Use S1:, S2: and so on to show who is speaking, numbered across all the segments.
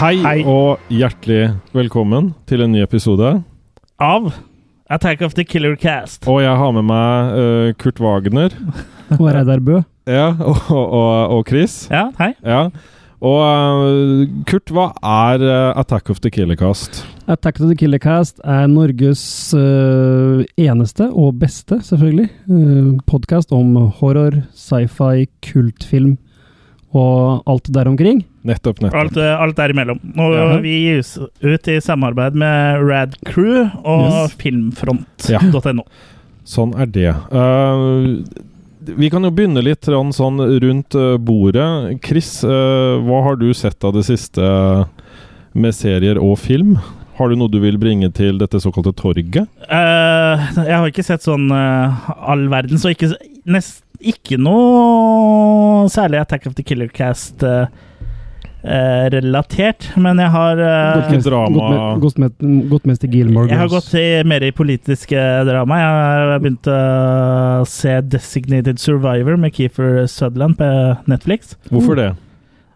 S1: Hei,
S2: Hei.
S1: og hjertelig velkommen til en ny episode.
S2: Av Attack of the Killer Cast.
S1: Og jeg har med meg eh, Kurt Wagner
S3: Og Reidar Bø.
S1: ja, og, og, og Chris.
S2: Ja, hei.
S1: Ja. Og eh, Kurt, hva er eh, Attack of the Killer Cast?
S3: Attack of the Killer Cast er Norges øh, eneste og beste, selvfølgelig, uh, podkast om horror, sci-fi, kultfilm og alt der omkring.
S1: Nettopp, nettopp.
S2: Alt, eh, alt derimellom. Og
S1: Ja.
S2: vi gis ut i samarbeid med Rad Crew og
S3: Yes.
S2: filmfront.no.
S1: Sånn er det. Eh, vi kan jo begynne litt sånn, sånn rundt eh, bordet. Chris, eh, hva har du sett av det siste eh, med serier og film? Har du noe du vil bringe til dette såkalte torget?
S2: Eh, jeg har ikke sett sånn eh, all verden, så ikke, nest, ikke noe særlig Attack of the Killer Cast eh, eh, relatert, men jeg har eh,
S1: Hvilket drama-
S3: Gått med- Gått med, gått mest til Gilmore
S2: Jeg har gått
S3: Girls.
S2: i, mer i politiske drama. Jeg har begynt å se Designated Survivor med Keefer Sutherland på Netflix.
S1: Hvorfor det?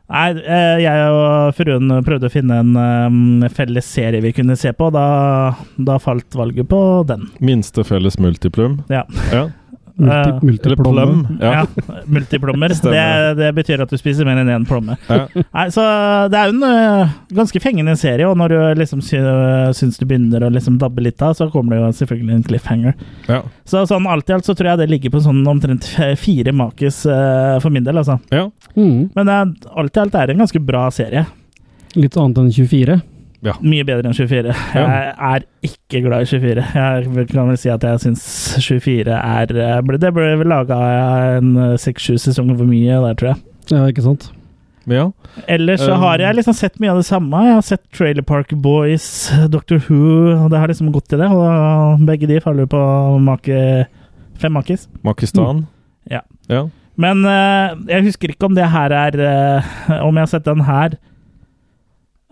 S2: Nei, eh, jeg og fruen prøvde å finne en eh, felles serie vi kunne se på, og da, da falt valget på den.
S1: Minste felles multiplum.
S2: Ja.
S1: ja.
S2: eh,
S3: Multi,
S1: Eller
S3: multiplomme.
S1: plum. Ja.
S2: Multiplommer. det,
S1: Stemmer.
S2: det betyr at du spiser mer enn én plomme.
S1: Ja.
S2: Nei, så det er jo en eh, ganske fengende serie, og når du liksom sy syns du begynner å liksom dabbe litt av, så kommer det jo selvfølgelig en cliffhanger.
S1: Ja.
S2: Så sånn alt i alt så tror jeg det ligger på sånn omtrent f- fire makis eh, for min del, altså.
S1: ja.
S3: Mm,
S2: Men det er, alt i alt er det en ganske bra serie.
S3: litt annet enn 24.
S2: Mye bedre enn 24. Jeg er ikke glad i 24. Jeg kan vel si at jeg syns 24 er eh, ble- Det ble vel laga en eh, seks-sju sesonger for mye der, tror jeg.
S3: Ja, ikke sant?
S1: ja.
S2: Ellers så
S1: Um,
S2: har jeg liksom sett mye av det samme. Jeg har sett Trailer Park Boys, Doctor Who, og det har liksom gått i det. Og begge de faller på make fem makis. Mm.
S1: Makistan.
S2: Ja.
S1: ja.
S2: Men eh, jeg husker ikke om det her er eh, Om jeg har sett den her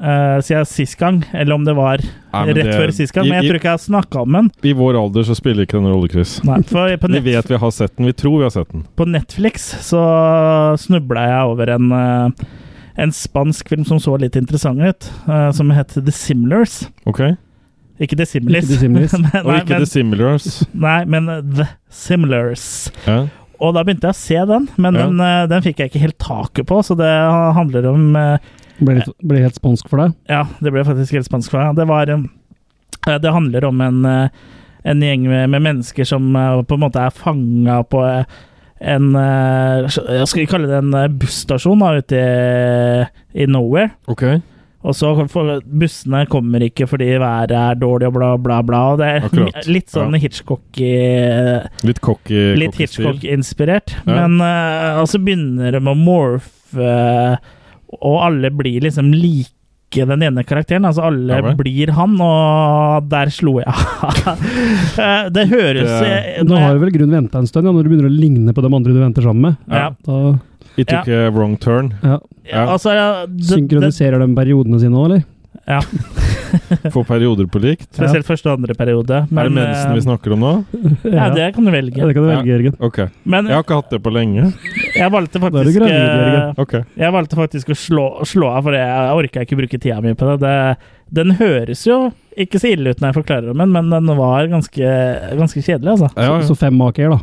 S2: eh, siden sist gang, eller om det var
S1: Nei, men
S2: rett
S1: det-
S2: før sist gang. Men jeg
S1: i,
S2: tror ikke jeg har snakka om den.
S1: i, I vår alder så spiller ikke den rolle, Chris.
S2: Nei, for på,
S1: Vi
S2: net,
S1: vet vi har sett den. Vi tror vi har sett den.
S2: på Netflix så snubla jeg over en eh, en spansk film som så litt interessant ut, eh, som het The Simlers.
S1: Ok?
S2: Ikke The Simlers.
S3: Ikke The Similars.
S2: men,
S1: Og
S2: nei,
S1: ikke
S2: men,
S1: The Similars.
S2: nei, men eh, The Simlers.
S1: Ja.
S2: Og da begynte jeg å se den, men
S1: Ja.
S2: den, eh, den fikk jeg ikke helt taket på, så det handler om eh,
S3: Ble, litt, ble helt spansk for deg.
S2: Ja, det ble faktisk helt spansk for meg. Det, var, eh, det handler om en, eh, en gjeng med, med mennesker som eh, på en måte er fanga på eh, en eh, Jeg skal kalle det en eh, busstasjon da, ute i, i nowhere.
S1: Ok.
S2: Og så for, bussene kommer ikke fordi været er dårlig og bla, bla, bla. Og det er
S1: Akkurat.
S2: litt sånn
S1: Ja.
S2: Hitchcock i eh,
S1: Litt cocky.
S2: Litt
S1: cocky stil.
S2: Hitchcock-inspirert.
S1: Ja.
S2: Men eh, og så begynner de å morfe, eh, og alle blir liksom like den ene karakteren. Altså alle
S1: Ja vel.
S2: blir han, og der slo jeg av. Eh, det høres
S1: Det-
S2: eh,
S3: Du har jo vel i grunnen venta en stund, ja, når du begynner å ligne på de andre du venter sammen med.
S2: ja,
S3: Da
S1: It took a eh, wrong turn.
S3: ja.
S2: ja,
S1: Ja.
S2: altså, ja, det, det,
S3: synkroniserer de periodene sine òg, eller?
S1: Få perioder på likt.
S2: Spesielt første og andre periode.
S1: er det
S2: Men,
S1: mensen
S2: eh,
S1: vi snakker om nå?
S2: Ja, det kan du velge.
S3: Ja, det kan du velge, Jørgen.
S1: Ok.
S2: Men
S1: Jeg har ikke hatt det på lenge.
S2: jeg valgte
S3: Da er du
S2: faktisk
S3: gravid,
S2: eh,
S3: Jørgen.
S1: Ok.
S2: Jeg valgte faktisk å slå, slå av, for jeg orka ikke bruke tida mi på det. det. Den høres jo ikke så ille ut når jeg forklarer om den, men den var ganske, ganske kjedelig, altså.
S1: Ja, ja.
S3: Så fem maker, da.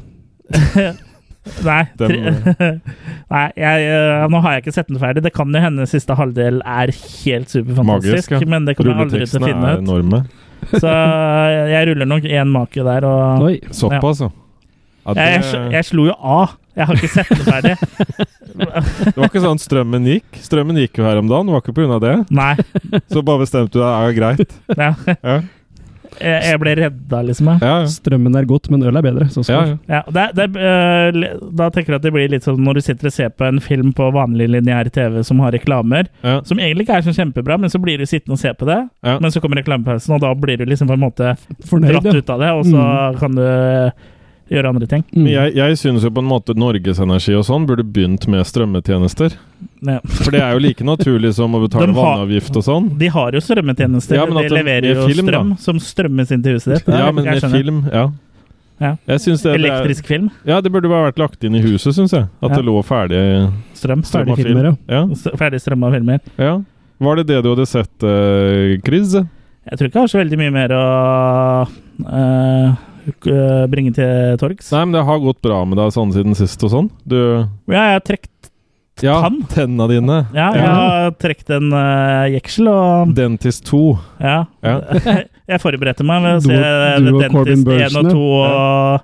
S2: Nei,
S1: Den-
S2: tre, nei jeg, eh, nå har jeg ikke sett den ferdig. Det kan jo hende siste halvdel er helt superfantastisk,
S1: Magisk, ja.
S2: men det kommer jeg aldri til å
S1: Rulletekstene
S2: finne
S1: er
S2: ut.
S1: enorme.
S2: Så eh, jeg ruller nok én make der, og
S3: Oi.
S1: Såpass, ja. ja
S2: jeg, jeg, sl-
S1: det,
S2: jeg slo jo av. Jeg har ikke sett den ferdig.
S1: det var ikke sånn strømmen gikk. Strømmen gikk jo her om dagen, det var ikke pga. det.
S2: Nei.
S1: Så bare bestemte du deg, ja, greit.
S2: Ja.
S1: Ja.
S2: Jeg, jeg ble redda, liksom. Jeg.
S1: Ja, ja.
S3: Strømmen er godt, men øl er bedre.
S1: ja,
S3: Så skal.
S1: ja.
S2: Ja, og det, det, eh, le- da tenker jeg at det blir litt sånn når du sitter og ser på en film på vanlig lineær TV som har reklamer,
S1: Ja.
S2: som egentlig ikke er så kjempebra, men så blir du sittende og se på det,
S1: Ja.
S2: men så kommer reklamepausen, og da blir du liksom på en måte
S3: Fornøyd,
S2: dratt
S3: ja.
S2: ut av det, og så kan du eh, gjøre andre ting.
S3: Mm.
S1: Men jeg, jeg synes jo på en måte Norges Energi og sånn burde begynt med strømmetjenester.
S2: Ja.
S1: For det er jo like naturlig som å betale
S2: De har-
S1: vannavgift og sånn.
S2: De har jo strømmetjenester,
S1: Ja, men
S2: de
S1: at det-
S2: leverer
S1: med
S2: jo
S1: film,
S2: strøm
S1: da.
S2: som strømmes inn til huset ditt.
S1: Ja, men
S2: Jeg
S1: med
S2: skjønner.
S1: film, ja.
S2: Ja.
S1: Jeg synes det, det, er,
S2: Elektrisk film.
S1: ja, det burde bare vært lagt inn i huset, syns jeg. At
S2: Ja.
S1: det lå ferdig
S2: Strøm.
S1: strømma
S3: Ferdigfilmer,
S1: film. Ja,
S2: Ferdig strømma filmer.
S1: ja. Var det det du hadde sett, eh, Chris?
S2: Jeg tror ikke jeg har så veldig mye mer å eh, k- bringe til torgs.
S1: Nei, men det har gått bra med deg sånn siden sist og sånn. Du
S2: Ja, jeg har trekt,
S1: Ja,
S2: Tann?
S1: tenna dine.
S2: ja, jeg har trekt en eh, jeksel, og
S1: Dentist 2.
S2: ja.
S1: Ja.
S2: jeg forberedte meg med å
S3: Du-
S2: se
S3: du og
S2: The
S3: Corbin
S2: Dentist 1 og
S3: Burchner.
S2: 2 og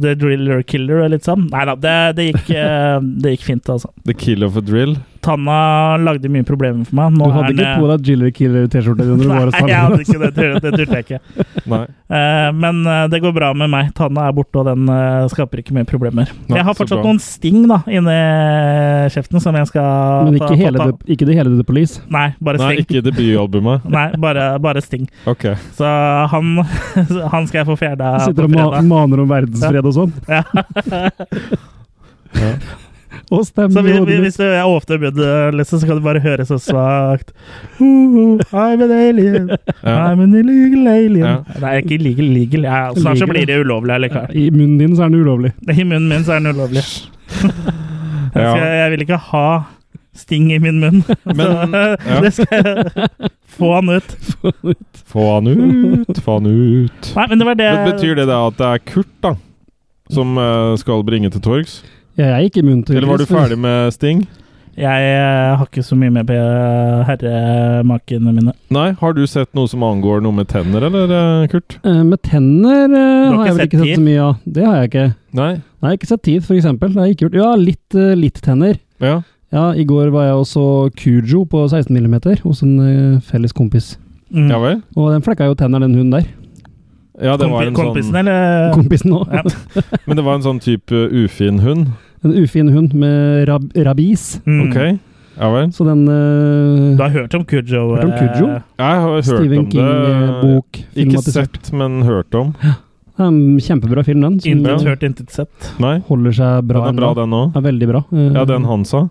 S2: The Driller Killer og litt sånn. Nei da, det, det, gikk, eh, det gikk fint, altså.
S1: The kill of a drill.
S2: Tanna lagde mye problemer for meg.
S3: Du
S2: Nå
S3: hadde
S2: er den- eh,
S3: ikke på deg Jiller Killer-T-skjorte når du var hos
S2: Nei, jeg hadde
S3: tannlegen?
S2: ikke det. Det, det turte jeg ikke.
S1: Nei.
S2: Eh, men eh, det går bra med meg. Tanna er borte, og den eh, skaper ikke mer problemer.
S1: Nei,
S2: jeg har
S1: så
S2: fortsatt
S1: bra.
S2: noen sting da, inni eh, kjeften som jeg skal ta-
S3: Men ikke,
S2: få
S3: hele
S2: ta-
S3: the, ikke det hele The Police.
S2: Nei, bare
S1: Nei,
S2: sting.
S1: ikke debutalbumet.
S2: Nei, bare, bare sting.
S1: Ok.
S2: Så han, han skal jeg få fjerna på
S3: Sitter og ma
S2: fredag.
S3: maner om verdensfred og sånn.
S2: Ja.
S1: Ja.
S3: Og
S2: Så
S3: stemmer
S2: vi,
S3: i
S2: vi,
S3: hodet mitt.
S2: hvis du er åpne budet, liksom, så kan du bare høre så svakt uh, I'm an alien,
S1: Ja.
S2: I'm an illegal alien.
S1: Ja.
S2: Nei, ikke illegal, legal. Ja, snart så
S3: Legal,
S2: blir det ulovlig allikevel.
S3: I munnen din så er den ulovlig.
S2: I munnen min så er den ulovlig. Jeg, skal,
S1: Ja.
S2: jeg vil ikke ha sting i min munn.
S1: Men-
S2: så,
S1: ja.
S2: Det skal jeg få han ut.
S1: Få han ut, få han ut.
S2: Nei, men det var det
S1: Men betyr det da at det er Kurt, da? Som eh, skal bringe til torgs?
S3: Jeg er ikke munn til
S1: Eller var du ferdig med Sting?
S2: Jeg eh, har ikke så mye med på eh, herremakene mine.
S1: Nei, har du sett noe som angår noe med tenner, eller eh, Kurt?
S3: Eh, Med tenner eh,
S2: har
S3: har jeg
S2: ikke
S3: vel ikke
S2: sett
S3: sett så mye av. Det har jeg ikke.
S1: Nei?
S3: Nei, ikke sett tid, for eksempel. Det har jeg ikke gjort. Ja, litt, eh, litt tenner.
S1: Ja.
S3: Ja, i går var jeg også Kujo på 16 mm hos en eh, felles kompis.
S2: Mm.
S1: Ja vel?
S3: Og den flekka jo tenner, den hunden der.
S1: Ja, det var en
S2: Kompi- Kompisen,
S1: sånn,
S2: eller?
S3: Kompisen nå.
S2: Ja.
S1: men det var en sånn type ufin hund.
S3: En ufin hund med rab rabis.
S2: Mm.
S1: Ok? Ja vel?
S3: Så den eh,
S2: Du har hørt om Kujo?
S3: Hørt om Cujo?
S2: eh,
S1: Jeg har hørt
S3: Stephen
S1: om det.
S3: King-bok
S1: Ikke
S3: filmatisert.
S1: sett, men hørt om.
S3: Det er en kjempebra film, den. Som
S2: Intet
S1: Ja.
S2: hørt, intet sett.
S1: Nei,
S3: holder seg bra.
S1: den er bra,
S3: ennå.
S1: den òg.
S3: er veldig bra. Eh,
S1: Ja, den han sa.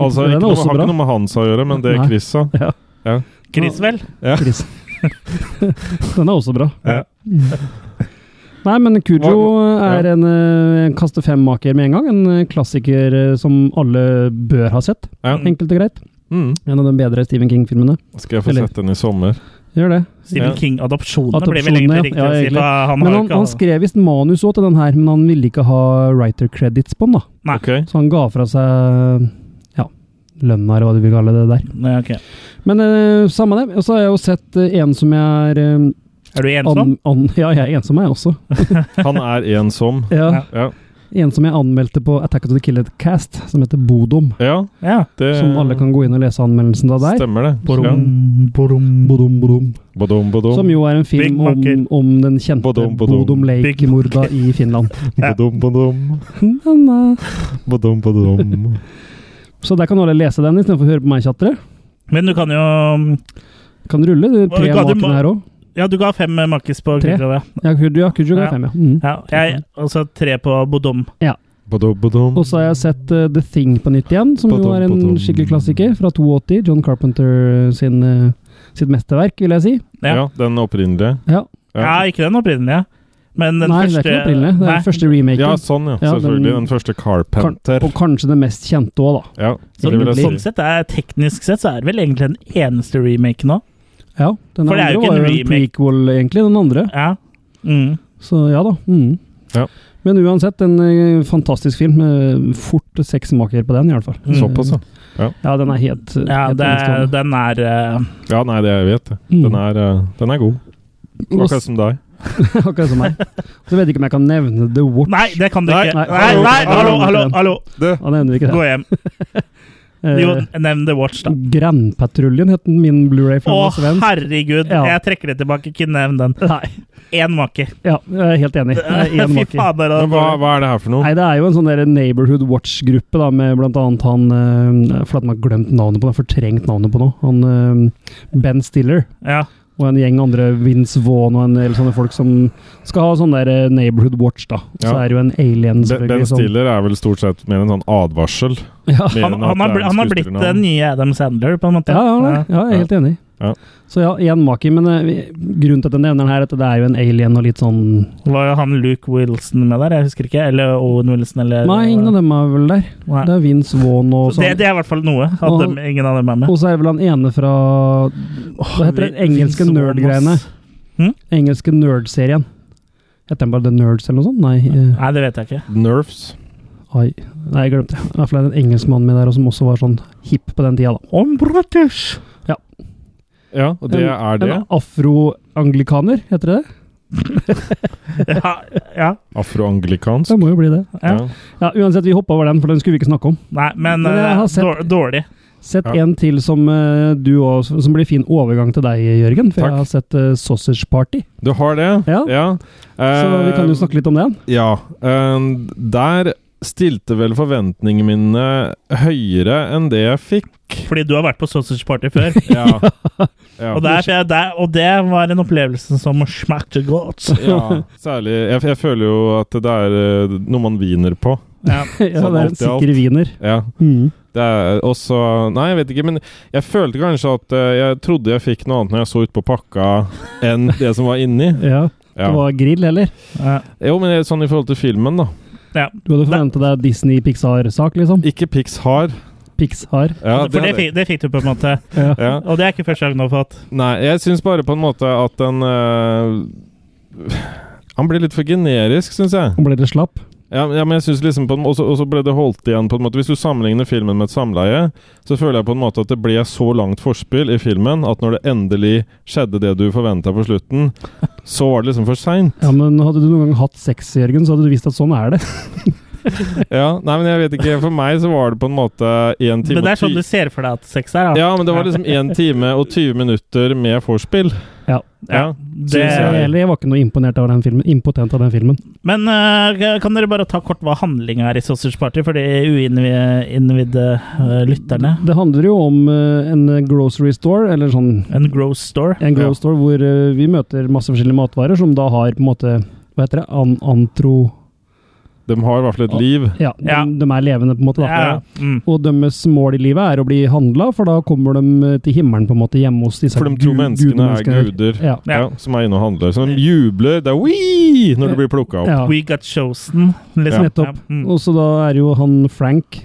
S1: Altså,
S3: Den er
S1: ikke noe,
S3: også
S1: har
S3: bra.
S1: ikke noe med hans å gjøre, men det
S3: Nei.
S1: Chris sa.
S2: Chris, vel?
S3: Chris. den er også bra.
S1: Ja.
S3: Nei, men Kujo er en, eh, en kaste fem-maker med en gang. En eh, klassiker eh, som alle bør ha sett,
S1: Ja.
S3: enkelt og greit.
S1: Mm.
S3: En av de bedre Stephen King-filmene.
S1: Skal jeg få
S3: Eller-
S1: sett den i sommer?
S3: Gjør det.
S2: Stephen
S1: Ja.
S2: King-adopsjonene blir vel
S3: Adopsjonene,
S2: egentlig riktig
S3: ja,
S2: å si.
S3: egentlig.
S2: for Han
S3: Men
S2: har jo
S3: han,
S2: ikke
S3: han skrev visst manus òg til den her, men han ville ikke ha writer credits på den, da.
S2: Nei.
S1: Ok?
S3: Så han ga fra seg ja, lønna, eller hva du vil kalle det der.
S2: Nei, ok.
S3: Men eh, samme det. Og så har jeg jo sett eh, en som jeg er eh,
S2: Er du ensom?
S3: an- an- Ja, jeg er ensom, jeg også.
S1: Han er en som.
S3: Ja.
S1: Ja.
S3: En som jeg anmeldte på Attack of the Killer Cast, som heter Bodom.
S1: ja
S2: Ja.
S1: det
S2: Eh,
S3: Som alle kan gå inn og lese anmeldelsen av der.
S1: Stemmer det. Ja.
S3: Borom, borom, borom, borom.
S1: Bodom, bodom.
S3: Som jo er en film
S2: Big
S3: om,
S2: Macker.
S3: om den kjente
S1: Bodom,
S3: Bodom,
S1: bodom.
S2: Big
S3: Lake-morda i Finland.
S2: Ja.
S1: Bodom, bodom.
S3: Na, na.
S1: Bodom, bodom.
S3: Så der kan alle lese den istedenfor å høre på meg tjatre.
S2: Men du kan jo
S3: Kan rulle de tre
S2: Hva ga du
S3: makene
S2: ma-
S3: her òg.
S2: Ja, du ga fem eh, makkis på
S3: Tre.
S2: Kujo, ja.
S3: Ja, Kujo
S2: Ja.
S3: er fem, ja. Mm.
S2: Ja, jeg, altså tre på Bodom.
S1: Bodom, bodom.
S3: Og så har jeg sett eh, The Thing på nytt igjen, som jo er en skikkelig klassiker fra 82. John Carpenter sin, eh, sitt mesterverk, vil jeg si.
S2: Ja.
S1: Ja, den opprinnelige.
S3: Ja.
S2: Ja, ikke den opprinnelige. Men den
S3: Nei,
S2: første
S3: det er ikke den opprinnelige. Det er den
S2: Nei,
S3: første remaken.
S1: Ja, sånn, ja.
S3: Ja,
S1: Selvfølgelig.
S3: den-
S1: Den første Carpenter.
S3: Og kanskje det mest kjente òg, da.
S1: Ja,
S2: Så,
S1: det vil jeg si.
S2: sånn sett er Teknisk sett så er det vel egentlig den eneste remaken nå.
S3: Ja, den
S2: For det er
S3: andre
S2: jo ikke
S3: var
S2: en
S3: jo en
S2: remake.
S3: prequel, egentlig, den andre.
S2: Ja. Mm.
S3: Så ja da. Mm.
S1: Ja.
S3: Men uansett, en eh, fantastisk film. eh, Fort seks maker på den, i hvert fall. Mm.
S1: Såpass, ja.
S3: Ja, den er helt, eh,
S2: ja
S3: helt
S2: det,
S3: enestående.
S2: den er eh,
S1: Ja, nei, det jeg vet jeg.
S3: Mm.
S1: Den er, eh, den er god.
S3: Og
S1: Akkurat som deg.
S3: s- Akkurat som meg. Så vet jeg ikke om jeg kan nevne The Watch.
S2: Nei, det kan du
S1: Nei,
S2: ikke!
S3: nei,
S2: Nei, nei, hallo,
S3: hallo, hallo,
S2: hallo!
S3: den.
S2: hallo.
S3: Han nevner ikke det.
S2: Gå hjem.
S3: Eh,
S2: Jo, nevn The Watch, da.
S3: Grandpatruljen het den, min Blu-ray
S2: Å,
S3: fra Svensk.
S2: herregud!
S3: Ja.
S2: Jeg trekker det tilbake. Ikke nevn den.
S3: Nei.
S2: Én make.
S3: Ja, jeg er helt enig. Det er én
S2: Fy
S3: maker.
S2: fader. altså.
S1: Men hva,
S2: da-
S1: hva er det her for noe?
S3: Nei, det er jo en sånn der neighborhood watch-gruppe da, med blant annet han eh, For at man har glemt navnet på han, fortrengt navnet på noe. Han eh, Ben Stiller
S2: Ja.
S3: og en gjeng andre, Vince Vaughn og en del sånne folk som skal ha sånn der eh, neighborhood watch, da. Og Så
S1: Ja.
S3: er det jo en alien,
S1: Ben- Ben
S3: selvfølgelig. som-
S1: Stiller er vel stort sett mer en sånn advarsel.
S3: Ja.
S1: Mer
S2: Han,
S1: enn at
S2: han,
S1: det
S2: har,
S1: er
S2: bli-
S1: en
S2: han har blitt
S1: skuespillernavn.
S2: den nye Adam Sandler, på en måte.
S3: Ja, ja, ja, jeg er helt enig.
S1: Ja.
S3: Så ja, én maki. Men eh, vi- grunnen til at jeg nevner den her, er at det er jo en alien og litt sånn
S2: Var jo han Luke Wilson med der? Jeg husker ikke. Eller Owen Wilson, eller
S3: Nei, ingen av dem er vel der.
S2: Eh, Nei.
S3: Det er Vince Vaughn og
S2: Så det,
S3: sånn.
S2: det er i hvert fall noe. At
S3: Og-
S2: dem- ingen av dem er med.
S3: Og så er det vel han ene fra Hva heter den engelske
S2: Vince
S3: nerd-greiene?
S2: Vaughn, ass.
S3: engelske nerd-serien. Heter den bare The Nerds eller noe sånt? Nei, eh,
S2: Nei, det vet jeg ikke.
S1: Nerfs.
S3: ai. Nei jeg glemte det. I hvert fall er det en engelskmann med der og som også var sånn hipp på den tida, da.
S2: Om British!
S1: Ja, og det
S3: En-
S1: er det.
S3: En afroanglikaner, heter det det?
S2: Ja, ja.
S1: Afroanglikansk.
S3: Det må jo bli det.
S2: ja.
S1: Ja.
S3: Ja, Uansett, vi hoppa over den, for den skulle vi ikke snakke om.
S2: Nei, men,
S3: Men jeg
S2: eh,
S3: har sett-
S2: dår- dårlig.
S3: Sett
S1: Ja.
S3: en til som eh, du også, som blir fin overgang til deg, Jørgen. For
S1: Takk.
S3: jeg har sett eh, Sausage Party.
S1: Du har det?
S3: Ja. Så
S1: Eh,
S3: vi kan jo snakke litt om det.
S1: Ja. eh, der stilte vel forventningene mine høyere enn det jeg fikk.
S2: Fordi du har vært på Sausage Party før,
S1: Ja. ja.
S2: og, der, jeg, der, og det var en opplevelse som smakte godt.
S1: ja. Særlig jeg, jeg føler jo at det er eh, noe man viner på.
S2: Ja.
S3: ja,
S1: Sånn
S3: det er
S1: alt
S3: en
S1: i alt.
S3: sikker wiener.
S1: Ja.
S3: Mm.
S1: Det er også Nei, jeg vet ikke, men jeg følte kanskje at eh, jeg trodde jeg fikk noe annet når jeg så ut på pakka, enn det som var inni.
S3: Ja.
S1: Ja.
S3: Det var grill, eller?
S2: Ja.
S1: Jo, men det er sånn i forhold til filmen, da.
S3: Du hadde forventa deg Disney-Pixar-sak, liksom?
S1: Ikke Pixar.
S3: Pixar.
S1: Ja,
S2: For det
S1: hadde-
S2: fikk, det fikk du på en måte.
S3: Ja.
S1: ja.
S2: Og det er ikke første gang du har fått.
S1: Nei, jeg syns bare på en måte at den eh, Han blir litt for generisk, syns jeg.
S3: Og ble det slapp?
S1: Ja, men- ja, men jeg synes liksom på en måte, Og så ble det holdt igjen på en måte Hvis du sammenligner filmen med et samleie, så føler jeg på en måte at det ble så langt forspill i filmen at når det endelig skjedde det du forventa på slutten, så var det liksom for seint.
S3: Ja, men hadde du noen gang hatt sex, Jørgen, så hadde du visst at sånn er det.
S1: Ja, nei, men jeg vet ikke. For meg så var det på en måte én time
S2: Men det
S1: og
S2: er sånn
S1: ti-
S2: du ser for deg at sex er, da.
S1: Ja, men det var liksom én time og 20 minutter med vorspiel. ja,
S2: det,
S1: synes
S3: Jeg, eller jeg var ikke noe imponert av den filmen. Impotent av den filmen.
S2: Men eh, kan dere bare ta kort hva handlinga er i Sausage Party, for de uinnvidde eh, lytterne?
S3: Det handler jo om eh, en grocery store, eller sånn
S2: En gross store.
S3: en grow
S1: Ja.
S3: store hvor eh, vi møter masse forskjellige matvarer som da har på en måte Hva heter det? An antro...
S1: De har i hvert fall et liv.
S3: Ja, de,
S2: Ja.
S3: de er levende, på en måte. Da.
S2: Ja, mm.
S3: Og deres mål i livet er å bli handla, for da kommer de eh, til himmelen på en måte hjemme hos disse
S1: For de tror
S3: gu-
S1: menneskene er
S3: gudmenneskene.
S1: guder.
S3: Ja.
S1: Ja. som er inne og handler. Som jubler. Det er wii når du blir plukka opp.
S3: ja.
S2: We got chosen, liksom.
S3: Ja. Nettopp.
S2: mm.
S3: Og så da er jo han Frank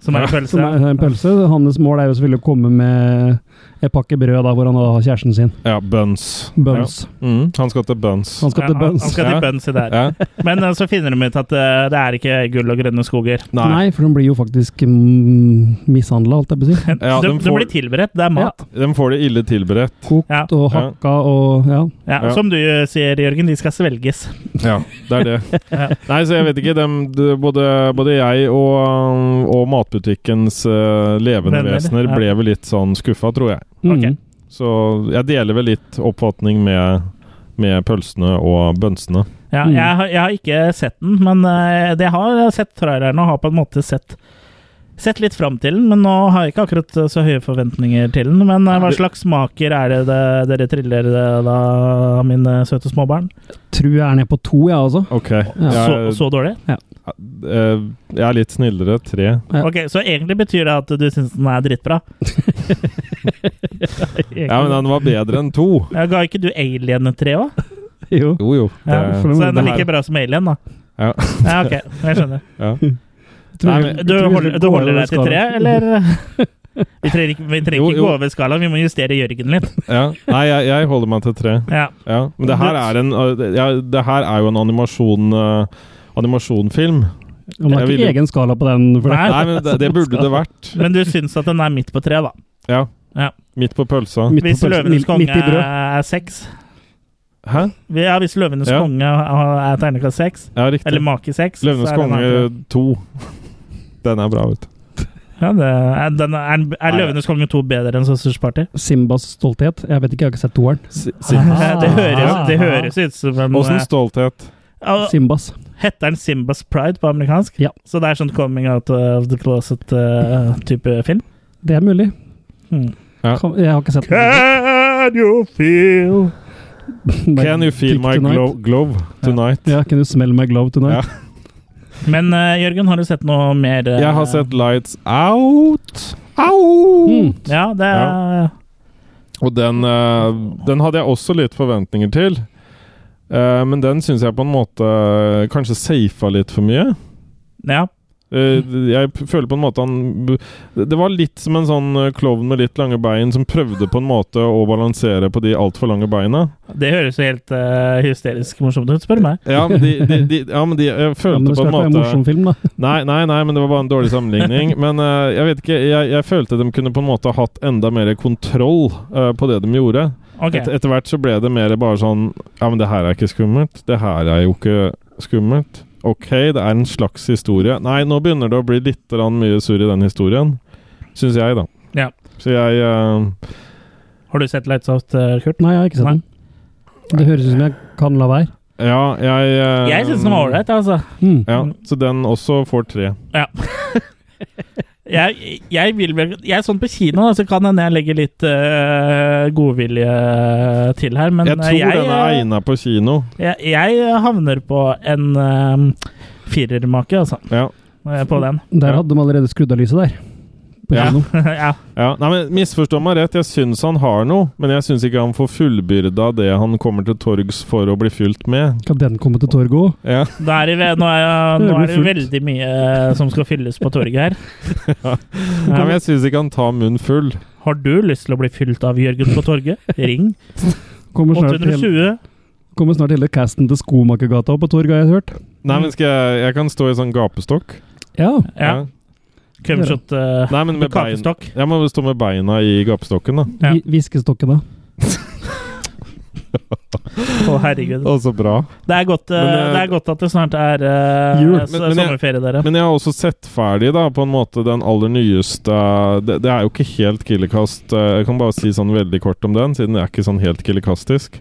S2: Som er en følelse.
S3: som er en pølse. Hans mål er jo selvfølgelig å komme med en pakke brød da, hvor han da har kjæresten sin.
S1: Ja, Buns.
S3: Buns.
S1: Ja. Mm, han skal til Buns.
S3: Han skal
S2: Ja,
S3: til Buns.
S2: Han skal
S1: Ja.
S2: til buns i det her.
S1: Ja.
S2: Men eh, så finner de ut at eh, det er ikke gull og grønne skoger.
S1: Nei.
S3: Nei. for de blir jo faktisk mm, mishandla, alt jeg på å si.
S1: Ja,
S2: de,
S1: de
S2: de
S1: får-
S2: blir tilberedt, det er mat.
S1: De får det ille tilberedt.
S3: Kokt
S2: Ja.
S3: og hakka og ja.
S2: Ja,
S1: Ja.
S2: Som du sier, Jørgen, de skal svelges.
S1: Ja, det er det.
S2: Ja.
S1: Nei, så jeg vet ikke. dem- de, både, både jeg og, um, og matbutikkens eh, levende
S2: Venner,
S1: vesener
S2: ja.
S1: ble vel litt sånn skuffa, tror jeg.
S3: Mm.
S2: Ok.
S1: Så jeg deler vel litt oppfatning med, med pølsene og bønsene.
S2: Ja,
S3: Mm.
S2: jeg, har- jeg har ikke sett den, men eh, det jeg har sett traileren og har på en måte sett Sett litt fram til den, men nå har jeg ikke akkurat eh, så høye forventninger til den. Men eh, hva
S1: Det-
S2: slags smaker er det, det dere triller eh, da, mine søte småbarn?
S3: Tror jeg er nede på to, jeg, ja, altså.
S1: Ok.
S2: Så,
S1: Jeg,
S2: så dårlig?
S1: eh, jeg er litt snillere. Tre.
S3: Ja.
S2: Ok, Så egentlig betyr det at du syns den er drittbra?
S1: Ja, men den var bedre enn to.
S2: Ja, Ga ikke du Alien et tre òg?
S3: Jo.
S1: Jo, jo. Det,
S2: Ja,
S3: for
S2: Så
S3: det
S2: den er
S3: her-
S2: like bra som Alien, da?
S1: Ja.
S2: ja ok, jeg skjønner.
S1: ja.
S3: Tror
S1: Nei,
S3: jeg-
S2: Du
S3: tror jeg
S2: holder,
S3: det
S2: du
S3: går
S2: holder
S3: over
S2: deg til
S3: skalaen.
S2: tre, eller? Vi trenger ikke, vi trenger
S1: Jo,
S2: ikke
S1: jo.
S2: gå over skalaen, vi må justere Jørgen litt.
S1: Ja. Nei, jeg, jeg holder meg til tre.
S2: Ja.
S1: Ja. Men det her er, en, uh, det- ja, det her er jo en animasjon, uh, animasjonfilm.
S3: Ja, men Det
S1: Jeg
S3: er
S1: vil
S3: ikke
S1: jo-
S3: egen skala på den. For
S2: Nei.
S3: det.
S1: Nei, men det, det burde det vært.
S2: Men du syns at den er midt på tre, da.
S1: Ja.
S2: Ja.
S1: Midt på pølsa.
S3: Midt på
S2: Hvis
S3: pølsen,
S2: Løvenes
S3: midt-
S2: konge
S3: midt i brød.
S2: er seks.
S1: Hæ?
S2: Ja, hvis Løvenes
S1: Ja.
S2: konge er terningkast seks,
S1: Ja,
S2: eller
S1: riktig.
S2: make seks så
S1: Løvenes
S2: er den her.
S1: konge to. Den er bra, vet du.
S2: Ja, det er, den er, er
S1: Nei.
S2: Løvenes konge to bedre enn Søsters Party?
S3: Simbas stolthet. Jeg vet ikke, jeg har ikke sett toeren.
S1: Si- si-
S3: Ah.
S2: Det høres, det høres ut som en eh, ah,
S1: Åssen stolthet.
S2: Ja,
S3: Simbas.
S2: Heter den Simbas Pride på amerikansk?
S3: Ja.
S2: Så det er sånn coming out of the closet-type film?
S3: Det er mulig.
S2: Hmm.
S1: Ja.
S3: Kan- Jeg har ikke sett den.
S2: Can you feel
S3: Bare
S1: Can you feel
S3: kick
S1: my
S3: tonight.
S1: glo glove tonight?
S3: Ja, can you smell my glove
S1: Ja.
S3: tonight?
S2: Men eh, Jørgen, har du sett noe mer? eh,
S1: Jeg
S2: Hmm.
S1: har sett Lights Out. Out!
S3: Mm.
S2: Ja, det er
S1: Og den, eh, den hadde jeg også litt forventninger til. Eh, men den syns jeg på en måte eh, kanskje safa litt for mye.
S2: Ja.
S1: Eh, Jeg p- føler på en måte han b- Det var litt som en sånn eh, klovn med litt lange bein som prøvde på en måte å balansere på de altfor lange beina.
S2: Det høres jo helt eh, hysterisk morsomt ut, spør du meg.
S1: Ja, men de, de, de, ja, men de Jeg
S3: Ja, men
S1: følte på
S3: det skal
S1: en
S3: ikke være en
S1: måte
S3: morsom film, da.
S1: Nei, nei, nei, men det var bare en dårlig sammenligning. Men eh, jeg vet ikke, jeg, jeg følte de kunne på en måte hatt enda mer kontroll eh, på det de gjorde.
S2: Ok,
S1: Et, etter hvert så ble det mer bare sånn Ja, men det her er ikke skummelt. Det her er jo ikke skummelt. Ok, det er en slags historie. Nei, nå begynner det å bli litt grann mye surr i den historien. Syns jeg, da.
S2: Ja.
S1: Så jeg eh,
S2: Har du sett Lights Out, eh, Kurt?
S3: Nei, jeg har ikke sett
S2: Nei.
S3: den. Det høres ut som jeg kan la være.
S1: Ja, jeg eh,
S2: Jeg syns den var ålreit, altså.
S3: Hmm.
S1: Ja, så den også får tre.
S2: Jeg, jeg vil vel Jeg er sånn på kino, da, så kan hende jeg legger litt eh, godvilje til her, men
S1: jeg
S2: eh,
S1: tror den er
S2: eh,
S1: egna på kino.
S2: Jeg, jeg havner på en um, firermake, altså.
S1: Ja.
S2: Eh, På den.
S3: Der
S1: Ja.
S3: hadde de allerede skrudd av lyset der. På
S1: Ja.
S3: kino.
S2: ja.
S1: Ja, nei, men Misforstå meg rett, jeg syns han har noe, men jeg syns ikke han får fullbyrda det han kommer til torgs for å bli fylt med.
S3: Kan den komme til torget òg?
S1: Ja,
S2: Da er det, ve- nå, er, nå er det
S3: Ørefullt.
S2: veldig mye eh, som skal fylles på torget her.
S1: Nei, men jeg syns ikke han tar munnen full.
S2: Har du lyst til å bli fylt av Jørgen på torget? Ring
S3: Kommer snart, hele,
S2: 820.
S3: kommer snart hele casten til Skomakergata opp på torget, har jeg hørt.
S1: Nei, men skal jeg, jeg kan stå i sånn gapestokk.
S3: Ja.
S2: Mm. Ja. Cumshot eh,
S1: Nei, men
S2: med
S1: med bein.
S2: kakestokk.
S1: Jeg må stå med beina i gapestokken, da.
S2: Ja.
S3: Vi- Viskestokken, da.
S2: Å, herregud.
S1: Å, så bra.
S2: Det er, godt, eh,
S1: Men, eh,
S2: det er godt at det snart er eh,
S1: Jul.
S2: s-
S1: Men- men jeg-
S2: sommerferie, dere.
S1: Men jeg har også sett ferdig, da, på en måte den aller nyeste Det, det er jo ikke helt Killerkast. eh, Jeg kan bare si sånn veldig kort om den, siden det er ikke sånn helt Killerkastisk.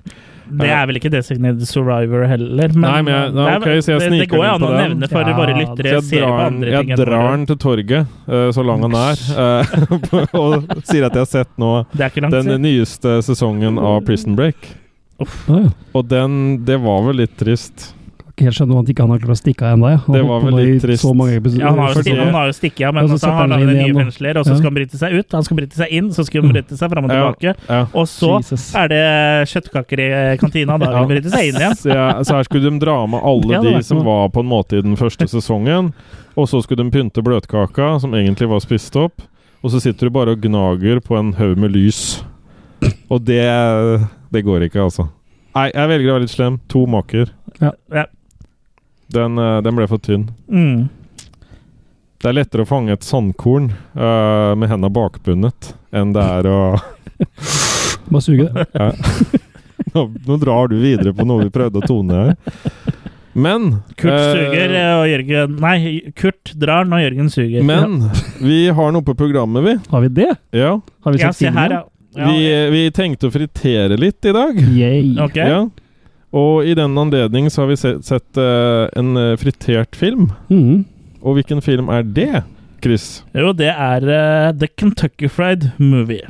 S2: Det er vel ikke Designated Survivor heller, men,
S1: Nei, men jeg- nei,
S2: det, er-
S1: ok, så jeg
S2: det- det
S1: sniker
S2: går jo
S1: den
S2: an
S1: på
S2: å
S1: den.
S2: nevne for
S3: Ja,
S2: våre
S1: Så
S2: lyttere.
S1: jeg
S2: ser på
S1: drar, den-
S2: andre ting
S1: jeg
S2: enn
S1: drar
S2: våre.
S1: den til torget, eh, så lang han er, eh, og sier at jeg har sett nå
S2: Det er ikke langt
S1: den
S2: siden.
S1: nyeste sesongen av Prison Break.
S3: Ja, ja.
S1: Og den Det var vel litt trist.
S3: Kan ikke helt skjønne at ikke han har klart å stikke av ennå. jeg. Han
S1: Det
S3: har
S1: var
S3: holdt på
S1: vel
S3: nå
S1: litt
S3: i
S1: trist.
S3: Så mange episoder.
S2: Ja, han har jo
S1: Fordi-
S2: stikket, han har jo stikket av, men
S3: Og så
S2: altså, han
S3: setter han
S2: har
S3: inn
S2: nye
S3: igjen, og-
S2: fengsler, og så
S3: Ja.
S2: skal han bryte seg ut, han skal bryte seg inn, så skal han bryte seg fram og
S1: Ja.
S2: tilbake,
S1: Ja.
S2: og så
S3: Jesus.
S2: er det kjøttkaker i eh, kantina, da vil han bryte seg inn igjen.
S1: Så, jeg, så her skulle de dra med alle
S3: Ja, det var
S1: de som
S3: ikke
S1: var på en måte i den første sesongen. Og så skulle de pynte bløtkaka, som egentlig var spist opp. Og så sitter du bare og gnager på en haug med lys. Og det Det går ikke, altså. Nei, jeg velger å være litt slem. To maker.
S2: Ja.
S1: Den, eh, den ble for tynn.
S2: Mm.
S1: Det er lettere å fange et sandkorn eh, med henda bakbundet enn det er å
S3: Bare suge det.
S1: Ja. Nå, nå drar du videre på noe vi prøvde å tone her. Men
S2: Kurt
S1: eh,
S2: suger og Jørgen, nei, Kurt drar når Jørgen suger.
S1: Men vi har noe på programmet, vi.
S3: Har vi det?
S1: Ja.
S3: Har vi
S2: ja,
S3: sett
S2: se her,
S3: filmen? eh,
S2: ja. ja.
S1: Vi, eh, vi tenkte å fritere litt i dag.
S3: Yay.
S2: Ok.
S1: Ja. Og i den anledning så har vi sett, sett eh, en eh, fritert film.
S3: Mhm.
S1: Og hvilken film er det, Chris?
S2: Jo, det er eh, The Kentucky Fried Movie.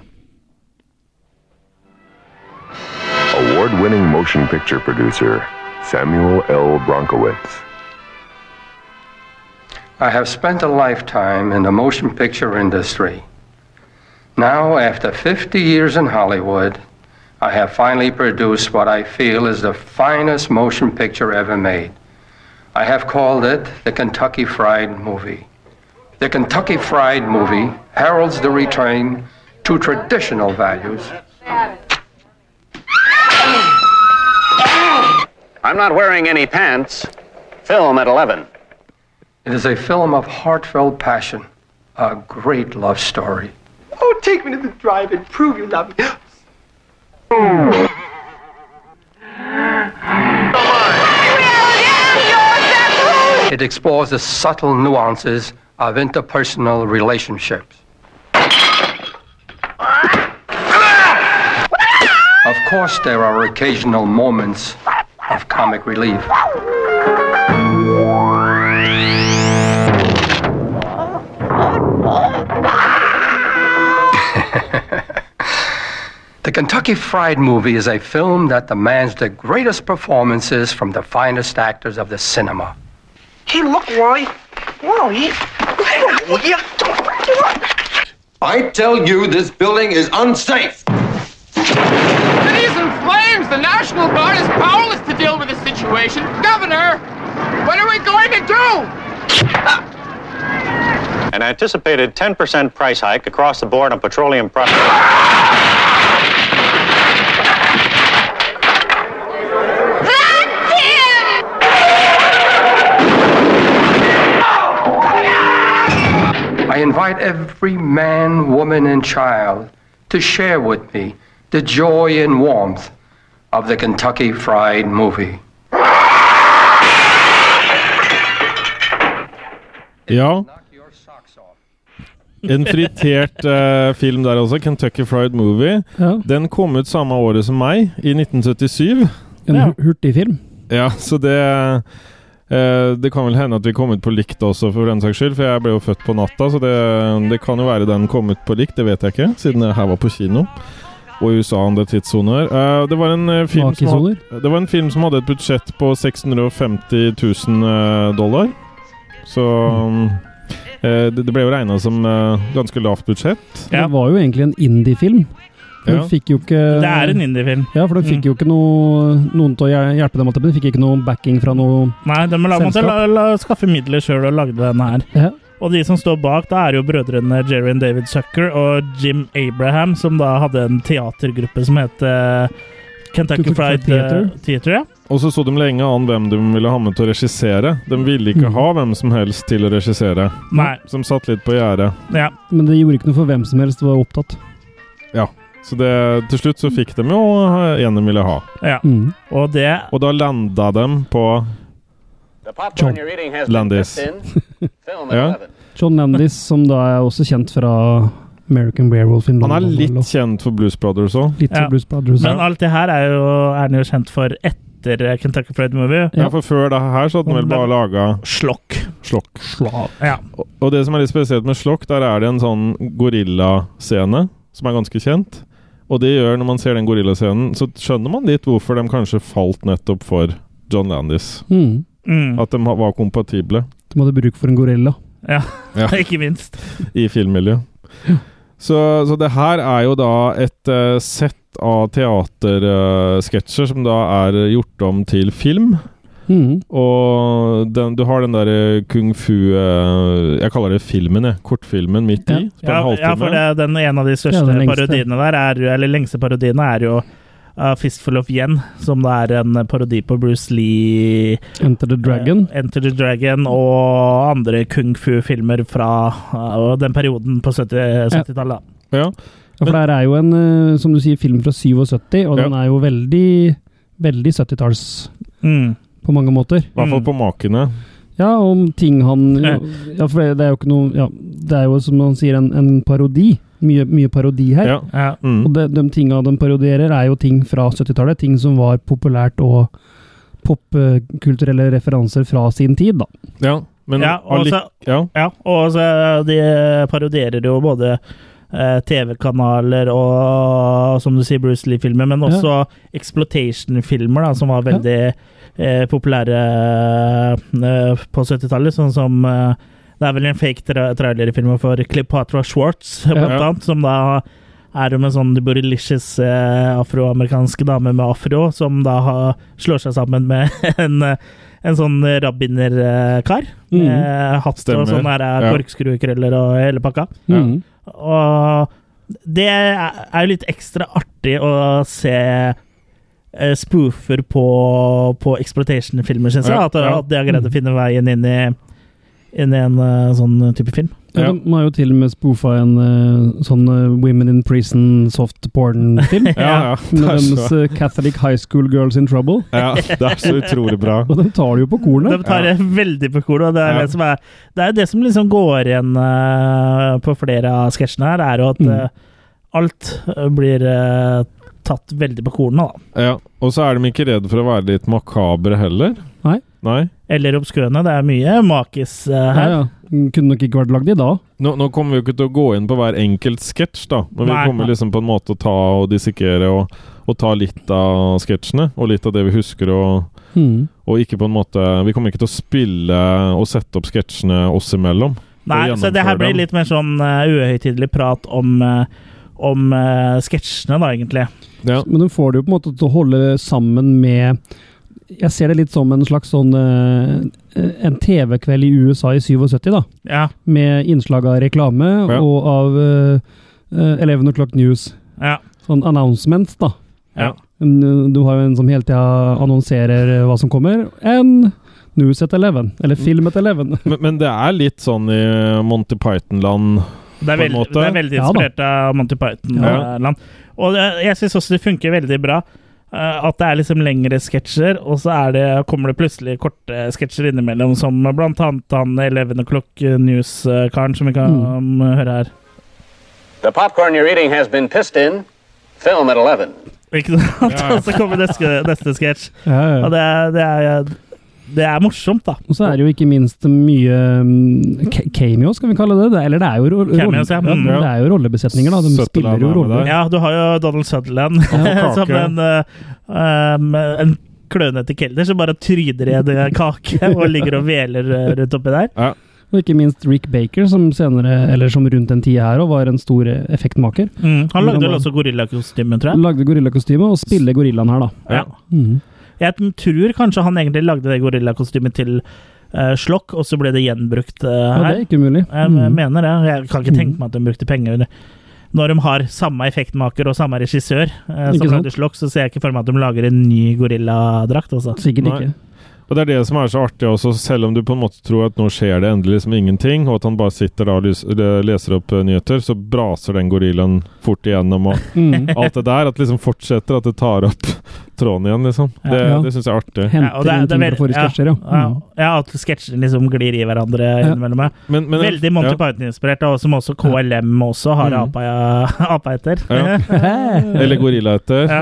S4: Award winning motion picture producer Samuel L. Bronkowitz.
S5: I have spent a lifetime in the motion picture industry. Now, after 50 years in Hollywood, I have finally produced what I feel is the finest motion picture ever made. I have called it the Kentucky Fried Movie. The Kentucky Fried Movie heralds the return to traditional values
S6: I'm not wearing any pants. Film at 11.
S5: It is a film of heartfelt passion, a great love story.
S7: Oh, take me to the drive and prove you love me.
S5: It explores the subtle nuances of interpersonal relationships. Of course, there are occasional moments of comic relief. The Kentucky Fried Movie is a film that demands the greatest performances from the finest actors of the cinema.
S7: Hey, look, Roy. Whoa, he. Will you?
S8: I tell you, this building is unsafe. flames! The National Guard is powerless to deal with the situation. Governor, what are we going to do?
S6: An anticipated 10% price hike across the board on petroleum products.
S5: I invite every man, woman, and child to share with me the joy and warmth of the Kentucky Fried Movie.
S1: Ja.
S5: Knock your socks off.
S1: En fritert eh, film der også. Kentucky Fried Movie.
S3: Ja,
S1: Den kom ut samme året som meg, i 1977.
S3: en
S2: Ja.
S3: hu- hurtigfilm.
S1: Ja, så det eh, Det kan vel hende at vi kom ut på likt også, for den saks skyld. For jeg ble jo født på natta, så det, det kan jo være den kom ut på likt. Det vet jeg ikke, siden det her var på kino. Og USA andre tidssoner. Eh, det, var en, eh, film som hadde,
S3: Makesoner.
S1: det var en film som hadde et budsjett på 650 000 eh, dollar. Så
S3: Mm.
S1: eh, det, det ble jo regna som eh, ganske lavt budsjett.
S2: Ja.
S3: Det var jo egentlig en indie-film. Den
S1: Ja.
S3: fikk jo ikke
S2: Det er en Mm. indiefilm.
S3: Ja, for den fikk jo ikke noe, noen til å hje- hjelpe dem. at De fikk ikke noe backing fra noe
S2: Nei, de la, måtte
S3: Selskap.
S2: la, la, skaffe midler sjøl og lagde denne her.
S3: ja.
S2: Og de som står bak, da er jo brødrene Jerry and David Sucker og Jim Abraham, som da hadde en teatergruppe som het eh, Kentucky
S3: Kentucky
S2: Fried
S3: Fried
S2: Theater.
S3: Theater.
S2: Theater ja.
S1: Og så så de lenge an hvem de ville ha med til å regissere. De ville ikke
S3: Mm.
S1: ha hvem som helst til å regissere.
S2: Nei,
S1: Som satt litt på gjerdet.
S2: ja.
S3: Men det gjorde ikke noe for hvem som helst var opptatt.
S1: Så det, til slutt så fikk de jo eh, en de ville ha.
S2: ja.
S3: Mm.
S2: Og det
S1: Og da landa de på
S6: The popcorn
S3: John
S6: you're eating has
S1: Landis.
S6: been dipped in. Film at
S1: Ja.
S6: 11.
S3: John Landis, som da er også kjent fra American Werewolf in
S1: Han
S3: London.
S1: er litt
S3: eller-
S1: kjent for Blues Brothers òg.
S3: litt
S2: Ja.
S3: for Blues Brothers.
S2: Men alt det her er, jo, er den jo kjent for etter eh, Kentucky Fried Movie.
S1: Ja. for før det her så hadde han vel bare laga
S2: Slokk.
S1: Slokk.
S2: Ja.
S1: Og- Og det som er litt spesielt med Slokk, der er det en sånn gorillascene som er ganske kjent. Og det gjør, når man ser den gorillascenen, så skjønner man litt hvorfor de kanskje falt nettopp for John Landis.
S3: Mm.
S2: Mm.
S1: At de ha- var kompatible.
S3: De hadde bruk for en gorilla.
S1: Ja.
S2: Ikke minst.
S1: i filmmiljø. Så, så det her er jo da et eh, sett av teatersketsjer som da er gjort om til film.
S3: Mm.
S1: Og den, du har den derre kung fu eh, Jeg kaller det filmen, jeg. Kortfilmen midt i. På en
S2: Ja,
S1: halvtime.
S2: ja, for det, den en av de største
S3: Ja, den lengste.
S2: parodiene der, er, jo- eller lengste parodiene, er jo uh, Fistful of Yen, som da er en parodi på Bruce Lee,
S3: Enter the Dragon.
S2: eh, Enter the Dragon og andre kung fu-filmer fra uh, den perioden på 70 70-tallet.
S1: Ja.
S3: Ja, for det her er jo en, eh, som du sier, film fra 77, og
S1: Ja.
S3: den er jo veldig, veldig 70-talls
S2: Mm.
S3: på mange måter.
S1: I hvert fall
S2: Mm.
S1: på makene.
S3: Ja, om ting han
S2: Ja.
S3: Ja, for det, det er jo ikke noe Ja, det er jo som han sier, en, en parodi. Mye, mye parodi her.
S1: Ja.
S2: Ja.
S1: Mm.
S3: Og de, de tinga de parodierer, er jo ting fra 70-tallet. Ting som var populært og popkulturelle referanser fra sin tid, da.
S1: ja. Men
S2: Ja, og
S1: allik-
S2: så-
S1: ja.
S2: Ja, og så eh, de parodierer jo både eh, TV-kanaler og, som du sier, Bruce Lee-filmer, men også exploitation-filmer, da, som var veldig eh, populære eh, på 70-tallet. Sånn som eh, Det er vel en fake tra trailerfilm for Cleopatra Schwartz, blant
S1: Ja.
S2: annet, som da er om en sånn borrelicious eh, afroamerikansk dame med afro, som da har, slår seg sammen med en, eh, en sånn rabbinerkar.
S1: Mm.
S3: Mhm.
S2: Eh, hatt
S1: Stemmer.
S2: og sånn der eh,
S1: Ja.
S2: korkskrukrøller og hele pakka.
S1: Ja.
S3: Mm.
S2: Og det er jo litt ekstra artig å se eh, spoofer på, på exploitation-filmer, syns jeg.
S1: Ja,
S2: At,
S1: ja.
S2: at de har greid å finne veien inn i, inn i en eh, sånn type film.
S3: Ja.
S1: Ja.
S3: de har jo til og med spoofa en eh, sånn eh, Women in Prison soft porn-film.
S1: Ja, ja.
S3: Med
S1: Det er
S3: deres
S1: så,
S3: eh, Catholic High School Girls in Trouble.
S1: ja, det er så utrolig bra.
S3: Og de tar det jo på
S2: De
S3: kornet.
S2: tar det veldig på kolo. og Det er,
S1: Ja.
S2: det, som er, det er det som liksom går igjen eh, på flere av sketsjene her, er jo at
S3: Mm.
S2: eh, alt eh, blir eh, tatt veldig på kornet, da.
S1: Ja. Og så er de ikke redd for å være litt makabre heller.
S3: Nei.
S1: Nei.
S2: Eller obskøne. Det er mye makis eh,
S3: Ja,
S2: her.
S3: ja. Den Kunne nok ikke vært lagd i dag.
S1: Nå, nå kommer vi jo ikke til å gå inn på hver enkelt sketsj, da. Men
S2: Nei.
S1: vi kommer liksom på en måte å ta og dissekere og, og ta litt av sketsjene. Og litt av det vi husker, og,
S3: Mm.
S1: og ikke på en måte Vi kommer ikke til å spille og sette opp sketsjene oss imellom.
S2: Nei,
S1: Og
S2: så det her
S1: gjennomføre
S2: blir
S1: dem.
S2: litt mer sånn eh, uhøytidelig prat om eh, om eh, sketsjene, da, egentlig.
S1: Ja.
S3: Men du får det jo på en måte til å holde sammen med Jeg ser det litt som en slags sånn eh, En TV-kveld i USA i 77, da.
S2: Ja,
S3: Med innslag av reklame
S1: Ja.
S3: og av eh, eh, 11 O'Clock News.
S2: ja,
S3: Sånn announcements, da.
S2: ja.
S3: En, eh, Du har jo en som hele tida annonserer eh, hva som kommer. En News at 11. Eller Film at 11.
S1: Men, men det er litt sånn i Monty Python-land
S2: Det er,
S1: På en
S2: veld,
S1: måte.
S2: det er veldig
S3: Ja da.
S2: inspirert av Monty
S1: Ja.
S2: Python-land. Og det, jeg syns også det funker veldig bra. eh, At det er liksom lengre sketsjer, og så er det, kommer det plutselig korte sketsjer innimellom, som blant annet han 11 O'Clock News-karen som vi kan
S3: Mm.
S2: eh, høre her.
S6: The popcorn you're eating has been pissed in. Film at 11.
S2: Ikke sant?
S1: Ja.
S2: Og så kommer neste, neste sketsj.
S3: Ja,
S2: Og det er, det, er, det er morsomt, da.
S3: Og så er det jo ikke minst mye mm, ca- cameos, skal vi kalle det. det er- eller det er jo, ro
S2: Cameos, ja.
S3: rolle- ja,
S2: Mm.
S3: det er jo rollebesetninger, da. De
S1: Søtte
S3: spiller
S1: dame
S3: jo
S1: med
S3: roller.
S1: deg.
S2: Ja, du har jo Donald Sutherland
S1: Ja,
S2: som
S1: kake.
S2: en, eh, um, en klønete kelner som bare tryner i en eh, kake og ligger og veler eh, rundt oppi der.
S3: Og ikke minst Rick Baker, som senere, eller som rundt den tida her òg, var en stor eh, effektmaker.
S2: Mm. Han lagde vel også gorillakostyme, tror jeg.
S3: Lagde gorillakostyme og spiller gorillaen her, da.
S1: Ja.
S3: Mhm.
S2: Jeg tror kanskje han egentlig lagde det gorillakostymet til eh, Slokk, og så ble det gjenbrukt eh,
S3: Ja, det
S2: her.
S3: er ikke umulig.
S2: Jeg
S3: Mhm.
S2: mener det. Jeg kan ikke
S3: Mm.
S2: tenke meg at de brukte penger. Når de har samme effektmaker og samme regissør, eh,
S3: Ikke
S2: som
S3: sant?
S2: lagde Slokk, så ser jeg ikke for meg at de lager en ny gorilladrakt. Altså.
S3: Sikkert
S1: Nei.
S3: ikke.
S1: Og det er det som er så artig også, selv om du på en måte tror at nå skjer det endelig liksom ingenting, og at han bare sitter da og lys- eller leser opp eh, nyheter, så braser den gorillaen fort igjennom og
S2: Mm.
S3: Mhm.
S1: alt det der. At det liksom fortsetter, at det tar opp tråden igjen, liksom. Det,
S3: Ja.
S1: det syns jeg er artig.
S2: Ja, og
S3: Henter
S2: det er- det
S3: inn
S2: er
S3: ting fra
S2: veldig-
S3: forrige
S2: ja.
S3: sketsjer, ja.
S2: Ja,
S3: Mhm.
S2: ja, at sketsjene liksom glir i hverandre innimellom. ja.
S1: Men- men-
S2: Veldig Monty
S1: ja.
S2: Python-inspirert, og som også KLM også har
S3: Mm.
S2: apa, apa etter.
S1: Ja. Eller gorilla etter.
S2: Ja,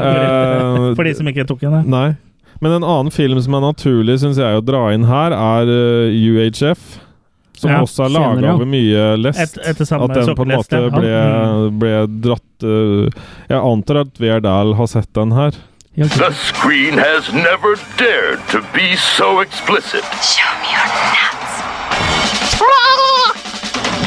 S1: Eh,
S2: For de som ikke tok
S3: Mm.
S2: henne.
S1: Nei. Men en annen film som er naturlig, syns jeg, å dra inn her, er eh, UHF. Som
S2: Ja,
S1: også er
S3: senere,
S1: laga
S3: ja.
S1: over mye lest.
S2: Et, etter samme
S1: at den på en
S2: sokkelhest,
S1: måte
S2: ja.
S1: ble,
S2: Mm.
S1: ble dratt eh, Jeg antar at Verdal har sett den her.
S3: Helt
S4: The screen has never dared to be so explicit.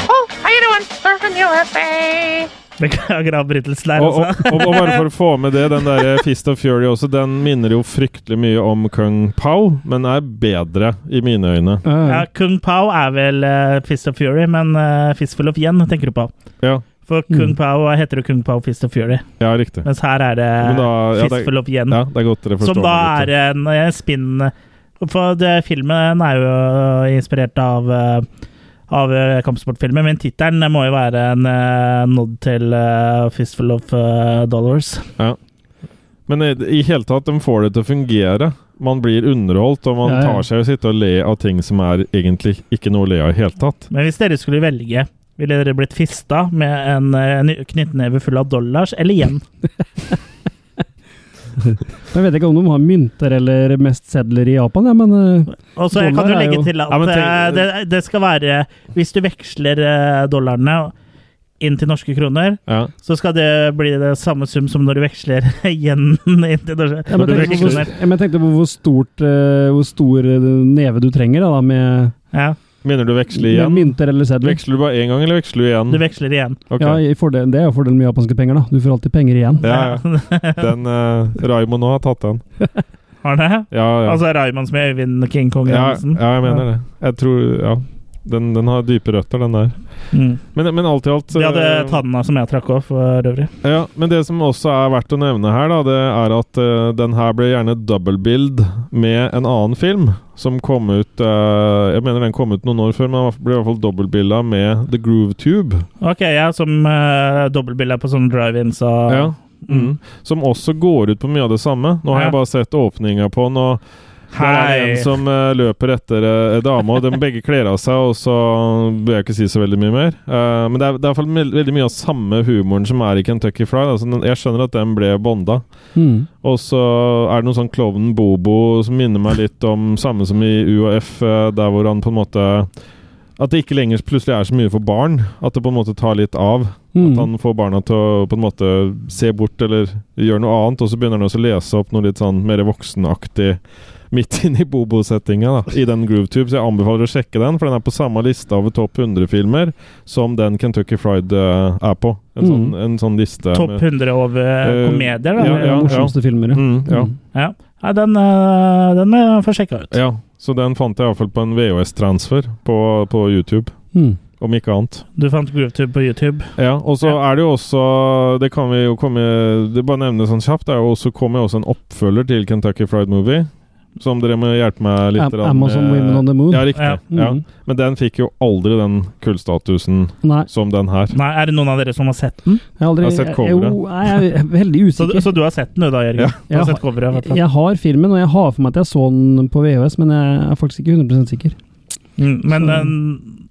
S7: Oh, how you doing? Surfing USA.
S2: Beklager avbrytelsen der,
S1: Og, og,
S2: altså.
S1: og, og bare for å få med det, den der Fist of Fury også, den minner jo fryktelig mye om Kung Pao, men er bedre i mine øyne.
S2: Ja,
S3: Ja,
S2: Kung Pao er vel eh, Fist of Fury, men eh, Fistful of Yen tenker du på.
S1: Ja,
S2: For
S1: Mm.
S2: Kung Pao heter det Kung Pao Fist of Fury,
S1: ja riktig.
S2: mens her er det
S1: Men da- ja, det-
S2: Fistful of Yen.
S1: Ja, det er godt dere forstår
S2: Som da
S1: meg
S2: er
S1: litt.
S2: en eh, spinn For det, filmen er jo eh, inspirert av eh, av eh, kampsportfilmer, men tittelen må jo være en eh, nod til eh, Fistful of eh, Dollars.
S1: Men i, i hele tatt, de får det til å fungere. Man blir underholdt, og man
S3: Ja, ja.
S1: tar seg og sitter og le av ting som er egentlig ikke noe å le av i hele tatt.
S2: Men hvis dere skulle velge, ville dere blitt fista med en, eh, en knyttneve full av dollars eller yen?
S3: jeg vet ikke om de har mynter eller mest sedler i Japan, ja, men eh,
S2: Og så kan
S3: Dollar
S2: du
S3: er
S2: legge
S3: jo-
S2: til at
S1: Ja, men tenk-
S2: eh, det, det skal være Hvis du veksler eh, dollarene inn til norske kroner,
S1: Ja.
S2: så skal det bli det samme sum som når du veksler yen inn til norske
S3: Ja, men
S2: norske
S3: sånn- jeg, tenkte på, hvor- ja, men jeg tenkte på hvor, stort, eh, hvor stor eh, neve du trenger da, da, med,
S2: Ja,
S1: Mener du veksle
S3: med
S1: igjen?
S3: mynter eller sedler.
S1: Veksler du bare én gang, eller veksler du igjen?
S2: du veksler igjen.
S1: Ok.
S3: Ja, i fordel, det er jo fordelen med japanske penger. da. Du får alltid penger igjen.
S1: Ja, ja. Den uh, Raymond nå har tatt den.
S2: Har det?
S1: Ja, ja.
S2: Altså Raymond som i Øyvind King Kong
S1: ja,
S2: Johansen.
S1: ja, jeg mener det. Jeg tror Ja. Den, den har dype røtter, den der.
S2: Mm.
S1: Men, men alt i alt
S2: De hadde
S1: eh,
S2: tanna som jeg trakk opp for øvrig.
S1: ja, Men det som også er verdt å nevne her, da, det er at eh, den her ble gjerne double-build med en annen film som kom ut eh, Jeg mener den kom ut noen år før, men den ble i hvert fall dobbeltbilda med The Groove Tube.
S2: Ok, ja, som uh, dobbeltbilde på sånne drive-ins og
S1: Ja. Mm. Som også går ut på mye av det samme. Nå har
S2: Ja.
S1: jeg bare sett åpninga på den, og der er det
S2: Hei.
S1: en som eh, løper etter ei dame, og de begge kler av seg, og så bør jeg ikke si så veldig mye mer. Eh, men det er, det er i hvert fall mel- veldig mye av samme humoren som er i Kentucky Fried. Altså, den- jeg skjønner at den ble bonda.
S3: Mm.
S1: Og så er det noe sånn klovnen Bobo som minner meg litt om samme som i UAF, eh, der hvor han på en måte At det ikke lenger plutselig er så mye for barn. At det på en måte tar litt av. At
S3: Mm.
S1: han får barna til å på en måte se bort eller gjøre noe annet, og så begynner han også å lese opp noe litt sånn mer voksenaktig midt inn i Bobo-settinga, da, i den Groovetube. Så jeg anbefaler å sjekke den, for den er på samme liste over topp 100-filmer som den Kentucky Fried eh, er på. En, sånn, en sånn liste. med-
S2: Topp 100 over
S1: Eh,
S2: komedier, da.
S1: Ja,
S3: Det er
S1: ja,
S3: de morsomste filmer, ja.
S1: Mm, ja.
S3: Mm.
S2: Ja. Nei, den, eh, den må jeg få sjekka ut.
S1: ja. Så den fant jeg iallfall på en VHS-transfer på, på YouTube,
S3: Mm.
S1: om ikke annet.
S2: Du fant GrooveTube på YouTube.
S1: Ja, og så er det jo også Det kan vi jo komme Det bare nevne sånn kjapt. Det er jo også kommer jo også en oppfølger til Kentucky Fried Movie. Som dere må hjelpe meg litt
S3: Am-
S1: grann
S3: Amazon
S1: med.
S3: Women on the Moon.
S1: Ja, riktig.
S2: Ja.
S1: Ja.
S3: Mm.
S1: Men den fikk jo aldri den kullstatusen
S3: Nei,
S1: som den her.
S2: Nei, Er det noen av dere som har sett den?
S3: jeg har aldri
S1: Jeg har sett
S3: jeg- Jo, nei, jeg er veldig
S2: Så,
S3: usikker.
S2: så du har sett den, du da, Jørgen?
S1: Ja.
S2: Du har
S3: Jeg
S2: sett coveret, i hvert fall.
S3: Jeg har filmen, og jeg har for meg at jeg så den på VHS, men jeg er faktisk ikke 100 sikker.
S2: Mm, men
S3: Så-
S2: den,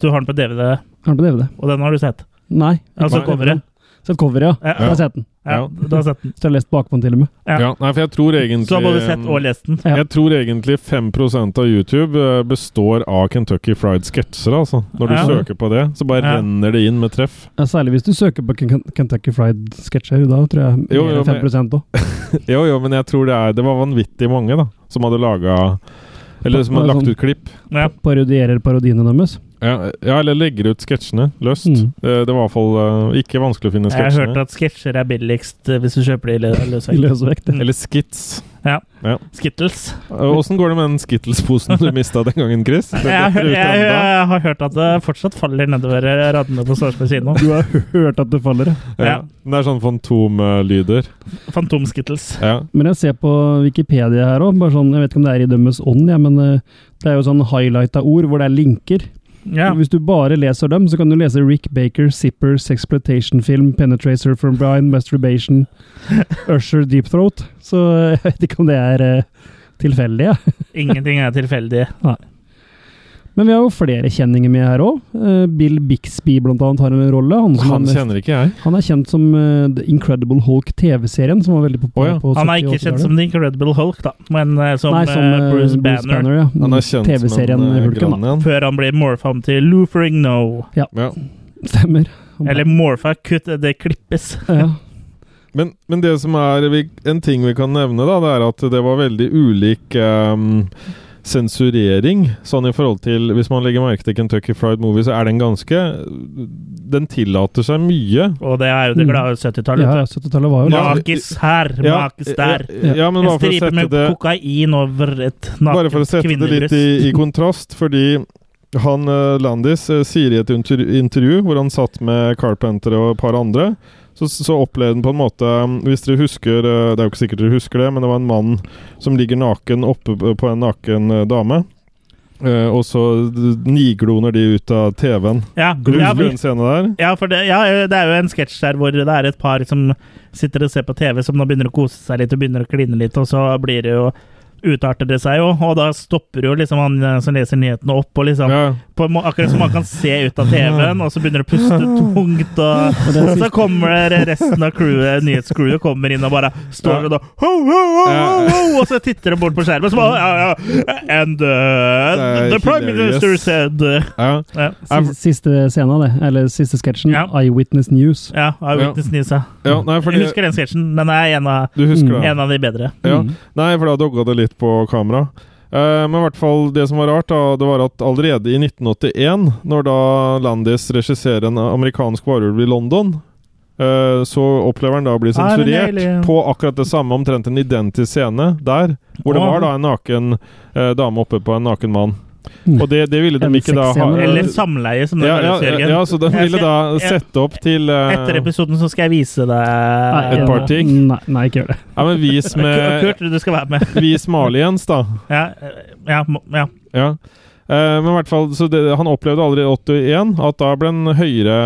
S2: du har den på DVD,
S3: Har den på DVD?
S2: og den har du sett?
S3: Nei.
S2: Altså
S1: Nei.
S2: coveret?
S3: Sett coveret, ja.
S2: Ja.
S3: Jeg har sett den.
S2: Ja,
S1: Ja.
S2: du har sett den.
S3: Så jeg har lest bakpå den til og med.
S2: Ja.
S1: Ja, nei, for jeg tror egentlig
S2: Så du har både sett og lest den.
S3: Ja.
S1: Jeg tror egentlig 5 av YouTube eh, består av Kentucky Fried sketsjer, altså. Når du
S2: Ja.
S1: søker på det, så bare
S2: Ja.
S1: renner det inn med treff.
S3: Ja, særlig hvis du søker på Ken- Kentucky Fried Sketcher, da tror jeg
S1: Jo,
S3: mer
S1: jo,
S3: enn 5 òg.
S1: Jo, jo, men jeg tror det er Det var vanvittig mange, da, som hadde laga Eller som hadde
S3: sånn-
S1: lagt ut klipp.
S2: Ja.
S3: Parodierer parodiene deres.
S1: Ja, ja, eller legger ut sketsjene løst.
S3: Mm.
S1: Eh, Det var i hvert fall eh, ikke vanskelig å finne
S2: Jeg har hørt
S1: sketsjene.
S2: at sketsjer er billigst eh, hvis du kjøper de i lø-
S3: I
S2: løsvekt.
S3: løsvekt.
S2: Mm.
S1: Eller skits.
S2: Skittles.
S1: Åssen går det med den Skittles-posen du mista den gangen, Chris? Den
S2: Jeg, har-
S1: detter ut
S2: jeg,
S1: enda.
S2: jeg har hørt at det fortsatt faller nedover radene på Sarpsborg kino.
S3: Du har hørt at det faller, ja.
S1: Ja.
S2: ja.
S1: Det er sånn fantomlyder.
S2: Fantomskittles.
S1: Ja.
S3: Men jeg ser på Wikipedia her òg, sånn, jeg vet ikke om det er i dømmes ånd, ja, men eh, det er jo sånn highlighta ord hvor det er linker.
S2: Ja.
S3: Hvis du bare leser dem, så kan du lese Rick Baker, Zipper, Sexploitation Film, Penetrator from Brian, Masturbation, Usher, Deep Throat. Så jeg vet ikke om det er eh, tilfeldig, jeg.
S2: Ingenting er tilfeldig.
S3: Men vi har jo flere kjenninger med her òg. Bill Bixby blant annet har en rolle. Han, som
S1: Han
S3: er,
S1: kjenner ikke jeg.
S3: han er kjent som eh, The Incredible Hulk-TV-serien, som var veldig
S1: Å
S3: populær
S1: ja.
S3: på 70-
S2: Han er ikke kjent som The Incredible Hulk, da, men eh, som,
S3: Nei, som eh,
S2: eh, Bruce Banner.
S3: ja.
S1: Han er kjent
S3: TV-serien
S1: som en eh,
S3: Hulken, da.
S1: grann igjen.
S2: Før han blir morfa om til Luferigno.
S1: Ja.
S3: Stemmer. Han-
S2: Eller morfa, kutt, det klippes.
S3: ja.
S1: Men, men det som er vi, en ting vi kan nevne, da, det er at det var veldig ulik ehm, sensurering. Sånn i forhold til Hvis man legger merke til Kentucky Fried Movie, så er den ganske Den tillater seg mye.
S2: Og det er jo
S1: Mm.
S2: det glade 70-tallet.
S3: ja,
S2: vet du.
S3: 70-tallet var jo
S1: Ja.
S2: Makis her, makis der.
S1: altså, Ja, eh, ja, men
S2: En
S1: bare for å
S2: stripe
S1: sette
S2: med
S1: det
S2: kokain over et
S1: Bare for å
S2: nakent
S1: sette det litt
S2: kvinnebryst.
S1: i, i kontrast, fordi han eh, Landis eh, sier i et inter- intervju hvor han satt med Carpenter og et par andre, så, så opplevde han på en måte mm, Hvis dere husker eh, Det er jo ikke sikkert dere husker det, men det var en mann som ligger naken oppe p- på en naken eh, dame. eh, og så d- nigloner de ut av TV-en.
S2: Ja, ja,
S1: Husker du
S2: men-
S1: den scenen der?
S2: ja, for det, ja, eh, det er jo en sketsj der hvor det er et par som sitter og ser på TV, som da begynner å kose seg litt og begynner å kline litt, og så blir det jo Utarter det seg jo, og da stopper jo liksom han eh, som leser nyhetene opp, og liksom
S1: Ja.
S2: på en må Akkurat som man kan se ut av TV-en, og så begynner det å puste tungt, og, og så kommer det resten av crewet, nyhetscrewet kommer inn og bare står og da ho, ho, ho, ho, ho, Og så titter de bort på skjermen, og så bare ja, ja. And uh, the prime minister said uh,
S1: Ja.
S2: Ja,
S1: Jeg-
S3: Siste, siste scenen, det. Eller siste sketsjen.
S2: Ja.
S3: Eyewitness News.
S2: ja I witness news, ja.
S1: ja, nei,
S2: Jeg
S1: fordi
S2: husker den sketsjen. Den er en av,
S1: Du husker det?
S2: en av de bedre.
S1: Ja.
S3: Mm.
S1: Nei, for da dogga det litt på kamera. Eh, men i hvert fall det som var rart, da, det var at allerede i 1981, når da Landis regisserer en amerikansk varulv i London, eh, så opplever han da å bli
S2: Ah, den
S1: sensurert
S2: deilige.
S1: på akkurat det samme, omtrent en identisk scene der, hvor det
S2: Åh.
S1: var da en naken eh, dame oppe på en naken mann.
S3: Mm.
S1: Og det, det ville de
S3: En
S1: ikke da ha
S3: sexscene,
S2: Eller samleie, som det
S1: ja, ja,
S2: kalles,
S1: ja,
S2: Jørgen.
S1: ja, så de
S2: Jeg
S1: ville
S2: skal-
S1: da
S2: jeg-
S1: sette opp til eh,
S2: Etter episoden så skal jeg vise
S3: Nei,
S2: deg
S1: Et par ting.
S3: Nei, nei, ikke gjør det.
S1: Ja, men vis med
S2: Kurt, du skal være med.
S1: Vis Maliens, da.
S2: Ja, eh, ja, må- ja.
S1: Ja. Eh, men i hvert fall, så det, Han opplevde aldri i 81 at da ble han høyere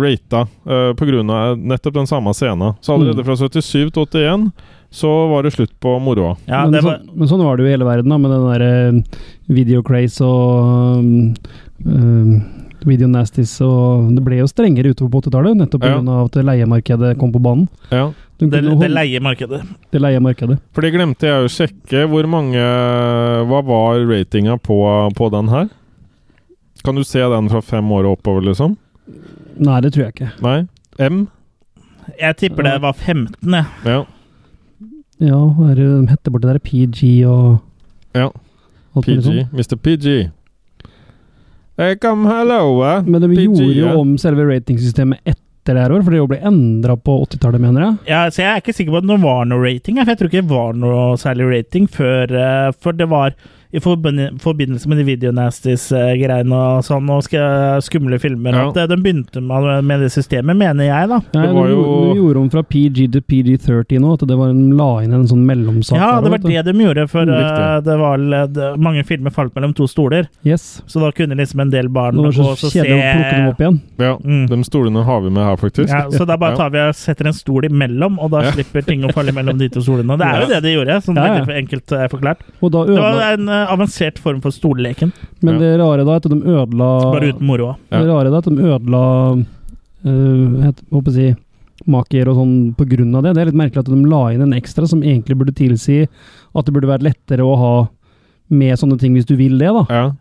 S1: rata eh, på grunn av nettopp den samme scenen. Så allerede
S3: Mm.
S1: fra 77 til 81 så var det slutt på moroa.
S2: ja
S3: men,
S2: det var,
S3: sånn, men sånn var det jo i hele verden, da, med den derre videocraze og um, um, videonasties og Det ble jo strengere utover på 80-tallet, nettopp pga.
S1: Ja.
S3: av at leiemarkedet kom på banen.
S1: Ja.
S3: Du
S2: det,
S3: kunne
S2: det
S3: holde-
S2: leiemarkedet.
S3: det leiemarkedet.
S1: For det glemte jeg å sjekke. Hvor mange Hva var ratinga på, på den her? Kan du se den fra fem år og oppover, liksom?
S3: Nei, det tror jeg ikke.
S1: Nei? M?
S2: Jeg tipper det var 15, jeg.
S1: Ja.
S3: Ja, hva er det de heter borti der? PG og
S1: ja.
S3: alt mulig
S1: PG.
S3: sånt.
S1: Mr. PG. Hey, come hello, eh?
S3: Men de
S1: PG,
S3: gjorde
S1: ja.
S3: jo om selve ratingsystemet etter det her år, for det jo ble endra på 80-tallet, mener jeg.
S2: Ja, så Jeg er ikke sikker på at det var noe rating, jeg, for jeg tror ikke det var noe særlig rating før eh, For det var i forbind- forbindelse med de Videonasties-greiene og sånn, og sk- skumle filmer.
S1: Ja.
S2: At eh, den begynte med, med det systemet, mener jeg, da.
S3: Nei,
S1: Det var
S3: de
S1: jo-
S3: de gjorde om fra PG til PG30 nå, at det var en, la inn en sånn mellomsak.
S2: Ja,
S3: der
S2: det var
S3: også, vet
S2: det de gjorde, for
S1: Mm,
S2: eh,
S1: riktig.
S2: det var vel- det, mange filmer falt mellom to stoler.
S3: du. Yes.
S2: Så da kunne liksom en del barn
S3: Det var
S2: gå
S3: så
S2: og så
S3: kjedelig å plukke dem opp igjen.
S1: Ja,
S2: Mm.
S1: de stolene har vi med her, faktisk.
S2: Ja, så da bare
S1: Ja.
S2: tar vi og setter en stol imellom, og da
S1: Ja.
S2: slipper ting å falle mellom de to stolene. Det er jo
S1: Ja.
S2: det de gjorde, sånn
S3: Ja, ja.
S2: veldig enkelt eh, forklart.
S3: Og da
S2: Det
S3: ødela,
S2: var en eh, avansert form for stolleken,
S3: Men
S1: Ja.
S3: det rare da, er at de ødela
S2: bare uten moroa.
S1: Ja.
S3: Det rare da, er at de ødela øh, het- Hva skal jeg si Makier og sånn på grunn av det. Det er litt merkelig at de la inn en ekstra som egentlig burde tilsi at det burde vært lettere å ha med sånne ting hvis du vil det, da.
S1: Ja.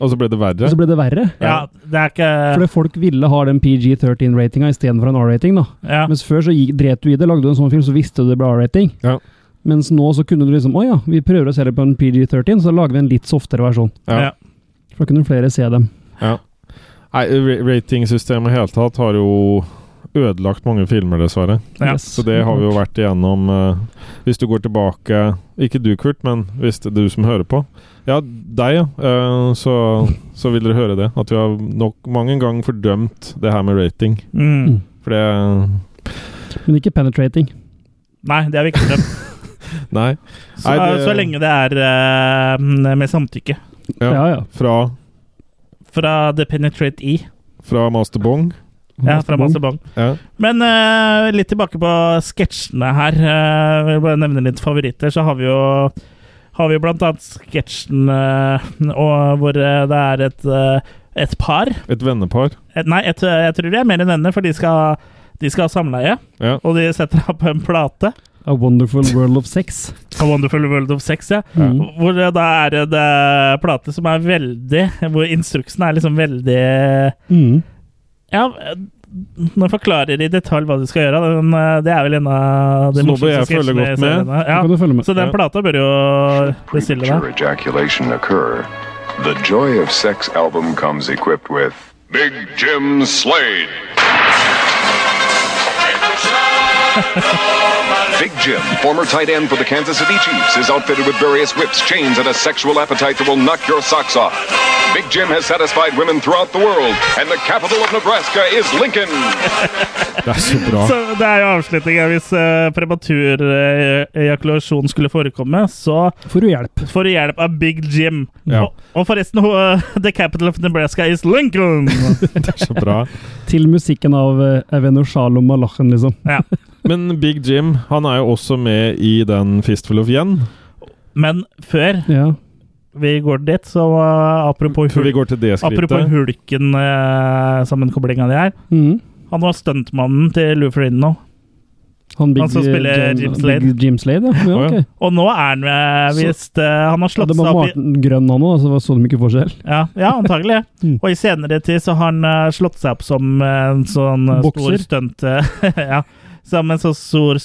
S1: Og så ble det verre.
S3: Og så ble det verre.
S2: Ja, det er ikke
S3: Fordi folk ville ha den PG13-ratinga istedenfor en R-rating, da.
S2: ja.
S3: Mens før så gikk, dret du i det, lagde du en sånn film, så visste du det ble R-rating.
S1: Ja.
S3: Mens nå så kunne du liksom Å ja, vi prøver å se det på en PG13, så lager vi en litt softere versjon.
S1: Ja.
S2: Ja.
S3: For da kunne flere se dem.
S1: Nei, ra- ratingsystemet i hele tatt har jo ødelagt mange filmer, dessverre.
S2: Ja.
S3: Yes.
S1: Så det har vi jo vært igjennom eh, Hvis du går tilbake Ikke du, Kurt, men hvis det er du som hører på. Ja, deg, ja. Eh, så, så vil dere høre det. At vi har nok mange ganger fordømt det her med rating.
S2: Mm.
S1: For det
S3: Men ikke penetrating.
S2: Nei, det er viktig.
S1: Nei.
S2: Så,
S1: Nei, det-
S2: så lenge det er eh, med samtykke.
S1: Ja.
S3: Ja, ja.
S1: Fra,
S2: Fra The Penetrate E.
S1: fra Master Bong.
S2: Ja, fra Master Bong.
S1: Ja.
S2: Men eh, litt tilbake på sketsjene her. Uh, jeg vil bare nevne litt favoritter. Så har vi jo har vi jo blant annet sketsjen eh, og hvor eh, det er et, eh, et par
S1: Et vennepar.
S2: et, Nei, et, eh, jeg tror det er mer enn denne, for de skal, de skal ha samleie.
S1: Ja.
S2: Og de setter opp en plate.
S3: A Wonderful World of Sex.
S2: A Wonderful World of Sex, ja.
S3: Mm.
S2: Hvor det da er en eh, plate som er veldig Hvor instruksen er liksom veldig
S3: Mm.
S2: Ja, eh, nå forklarer jeg i detalj hva du skal gjøre. Den, eh, det er vel en av de
S1: Så nå bør
S2: morsomste
S1: jeg følge
S2: sketsjene i
S1: godt med.
S2: seriene.
S3: Da kan du følge med.
S2: Ja. Så den
S1: Ja.
S2: plata bør jo bestille
S9: premature
S2: deg.
S9: ejaculation occur, the Joy of Sex album comes equipped with
S4: Big Jim Slade.
S9: Big Jim, former tight end for the Kansas City Chiefs, is outfitted with various whips, chains, and a sexual appetite that will knock your socks off. Big Jim has satisfied women throughout the world, and the capital of Nebraska is Lincoln.
S1: Det er så bra.
S2: Så det er jo avslutninga. Hvis eh, prematur eh, ejakulasjon skulle forekomme, så
S3: Får du hjelp?
S2: får du hjelp av Big Jim.
S1: Ja.
S2: Og, og forresten, ho- eh, the capital of Nebraska is Lincoln!
S1: Det er så bra.
S3: Til musikken av eh, Eveno Shalom Malachen, liksom.
S2: Ja.
S1: Men Big Jim han er jo også med i den Fistful of Yen.
S2: Men før
S3: Ja.
S2: vi går dit, så eh, apropos,
S1: Før vi
S2: hul
S1: går til det
S2: apropos eh,
S1: skrittet.
S2: Hulken-sammenkoblinga di her.
S3: Mm.
S2: Han var stuntmannen til Lou Ferrino.
S3: Han, Big,
S2: Han som
S3: eh,
S2: spiller Jim Slade.
S3: Big Jim Slade, ja. ja,
S1: Å, ja.
S3: ok.
S2: Og nå er han eh, visst eh, Han har
S3: ja
S2: slått
S3: det
S2: seg
S3: var
S2: opp i
S3: Martin Grønn han òg, så det var så de ikke forskjell.
S2: Ja, ja antagelig.
S3: Mm.
S2: Og i senere tid så har han eh, slått seg opp som eh, en sånn eh,
S3: Bokser.
S2: stor stunt... eh, ja. Som en så stor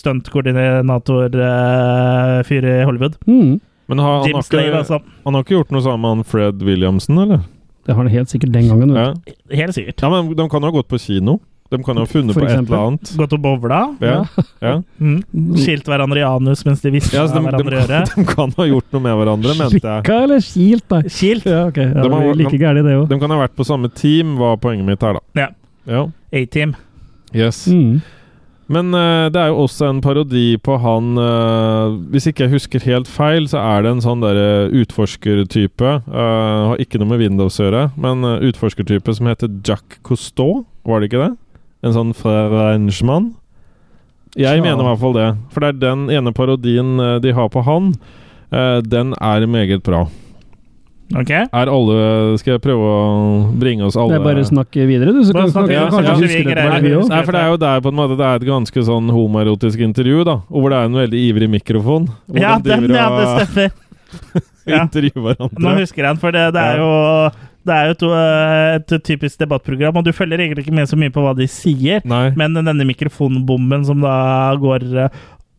S2: stuntkoordinator-fyr i Hollywood.
S3: Mm.
S1: Men har, han,
S2: Jim
S1: har
S2: Slade,
S1: ikke,
S2: altså.
S1: han har ikke gjort noe sammen med han Fred Williamson, eller?
S3: Det har han helt sikkert den gangen.
S1: Ja.
S3: Vet.
S2: Helt sikkert.
S1: ja, men de kan jo ha gått på kino. De kan jo ha funnet
S3: For
S1: på et
S3: eksempel.
S1: eller annet.
S2: Gått og bowla.
S1: Ja, ja.
S2: Mm. Skilt hverandre i anus mens de hvisket
S1: ja så de, de,
S2: hverandre i øret.
S1: de kan ha gjort noe med hverandre, mente jeg.
S3: Slikka eller kilt, deg?
S2: Skilt.
S3: Ja, ok. Ja,
S1: De
S3: det
S1: har-
S3: blir like gærent, det òg.
S1: De kan ha vært på samme team, var poenget mitt her, da.
S2: Ja. A-team.
S1: Yes.
S3: Mm.
S1: Men eh, det er jo også en parodi på han eh, Hvis ikke jeg husker helt feil, så er det en sånn derre utforskertype eh, Har ikke noe med Windows å gjøre, men eh, utforskertype som heter Jack Cousteau, var det ikke det? En sånn franchman? Jeg
S3: Tja.
S1: mener i hvert fall det. For det er den ene parodien eh, de har på han. eh, den er meget bra.
S2: Ok?
S1: Er alle Skal jeg prøve å bringe oss alle
S3: Det er bare å snakke videre, du, så
S2: Bare
S3: kan
S2: snakke
S1: videre,
S3: kan-
S1: så
S3: kanskje
S1: kan
S3: vi
S2: vi
S3: husker det
S2: greier
S3: etter
S2: det.
S3: vi òg.
S1: Nei, for det er jo der på en måte Det er et ganske sånn homoerotisk intervju, da. Og hvor det er en veldig ivrig mikrofon. Hvor
S2: Ja,
S1: de
S2: den,
S1: driver
S2: ja, det
S1: og
S2: stemmer. ja.
S1: intervjuer
S2: Nå
S1: hverandre.
S2: husker jeg den, for det, det
S1: Ja.
S2: er jo det er jo et, eh, et typisk debattprogram, og du følger egentlig ikke med så mye på hva de sier,
S1: Nei.
S2: men denne mikrofonbomben som da går eh,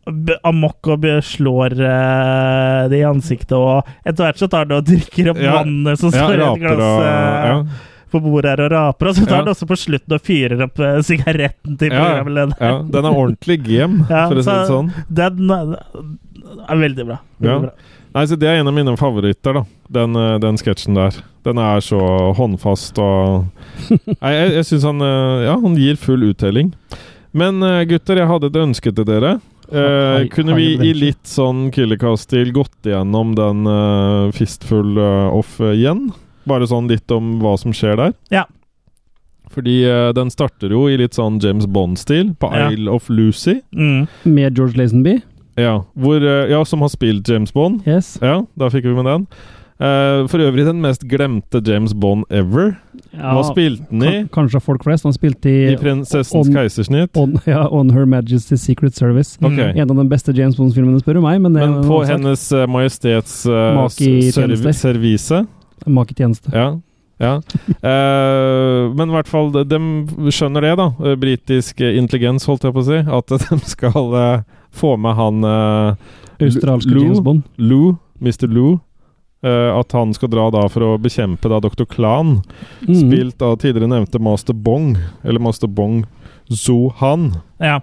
S2: b- amok og be- slår eh, det i ansiktet, og etter hvert så tar det og drikker opp
S1: Ja.
S2: vannet som
S1: Ja,
S2: står i et
S1: raper
S2: glass
S1: og
S2: eh,
S1: ja.
S2: på bordet her og raper, og så tar
S1: Ja.
S2: han også på slutten og fyrer opp eh, sigaretten til
S1: Ja,
S2: programlederen.
S1: ja, den er ordentlig gem,
S2: Ja,
S1: for å si
S2: så-
S1: det sånn.
S2: Den eh, er veldig bra. Veldig
S1: Ja.
S2: bra.
S1: Nei, så Det er en av mine favoritter, da. Den, eh, den sketsjen der. Den er så håndfast og Nei, jeg, jeg syns han eh, Ja, han gir full uttelling. Men eh, gutter, jeg hadde et ønske til dere. Eh,
S3: High-
S1: kunne vi i
S3: high adventure.
S1: litt sånn Killercast-stil gått igjennom den eh, Fistful eh, off igjen? Bare sånn litt om hva som skjer der?
S2: Ja.
S1: Fordi eh, den starter jo i litt sånn James Bond-stil, på
S2: Ja.
S1: Isle of Lucy.
S2: Mm.
S3: Med George Lazenby.
S1: Ja, hvor, eh, ja, som har spilt James Bond.
S3: Yes.
S1: Ja, da fikk vi med den. Eh, for øvrig den mest glemte James Bond ever. Hva spilte han i?
S3: kan- Kanskje folk flest. Han spilte i
S1: I 'Prinsessens
S3: om-
S1: keisersnitt'?
S3: on, ja, on Her Majesty's Secret Service.
S1: Ok.
S3: En av de beste James Bond-filmene, spør du meg. Men, det er
S1: Men
S3: en
S1: på
S3: annen sak.
S1: Hennes eh, Majestets eh,
S3: Make i
S1: s- serv
S3: tjenester.
S1: servise.
S3: Maketjeneste.
S1: Ja. ja. Eh, men i hvert fall, de de skjønner det, da. Eh, Britisk eh, intelligens, holdt jeg på å si. At de skal eh, få med han eh,
S3: Australske
S1: Lou-
S3: James Bond.
S1: Lou, Mr. Lou. eh, at han skal dra da for å bekjempe da Dr. Klan.
S3: Mm.
S1: Spilt av tidligere nevnte Master Bong, eller Master Bong Zohan.
S2: Ja.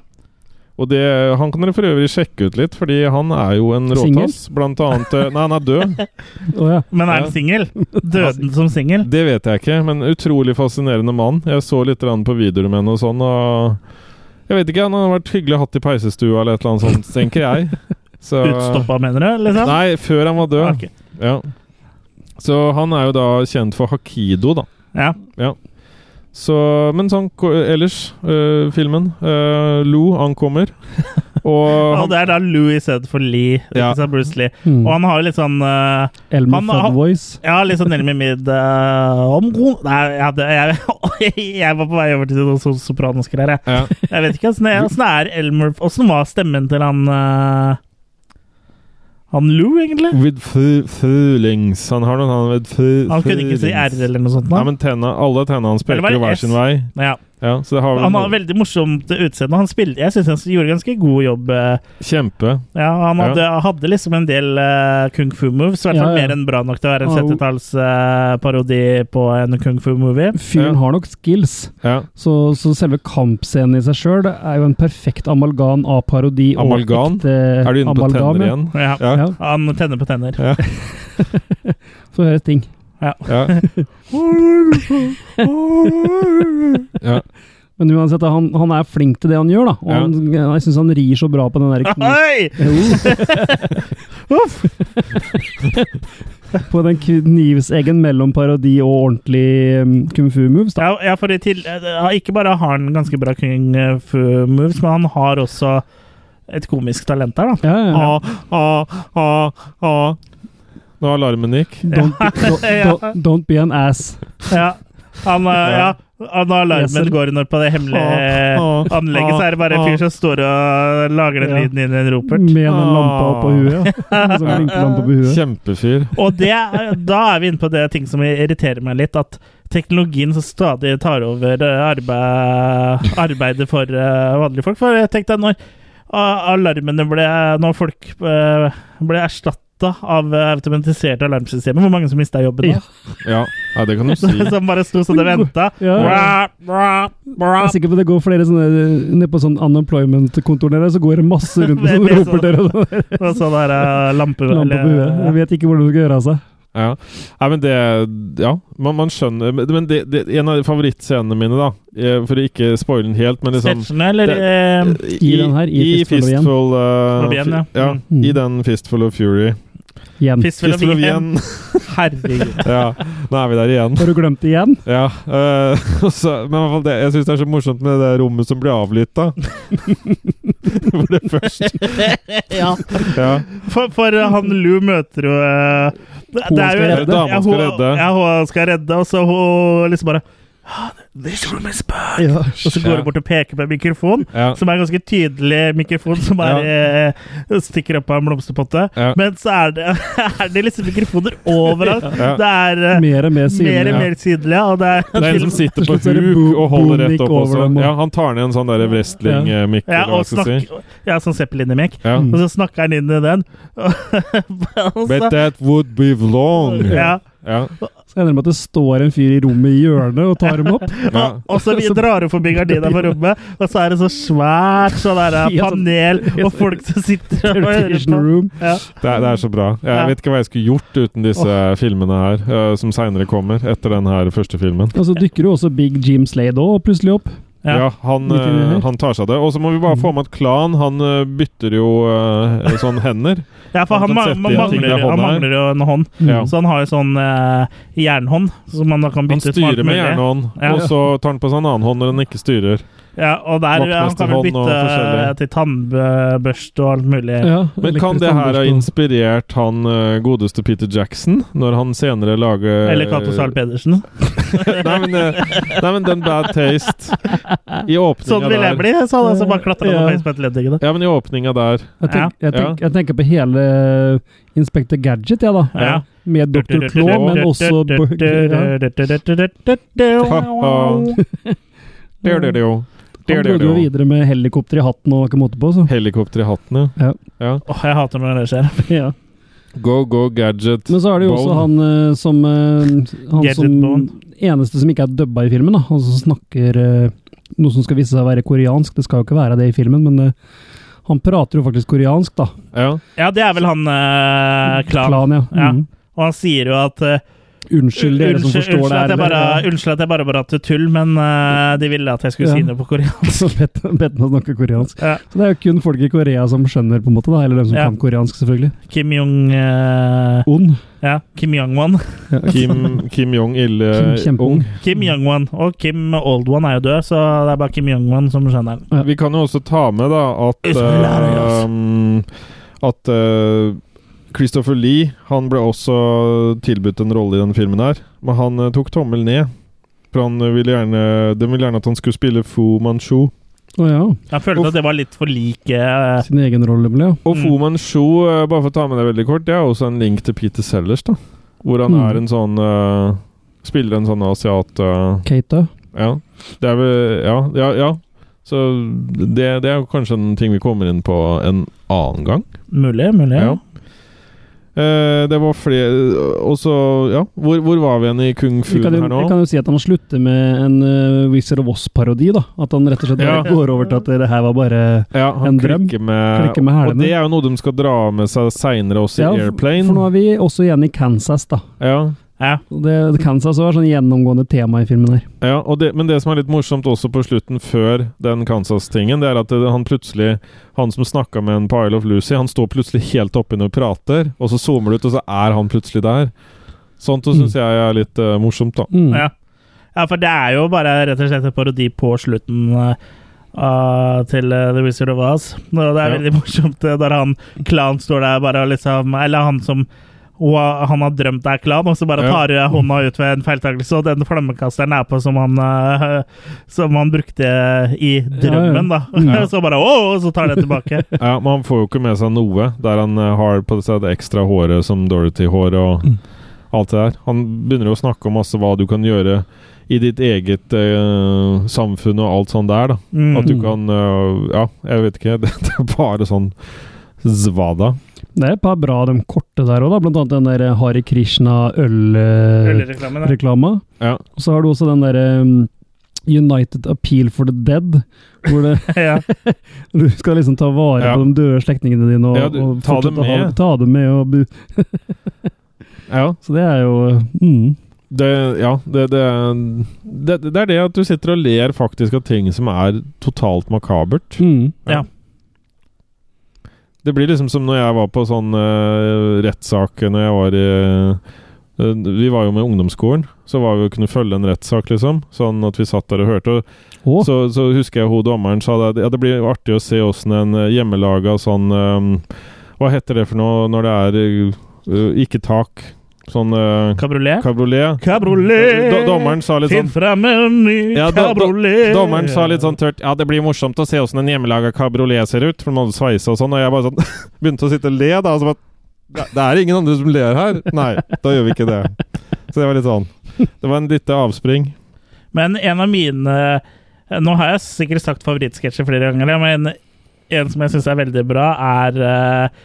S1: Og det, han kan dere for øvrig sjekke ut litt, fordi han er jo en
S3: Singel?
S1: råtass. Blant annet eh, Nei, han er død.
S3: Å, ja.
S2: Men er
S1: Ja.
S2: han singel? Døden som singel?
S1: Det vet jeg ikke, men utrolig fascinerende mann. Jeg så litt grann på videoer med henne og sånn, og Jeg vet ikke, han har vært hyggelig hatt i peisestua eller et eller annet sånt, tenker jeg. Så
S2: Utstoppa, mener du? Liksom?
S1: Nei, før han var død.
S2: Ok.
S1: Ja. Så han er jo da kjent for Hakido, da.
S2: Ja.
S1: Så, men sånn ko- ellers, øh, filmen øh, Lou ankommer, og
S2: Og det er da Louis Sedd for Lee.
S1: Ja.
S2: Ikke sant, Bruce Lee.
S3: Mm.
S2: Og han har jo litt sånn eh,
S3: Elmer
S2: han- han-
S3: Fudd Voice.
S2: Ja, litt sånn Nelmy Mid eh, om god Nei, jeg, hadde- jeg, jeg var på vei over til noe sånn sopranos greier, jeg.
S1: ja,
S2: Jeg vet ikke åssen er Elmer Åssen var stemmen til han eh, Han Lou, egentlig?
S1: With fe- feelings Han har noen han with fe-
S2: Han kunne ikke si R
S1: feelings.
S2: eller noe sånt.
S1: Nei,
S2: Da.
S1: men tenna, alle tennene hans
S2: Eller var
S1: peker jo
S2: det
S1: hver
S2: S?
S1: sin vei.
S2: Ja.
S1: Ja, så det har vel
S2: Han har veldig morsomt utseende. Han spilte, jeg syns han gjorde ganske god jobb. eh,
S1: Kjempe.
S2: Ja, Han hadde, hadde liksom en del eh, kung fu-moves. I hvert fall
S3: Ja, ja.
S2: mer enn bra nok til å være en
S3: Han har-
S2: 70-tallsparodi på en kung fu-movie.
S3: Fyren
S1: Ja.
S3: har nok skills,
S1: Ja.
S3: så, så selve kampscenen i seg sjøl er jo en perfekt amalgam av parodi
S1: Amalgam?
S3: og ekte
S1: Er du inne på
S3: amalgam,
S1: tenner
S3: ja.
S1: igjen?
S2: Ja.
S1: Ja.
S3: Ja,
S2: Han tenner på tenner.
S3: for å høre ting.
S1: Ja. ja.
S3: Men uansett, da, han, han er flink til det han gjør, da. Og
S1: Ja.
S3: han, jeg syns han rir så bra på den der kni-
S2: Oi!
S3: Jo. på den knivseggen mellom parodi og ordentlig um, kung fu-moves, da.
S2: Ja, ja, for i til, eh, ikke bare har han ganske bra kung fu-moves, men han har også et komisk talent her, da.
S3: Ja, ja, ja.
S1: Ah, ah, ah, ah. Nå alarmen gikk.
S3: Don't, be, don't, don't, don't be an ass.
S2: Ja. Han, eh, ja. Og når alarmen
S3: Leser.
S2: går når på det hemmelige
S1: Ah, ah,
S2: anlegget, så er det bare en fyr som står og lager den
S3: Ja.
S2: lyden inn i en ropert.
S3: Med en lampe oppå huet. ja. Som lampe på huet.
S1: Kjempefyr.
S2: Og det, da er vi inne på det ting som irriterer meg litt, at teknologien som stadig tar over eh, arbeid, arbeidet for eh, vanlige folk. For jeg tenkte at når a- alarmene ble Når folk eh, ble erstatta av eh, automatiserte alarmsystemer, hvor mange som mista jobben da?
S1: Ja. ja, det kan du si.
S2: Som bare sto sånn og venta.
S3: Ja. Jeg er sikker på det går flere sånne Nede på sånn unemployment-kontor der, så går det masse rundt med sånne
S2: Det er sånn.
S3: roper der og sånn.
S2: Og sånn der eh, lampe...
S3: Lampe på huet. Jeg vet ikke hvordan det skal gjøre av seg.
S1: Ja. Nei, men det Ja, man, man skjønner Men men det, det, en av favorittscenene mine, da, eh, for å ikke spoile den helt, men liksom
S2: Sketsjene, eller eh,
S1: I,
S3: I den her, i
S1: i
S3: Fistful
S1: Fistful uh,
S2: Of
S3: of Yen.
S2: Yen, ja.
S1: fi- ja.
S3: Mm.
S1: I den Fistful of Fury.
S3: Igjen.
S2: Fistful
S1: Fistful of
S2: Yen.
S1: Yen.
S2: Herregud.
S1: ja, nå er vi der igjen.
S3: Har du glemt det igjen?
S1: Ja, eh, og så- men i hvert fall det, jeg syns det er så morsomt med det rommet som blir avlytta. For det først. Ja.
S2: For, for han Lou møter jo eh, det,
S3: Hun
S2: det er
S3: skal
S2: jo-
S3: redde.
S1: Dama
S2: Ja,
S1: skal
S2: hun-
S1: redde.
S2: Ja, hun skal redde, og så hun liksom bare "Ah, This room is bad.
S3: Ja.
S2: Og så går hun bort og peker på en mikrofon,
S1: Ja.
S2: som er en ganske tydelig mikrofon, som er, eh, stikker opp av en blomsterpotte.
S1: Ja.
S2: Men så er det, er det liksom mikrofoner overalt.
S1: Ja.
S2: Det er eh,
S3: Mer og mer
S2: mer
S3: synlig.
S2: og mer synlig, og det er
S1: Det er liksom en som sitter på
S3: Til slutt er det
S1: huk
S3: bo-
S1: og holder rett
S3: boomikk
S1: opp
S3: over
S1: også.
S3: dem, og-
S1: Ja, han tar ned en sånn der wrestling-mikk.
S2: ja, og snakk, ja, sånn Zeppelin-mimikk.
S1: Ja.
S2: Og så snakker han inn i den. Og så-
S1: But that would be long.
S2: ja.
S1: Ja.
S3: Jeg regner med at det står en fyr i rommet i hjørnet og tar dem opp.
S1: Ja.
S2: Og så vi drar jo forbi gardina på rommet, og så er det så svært sånn der eh,
S3: Ja, sånn-
S2: panel og folk som sitter og hører
S3: Rotation
S2: på.
S3: room.
S2: Ja.
S1: Det er, det er så bra. Jeg
S2: Ja.
S1: vet ikke hva jeg skulle gjort uten disse filmene her, eh, som seinere kommer, etter den her første filmen.
S3: Og så dukker jo også Big Jim Slade òg plutselig opp.
S1: Ja,
S2: Ja.
S1: han,
S3: Litt inni
S1: eh,
S3: her.
S1: han tar seg av det. Og så må vi
S2: Mm.
S1: bare få med at Klan han eh, bytter jo eh, sånn hender.
S2: Ja, for
S1: Han kan
S2: han, ma-
S1: sette
S2: man
S1: igjen ting
S2: mangler,
S1: med
S2: han
S1: hånda her.
S2: mangler jo en hånd,
S1: Ja.
S2: så han har jo sånn eh, jernhånd som man da
S1: Han
S2: kan bytte ut alt
S1: styrer med
S2: mulig.
S1: jernhånd,
S2: Ja.
S1: og så tar han på seg en annen hånd når han ikke styrer.
S2: Ja, og der ja, han kan
S1: Vaktmesterhånd
S2: vel
S1: og
S2: bytte
S1: forskjellig.
S2: eh, til tannbørste og alt mulig.
S3: Ja,
S1: Men kan
S3: elektrisk
S1: det her ha
S3: tannbørste.
S1: inspirert han eh, godeste Peter Jackson, når han senere lager
S2: Eller Cato Zahl Pedersen.
S1: nei, men, eh, nei, men den bad taste i
S2: Sånn
S1: åpninga
S2: vil
S1: der.
S2: jeg bli, så hadde jeg så bare klatra
S3: Ja.
S2: noe høyt på et ledd. ikke det?
S1: Ja, men i åpninga der.
S3: Jeg, tenk, jeg,
S1: Ja.
S3: tenk, jeg tenker på hele eh, Inspector Gadget, jeg, da.
S2: Ja.
S3: Med Dr. Claw, men også ja.
S1: Der, der, der, der,
S3: Han
S1: der,
S3: døde jo
S1: der.
S3: videre med helikopter i hatten og ikke måte på, så.
S1: Helikopter i hatten, ja.
S2: Åh, jeg hater når det skjer.
S3: Ja.
S1: Go, go, gadget.
S3: Men så er det jo
S1: Bone.
S3: også han eh, som eh, Han
S2: Gadget
S3: som
S2: Bone.
S3: eneste som ikke er dubba i filmen, da. Han som snakker eh, noe som skal vise seg å være koreansk. Det skal jo ikke være det i filmen, men eh, han prater jo faktisk koreansk, da.
S1: Ja.
S2: Ja, det er vel han eh, Klan.
S3: Klan, ja.
S2: Ja.
S3: Mm.
S2: Og han sier jo at eh,
S3: Unnskyld, dere som
S2: unnskyld-
S3: forstår
S2: unnskyld at
S3: det
S2: jeg bare,
S3: her. eh,
S2: Unnskyld at jeg bare var til tull, men eh, de ville at jeg skulle
S3: Ja.
S2: si noe på koreansk.
S3: Så bedt bedt meg å snakke koreansk.
S2: Ja.
S3: Så det er jo kun folk i Korea som skjønner, på en måte, da. Eller dem som
S2: Ja.
S3: kan koreansk, selvfølgelig.
S2: Kim Jong eh,
S3: Ond.
S2: Ja, Kim Jong-wan.
S1: Kim, Kim Jong-il
S3: Kim
S1: eh,
S3: Kjempeung.
S1: ung.
S2: Kim Jong-wan og Kim Old-wan er jo død, så det er bare Kim Jong-wan som skjønner den.
S3: Ja.
S1: Vi kan jo også ta med da at
S2: It's hilarious.
S1: eh, um, At eh, Christopher Lee Han ble også tilbudt en rolle i denne filmen her, men han eh, tok tommel ned. For han eh, ville gjerne De ville gjerne at han skulle spille Fu Manchu.
S3: Å ja.
S2: Jeg følte at det var litt for like eh,
S3: Sin egen rolle, ble ja.
S1: Og Fu
S2: Mm.
S1: Manchu, eh, bare for å ta med det veldig kort, det er også en link til Peter Sellers, da. Hvor han
S3: Mm.
S1: er en sånn eh, Spiller en sånn asiat eh,
S3: Keita.
S1: Ja. Det er vel Ja, ja. ja. Så det, det er jo kanskje en ting vi kommer inn på en annen gang.
S2: Mulig, mulig.
S1: Ja. Eh, det var flere Og så Ja, hvor, hvor var vi igjen i kung
S3: Vi
S1: fu
S3: kan, jo,
S1: her nå?
S3: vi kan jo si at han slutter med en uh, Wizard of Oz-parodi, da. At han rett og slett bare
S1: Ja.
S3: går over til at det her var bare
S1: ja, han
S3: en drøm.
S1: klikker med,
S3: Klikker med
S1: Og
S3: hælene.
S1: det er jo noe de skal dra med seg seinere også i
S3: Ja,
S1: Airplane.
S3: For nå er vi også igjen i Kansas, da.
S1: ja,
S2: Ja.
S3: Og Det, Kansas også er sånn gjennomgående tema i filmen her.
S1: ja, og det, Men det som er litt morsomt også på slutten, før den Kansas-tingen, det er at det, han plutselig Han som snakka med en på Isle of Lucy, han står plutselig helt oppe og prater, og så zoomer det ut, og så er han plutselig der. Sånt syns jeg er litt eh, morsomt, da.
S3: Mm.
S2: Ja. ja, for det er jo bare rett og slett en parodi på slutten eh, av- til eh, The Wizard of Oz. Og det er
S1: Ja.
S2: veldig morsomt eh, når han Klan står der bare og liksom Eller han som og han har drømt det er klan, og så bare
S1: Ja.
S2: tar eh, hånda ut ved en feiltakelse, og den flammekasteren er på som han eh, Som han brukte i drømmen, da.
S3: Ja.
S2: så bare åh, og så tar det tilbake.
S1: Ja, men han får jo ikke med seg noe, der han eh, har på seg det ekstra håret som Dorothy-hår og alt det der. Han begynner jo å snakke om masse hva du kan gjøre i ditt eget eh, samfunn og alt sånn der, da.
S2: Mm.
S1: At du kan eh, Ja, jeg vet ikke. Det, det er bare sånn zvada.
S3: Det er et par bra av de korte der òg, da. Blant annet den der Hare eh, Krishna-ølreklama.
S2: Ølreklamen, ja.
S1: Ja.
S3: Og så har du også den der um, United Appeal for the Dead, hvor det
S2: ja.
S3: Du skal liksom ta vare
S1: Ja.
S3: på de døde slektningene dine og,
S1: Ja, du-
S3: og
S1: ta
S3: fortsette
S1: dem
S3: å ha-
S1: med.
S3: ta dem med og bu
S1: Ja.
S3: Så det er jo mm.
S1: Det, ja det, det, det, det er det at du sitter og ler faktisk av ting som er totalt makabert.
S3: Mm.
S1: Det blir liksom som når jeg var på sånn uh, rettssak når jeg var i eh, Vi var jo med ungdomsskolen, så var vi og kunne følge en rettssak, liksom. Sånn at vi satt der og hørte. Og
S3: Å,
S1: så, så husker jeg hun dommeren sa det, ja, det blir jo artig å se åssen en eh, hjemmelaga sånn eh, Hva heter det for noe når det er eh, ikke tak? Sånn uh,
S2: Kabriolet.
S1: kabriolet?
S2: Kabriolet!
S1: Do- dommeren sa litt sånn
S2: Finn frem en ny
S1: ja, do, do,
S2: kabriolet!
S1: Dommeren sa litt sånn tørt Ja, det blir morsomt å se åssen en hjemmelaga kabriolet ser ut, for de hadde sveise og sånn, og jeg bare sånn begynte å sitte og le, da. altså, Og så bare "Det- Det er ingen andre som ler her. Nei, da gjør vi ikke det. Så det var litt sånn. Det var en lite avspring.
S2: Men en av mine Nå har jeg sikkert sagt favorittsketsjer flere ganger, ja, men en som jeg syns er veldig bra, er eh,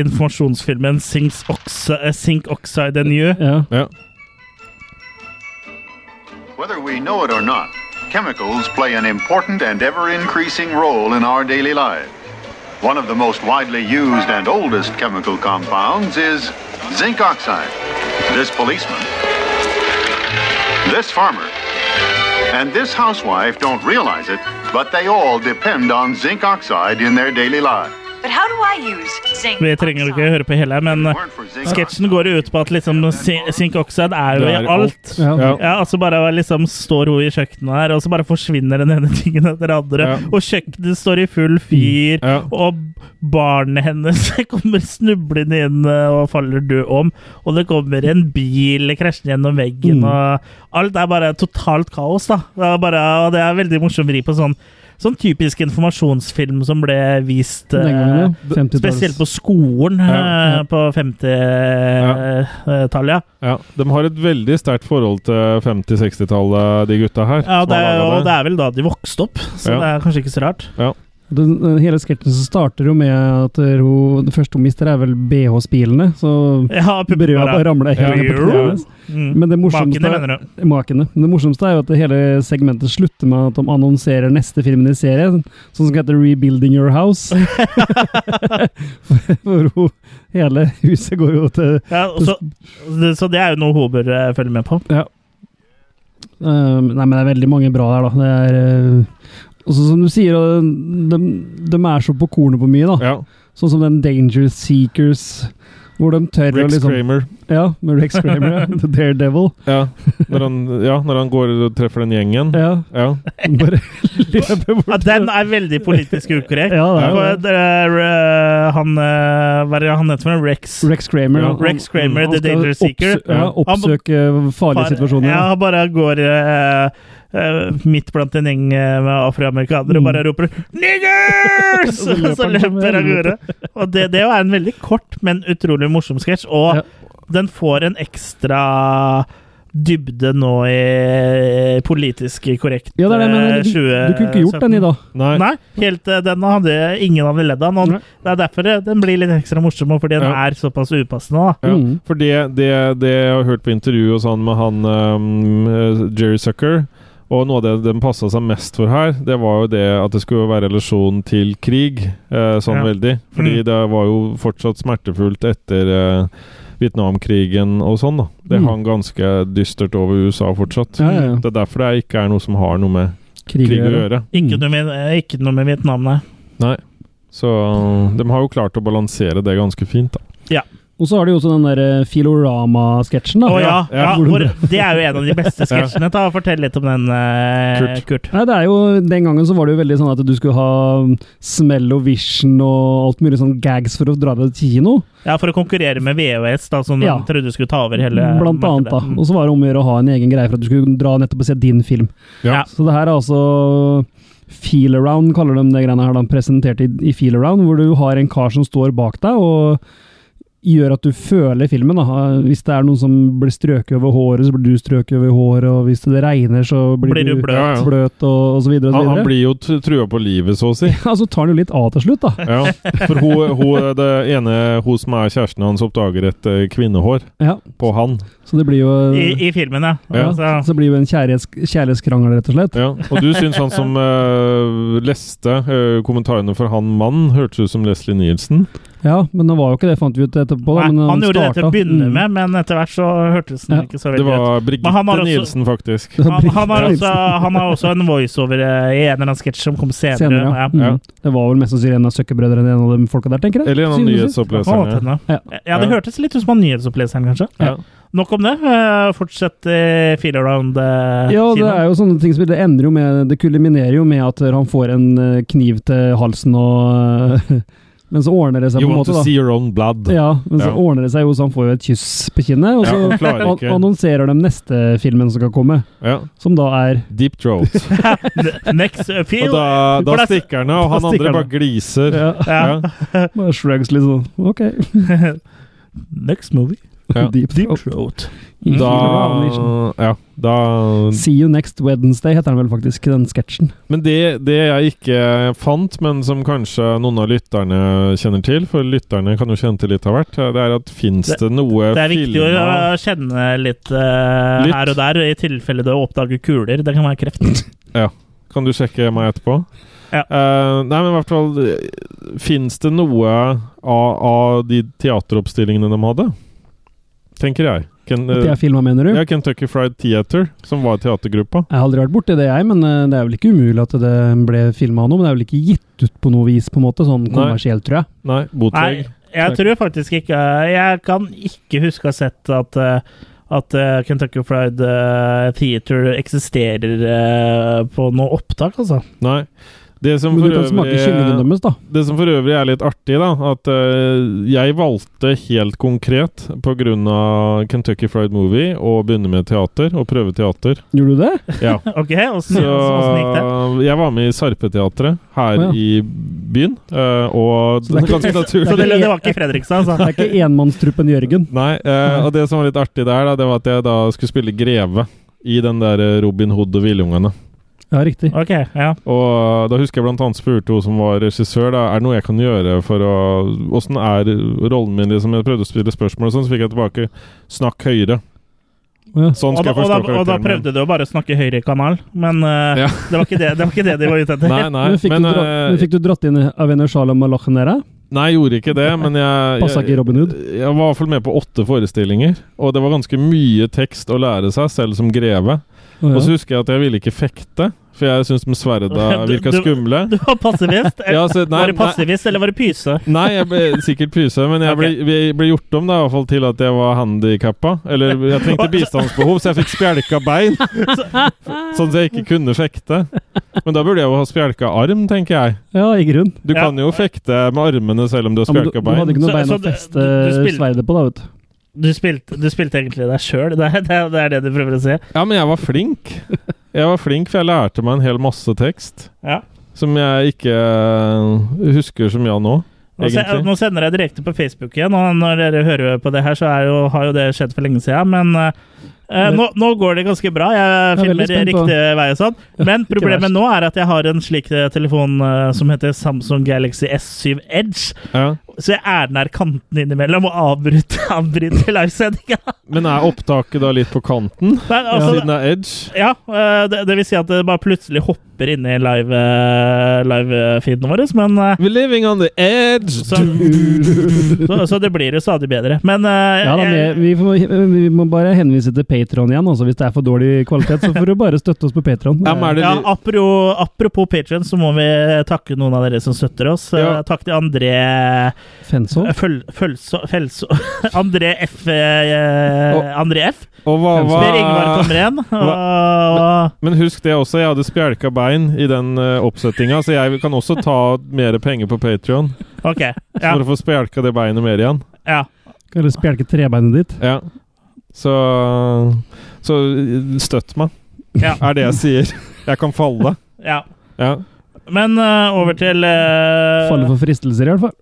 S2: informasjonsfilmen Sinks Ox- eh, Sink Oxide and You.
S3: ja.
S1: Ja.
S10: Whether we know it or not, chemicals play an important and ever increasing role in our daily lives. One of the most widely used and oldest chemical compounds is zinc oxide. This policeman, this farmer, and this housewife don't realize it, but they all depend on zinc oxide in their daily lives.
S11: But how do I use zinc?
S2: Vi trenger ikke høre på hele, men eh, sketsjen går jo ut på at liksom si- zinc oxide er jo
S1: Det
S2: i
S1: er
S2: alt.
S1: alt. Ja.
S2: Ja, altså bare liksom står hun i kjøkkenet her, og så bare forsvinner den ene tingen etter det andre.
S1: Ja. Mm.
S2: Og kjøkkenet står i full fyr, og barnet hennes kommer snublende inn eh, og faller død om. Og det kommer en bil krasjende gjennom veggen,
S3: Mm.
S2: og alt er bare totalt kaos, da. Det er, bare, og det er veldig morsom vri på sånn Sånn typisk informasjonsfilm som ble vist
S3: Den gangen, ja.
S2: eh,
S3: 50-talls.
S2: spesielt på skolen
S1: Ja.
S2: eh, på 50-tallet. Ja.
S1: Ja, De har et veldig sterkt forhold til 50-60-tallet, de gutta her.
S2: Ja,
S1: som
S2: det
S1: har
S2: er,
S1: laget
S2: og det er vel da de vokste opp, så
S1: Ja.
S2: det er kanskje ikke så rart.
S1: Ja.
S3: Den, den hele sketsjen så starter jo med at hun, det første hun mister, er vel BH-spilene. Så
S2: Ja, puppene
S3: brødet
S2: bare-
S3: bare ramler helt ned på
S2: Ja.
S3: knærne hennes.
S2: Mm.
S3: Men det morsomste,
S2: Makene, mener
S3: Makene. Men det morsomste er jo at det hele segmentet slutter med at de annonserer neste filmen i serien, som skal hete 'Rebuilding Your House'. For- For hun, hele huset går jo til
S2: Ja, og så, så det er jo noe hun bør eh, følge med på.
S3: Ja. Um, nei, men det er veldig mange bra der, da. Det er, uh, også som du sier, uh, de, de er så på kornet på mye, da. Sånn som den Danger Seekers, hvor de tør å
S1: Rex
S3: liksom
S1: Kramer.
S3: Ja, med Rex Kramer, ja. The Daredevil.
S1: Ja. Når han, ja, når han går og treffer den gjengen.
S3: Ja.
S1: Ja.
S3: Bare
S2: Ja, den er veldig politisk ukorrekt.
S3: Ja, det er jo
S2: For
S3: det.
S2: det er, eh, han, eh, hva er det han heter for noe? Rex.
S3: Rex Kramer.
S2: Ja,
S3: da.
S2: Rex Kramer,
S3: Han
S2: The
S3: skal
S2: Danger Seeker.
S3: oppsø- ja, oppsøke farlige
S2: Bare-
S3: situasjoner.
S2: Ja, han bare går eh, eh, midt blant en gjeng eh, med afroamerikanere og bare roper 'niggers!'
S3: Mm.
S2: Og så
S3: Og så løper han som
S2: løper av gårde.
S3: helvete.
S2: Og det, det er en veldig kort, men utrolig morsom sketsj. Og den får en ekstra dybde nå i politisk korrekt
S3: Ja, det er det, men
S2: eh,
S3: du, du kunne ikke gjort den i dag.
S1: Nei.
S2: Nei, helt, eh, den hadde ingen hadde ledd av. Noen, det er derfor eh, den blir litt ekstra morsom, og fordi den
S1: Ja.
S2: er såpass upassende. Da.
S1: Ja,
S3: Mm.
S1: for det, det, det jeg har hørt på intervju og sånn med han ehm, Jerry Sucker Og noe av det de passa seg mest for her, det var jo det at det skulle være relasjon til krig. eh, sånn
S2: Ja.
S1: veldig. Fordi
S2: Mm.
S1: det var jo fortsatt smertefullt etter eh, Vietnamkrigen og sånn, da. Det
S3: Mm.
S1: hang ganske dystert over USA fortsatt.
S3: Ja, ja, ja.
S1: Det er derfor det ikke er noe som har noe med
S3: Krig å
S1: krig å
S3: gjøre.
S1: gjøre.
S2: Ikke, noe med, eh, ikke noe med Vietnam, nei.
S1: Nei. Så de har jo klart å balansere det ganske fint, da.
S2: Ja.
S3: Og så har du jo også den der eh, Filorama-sketsjen, da.
S2: Å ja, ja,
S3: Hvor de-
S2: hvor, det er jo en av de beste sketsjene. Ta og Fortell litt om den, eh, Kurt.
S3: Nei, det er jo, Den gangen så var det jo veldig sånn at du skulle ha smell og vision og alt mulig sånn gags for å dra deg til kino.
S2: Ja, For å konkurrere med VHS, da, som
S3: Ja.
S2: de trodde skulle ta over hele Mm.
S3: blant annet, da. Og så var det om å gjøre å ha en egen greie for at du skulle dra nettopp og se din film.
S2: Ja.
S3: Så det her er altså Feel around, kaller de det greiene her, da, presentert i, i Feel around, hvor du har en kar som står bak deg og gjør at du føler filmen. Da. Hvis det er noen som blir strøket over håret, så blir du strøket over håret, og hvis det regner, så blir,
S2: Blir du bløt.
S3: bløt og, og så videre og så
S1: Han,
S3: videre.
S1: han blir jo tr- trua på livet, så å si.
S3: Ja, så tar han jo litt av til slutt, da.
S1: Ja, for hun, hun det ene hun som er kjæresten hans, oppdager et eh, kvinnehår
S3: Ja,
S1: på han.
S3: Så det blir jo
S2: I, I filmen, ja.
S1: Ja.
S2: Altså,
S3: Så det blir jo en kjærlighets, kjærlighetskrangel, rett og slett.
S1: Ja. Og du syns han som eh, leste eh, kommentarene for han mannen, hørtes ut som Leslie Nielsen?
S3: Ja, men det var jo ikke det, fant vi ut etterpå. Da,
S2: Nei,
S3: men
S2: han, gjorde det til å
S3: starta.
S2: begynne
S3: Mm.
S2: med, men etter hvert så hørtes den
S3: Ja.
S2: ikke så
S1: Det
S2: veldig ut.
S1: var
S2: Men han har
S1: Brigitte
S2: også-
S1: Nielsen, faktisk.
S3: Det var
S2: Han, altså- han, har
S3: Brigitte
S2: også, han har også en voiceover eh, i en eller annen sketsj som kom senere.
S3: Senere, ja.
S2: ja.
S3: Mm. Det var vel mest sannsynlig en av søkkebrødrene en av de folka der, tenker jeg.
S1: Eller en av
S3: Synes du?
S2: Å,
S1: nyhetsoppleserne.
S2: tenne.
S3: Ja.
S2: ja, det
S1: Ja.
S2: hørtes litt ut som han nyhetsoppleseren, kanskje.
S1: Ja.
S2: Nok om det. Eh, Fortsett eh, feel around eh,
S3: Ja, det
S2: kino.
S3: er jo sånne ting som det ender jo med Det kulminerer jo med at han får en eh, kniv til halsen og eh, Men så ordner det seg
S1: You
S3: på en
S1: want
S3: måte,
S1: to
S3: da.
S1: see your own blood.
S3: Ja, men så
S1: Ja.
S3: ordner det seg jo så han får jo et kyss på kinnet, og
S1: Ja,
S3: så
S1: han klarer ikke.
S3: an- annonserer de neste filmen som skal komme,
S1: Ja.
S3: som da er
S1: Deep throat.
S2: Next eh, feel
S1: Og da, da
S2: For det er-
S1: stikker han av, og
S3: Da
S1: han
S3: stikker
S1: andre
S3: han
S1: bare gliser.
S3: Ja.
S1: Ja.
S3: Bare shrugs litt sånn. Ok.
S2: Next movie.
S1: Ja.
S3: Deep
S2: Deep
S3: Throat.
S2: Throat.
S1: Da, ja, da
S3: See you next Wednesday, heter den vel faktisk, den sketsjen.
S1: Men det, det jeg ikke fant, men som kanskje noen av lytterne kjenner til, for lytterne kan jo kjenne til litt av hvert, det er at fins det,
S2: Det-
S1: noe
S2: Det er viktig å
S1: filma-
S2: å kjenne litt, eh,
S1: Litt.
S2: her og der, i tilfelle du oppdager kuler. Det kan være kreft.
S1: Ja. Kan du sjekke meg etterpå?
S2: Ja.
S1: Eh, nei, men i hvert fall Fins det noe av, av de teateroppstillingene de hadde? Tenker jeg. Ken, eh,
S3: At jeg filma, mener du?
S1: ja, Kentucky Fried Theater, som var teatergruppa.
S3: Jeg har aldri vært borti det, jeg, men eh, det er vel ikke umulig at det ble filma nå. Men det er vel ikke gitt ut på noe vis, på en måte, sånn kommersielt, tror jeg.
S1: Nei,
S2: Nei,
S1: Botleg.
S2: jeg tror faktisk ikke Jeg kan ikke huske å ha sett at eh, at eh, Kentucky Fried eh, Theater eksisterer eh, på noe opptak, altså.
S1: Nei. Det som,
S3: Men
S1: for
S3: du kan smake kyllingen
S1: øvrig,
S3: deres, da.
S1: det som for øvrig er litt artig, da, at eh, jeg valgte helt konkret pga. Kentucky Fried Movie å begynne med teater, og prøve teater.
S3: Gjorde du det?
S1: Ja.
S2: Ok, åssen
S1: Så eh,
S2: åssen gikk det?
S1: jeg var med i Sarpeteatret her
S3: Å, ja.
S1: i byen, eh, og
S3: Så det er ikke-
S1: ganske
S2: Så det,
S1: naturlig.
S2: det var ikke i Fredrikstad,
S3: Det
S2: altså?
S3: er ikke enmannstruppen Jørgen.
S1: Nei, eh, og det som var litt artig der, da, det var at jeg da skulle spille greve i den der eh, Robin Hood og Villungene.
S3: Ja, riktig.
S2: Ok, ja.
S1: Og da husker jeg blant annet spurte hun som var regissør, da, er det noe jeg kan gjøre for å Åssen er rollen min, liksom? Jeg prøvde å stille spørsmål og sånn, så fikk jeg tilbake Snakk høyere.
S3: Å, ja.
S1: Sånn
S2: Og
S1: skal
S2: da,
S1: jeg
S2: og, da,
S1: forstå
S2: og da
S1: karakteren min.
S2: prøvde du å bare snakke høyre kanal, men eh,
S1: Ja.
S2: det, var ikke det, det var ikke det de var ute etter.
S1: Nei, nei,
S3: men fikk,
S1: men,
S3: du dra,
S1: eh,
S3: men fikk du dratt inn Avene Shalom Malachen der?
S1: Nei, jeg gjorde ikke det, men jeg
S3: Passa ikke i Robin Hood?
S1: Jeg var i hvert fall med på åtte forestillinger, og det var ganske mye tekst å lære seg, selv som greve.
S3: Å, ja.
S1: Og så husker jeg at jeg ville ikke fekte, for jeg syntes de sverda
S2: Du-
S1: virka
S2: du-
S1: skumle.
S2: Du var passivist?
S1: Ja, så- nei,
S2: var du
S1: nei.
S2: passivist, eller var du pyse?
S1: Nei, jeg ble sikkert pyse, men jeg ble, jeg ble gjort om da, i hvert fall til at jeg var handikappa. Eller jeg trengte bistandsbehov, så jeg fikk spjelka bein. Sånn at jeg ikke kunne fekte. Men da burde jeg jo ha spjelka arm, tenker jeg.
S3: ja, i grunn.
S1: Du
S2: Ja.
S1: kan jo fekte med armene selv om du har
S3: Ja, men du,
S1: spjelka
S3: du hadde
S1: bein.
S3: ikke noe
S2: Så-
S3: bein
S2: så
S3: å
S2: du-
S3: feste
S2: du- du spilte-
S3: sverdet på, da, vet du.
S2: Du spilte, du spilte egentlig deg sjøl, det, er- det, er- det er det du prøver å si?
S1: Ja, men jeg var flink. Jeg var flink, for jeg lærte meg en hel masse tekst.
S2: Ja.
S1: Som jeg ikke eh, husker så mye av nå,
S2: Nå, se,
S1: egentlig.
S2: nå sender jeg direkte på Facebook igjen, og når dere hører på det her, så er jo, har jo det skjedd for lenge siden, men eh, eh, nå, nå går det ganske bra. Jeg
S3: Jeg er veldig
S2: filmer
S3: spent på-
S2: riktig vei og sånn. Men
S3: ikke verst.
S2: problemet nå er at jeg har en slik eh, telefon eh, som heter Samsung Galaxy S7 Edge,
S1: Ja.
S2: så jeg er nær kanten innimellom og avbryter, avbryter livesendinga.
S1: Men er opptaket da litt på kanten?
S2: Nei, altså,
S1: Siden det er edge?
S2: Ja, eh, det, det vil si at det bare plutselig hopper inn i live, eh, live-feeden vår, men eh,
S1: We're living on the edge!
S2: så, så, så det blir jo stadig bedre. Men eh,
S3: Ja, da,
S2: jeg-
S3: men vi, får, vi må bare henvise til Patron igjen. Altså, hvis det er for dårlig kvalitet, så får du bare støtte oss på Patron.
S1: Ja, men er det
S2: ja,
S1: li-
S2: apropos, apropos Patreon, så må vi eh, takke noen av dere som støtter oss. Eh,
S1: Ja.
S2: Takk til André eh,
S3: Fenså?
S2: Føl- Følså Felså André F. eh,
S1: Og-
S2: André F.
S1: Og hva
S2: Per Ingvar
S1: var
S2: Kamren. Og,
S1: Men husk det også, jeg hadde spjelka bein i den uh, oppsettinga, så jeg kan også ta mer penger på Patrion
S2: ok. Ja.
S1: for å få spjelka det beinet mer igjen.
S2: ja.
S3: Kan du spjelke trebeinet ditt?
S1: Ja. Så Så støtt meg,
S2: Ja.
S1: er det jeg sier. Jeg kan falle.
S2: ja.
S1: Ja.
S2: Men eh, over til eh,
S3: Falle for fristelser, i hvert fall.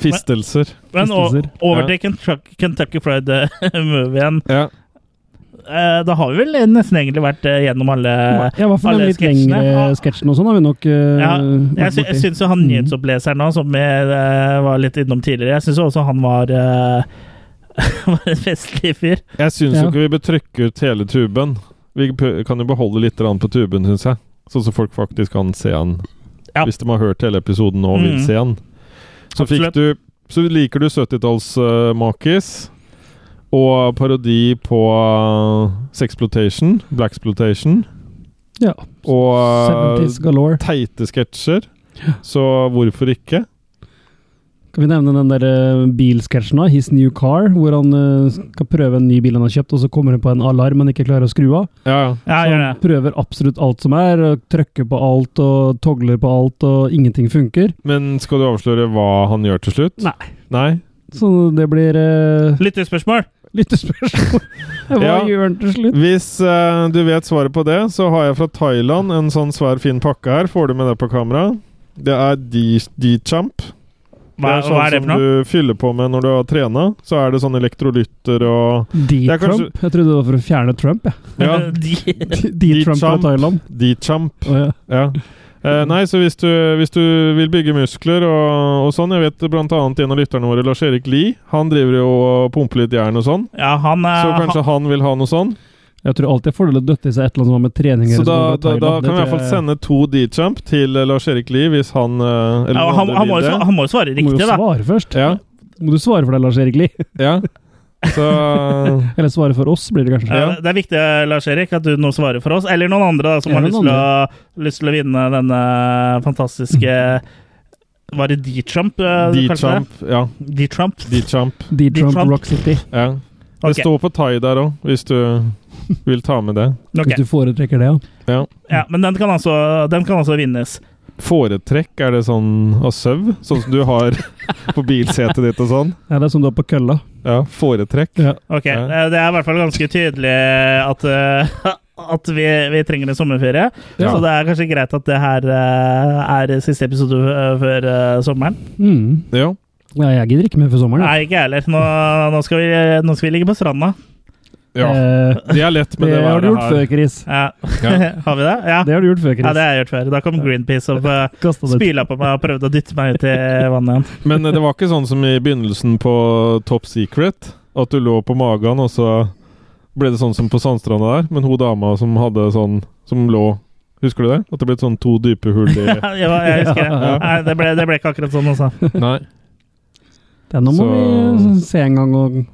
S1: Fistelser.
S2: Men o-
S3: Fristelser.
S1: Ja.
S2: over til Kentucky, Kentucky Fried eh, Movien.
S1: Ja.
S2: Uh, da har vi vel nesten egentlig vært eh, gjennom alle
S3: Ja, I hvert fall
S2: alle
S3: den litt
S2: sketsjene. Ah.
S3: lengre sketsjen og sånn har vi nok uh,
S2: Ja, Jeg,
S3: vært
S2: sy jeg
S3: borti.
S2: syns jo han nyhetsoppleseren nå, som jeg eh, var litt innom tidligere, jeg syns jo også han var eh, var en festlig fyr.
S1: Jeg syns
S3: Ja.
S1: jo ikke vi bør trykke ut hele tuben. Vi p- kan jo beholde litt grann på tuben, syns jeg. Sånn så folk faktisk kan se den.
S2: Ja.
S1: Hvis de har hørt hele episoden og vil
S2: Mm.
S1: se den. Så, fikk
S2: Absolutt.
S1: du, så liker du 70-talls-makis og parodi på uh, Sexploitation, Blaxploitation
S3: Ja.
S1: og uh,
S3: 70s galore.
S1: teite sketsjer. Så hvorfor ikke?
S3: Kan vi nevne den der eh, bilsketsjen da, His New Car, hvor han eh, skal prøve en ny bil han har kjøpt, og så kommer det på en alarm han ikke klarer å skru av.
S1: Ja, ja.
S2: Ja,
S3: Så
S2: gjør
S3: han
S2: det.
S3: prøver absolutt alt som er, og trykker på alt og togler på alt, og ingenting funker.
S1: Men skal du avsløre hva han gjør til slutt?
S3: Nei.
S1: Nei?
S3: Så det blir eh,
S2: Lyttespørsmål!
S3: lyttespørsmål. Hva
S1: Ja.
S3: gjør han til slutt?
S1: Hvis eh, du vet svaret på det, så har jeg fra Thailand en sånn svær, fin pakke her. Får du med det på kamera? Det er D-champ.
S2: Hva,
S1: det er sånn
S2: hva er det for
S1: som
S2: noe?
S1: du fyller på med når du har trena. Så er det sånn elektrolytter og Det er kanskje-
S3: D-Trump? Jeg trodde det var for å fjerne Trump, jeg.
S1: Ja,
S3: D-Trump fra
S1: D-Trump.
S3: Thailand.
S1: D-champ.
S3: Å, ja.
S1: Ja. Eh, nei, så hvis du, hvis du vil bygge muskler og, og sånn Jeg vet blant annet en av lytterne våre, Lars-Erik Lie, han driver jo og pumper litt jern og sånn.
S2: Ja, han eh, er
S1: Så kanskje han vil ha noe sånn.
S3: Jeg tror alltid jeg får det til å døtte i seg et eller annet som har med trening
S1: Så
S3: eller
S1: da,
S3: sånn
S1: da,
S3: fra
S1: da
S3: Thailand. Det
S1: kan vi i hvert
S3: tror
S1: fall
S3: jeg-
S1: sende to D-champ til eh, Lars-Erik Lie, hvis han eh, eller
S2: ja,
S1: noen
S2: han,
S1: andre
S2: han,
S1: vil
S2: må jo,
S1: det.
S2: sva- han må jo svare
S3: Må
S2: riktig,
S3: jo
S2: da.
S3: svare først.
S1: Ja,
S3: Må du svare for deg, Lars Erik Lie?
S1: ja. Så
S3: Eller svare for oss, blir det kanskje.
S2: Ja, Det er viktig, Lars-Erik, at du nå svarer for oss. Eller noen andre da, som har
S3: Eller
S2: lyst
S3: noen
S2: til, å, lyst til å vinne denne fantastiske Var det D-Trump? eh, du kalte det?
S1: D-champ. Ja,
S2: D-Trump.
S1: D-champ.
S3: D-Trump
S2: D-Trump.
S3: Rock City.
S1: Ja. Det
S2: Ok.
S1: står på thai der òg, hvis du vil ta med det.
S2: Ok.
S3: Hvis du foretrekker det, ja.
S1: Ja.
S2: Ja, men den kan altså, den kan altså vinnes.
S1: Foretrekk, er det sånn av sau? Sånn som du har på bilsetet ditt og sånn?
S3: ja. Det er som du har på kølla.
S1: Ja, foretrekk.
S3: Ja.
S2: Ok,
S1: Ja.
S2: eh, Det er i hvert fall ganske tydelig at, eh, at vi, vi trenger en sommerferie.
S1: Ja.
S2: Så det er kanskje greit at det her eh, er siste episode eh, før eh, sommeren.
S3: Mm.
S1: Ja.
S3: ja. Jeg gidder ikke mer for sommeren. jeg.
S2: Nei, ikke jeg heller. Nå, nå, skal vi, nå skal vi ligge på stranda.
S1: ja.
S3: Eh,
S1: Det er lett
S3: det,
S1: med det
S3: har
S1: været
S3: du gjort før,
S1: her.
S3: Chris.
S2: Ja.
S1: Ja.
S2: Har vi det? Ja.
S3: Det har du gjort før, Chris.
S2: ja, det har jeg gjort før. Da kom Greenpeace og eh,
S3: Kastet det.
S2: spyla på meg og prøvde å dytte meg ut i vannet igjen.
S1: Men eh, det var ikke sånn som i begynnelsen på Top Secret, at du lå på magen, og så ble det sånn som på Sandstranda der, men hun dama som hadde sånn Som lå Husker du det? At det ble sånn to dype hull i
S2: Jeg, jeg husker det.
S1: Ja.
S2: Nei, det, ble, det ble ikke akkurat sånn, altså.
S1: Nei.
S3: Ja, nå må
S1: Så-
S3: vi se en gang og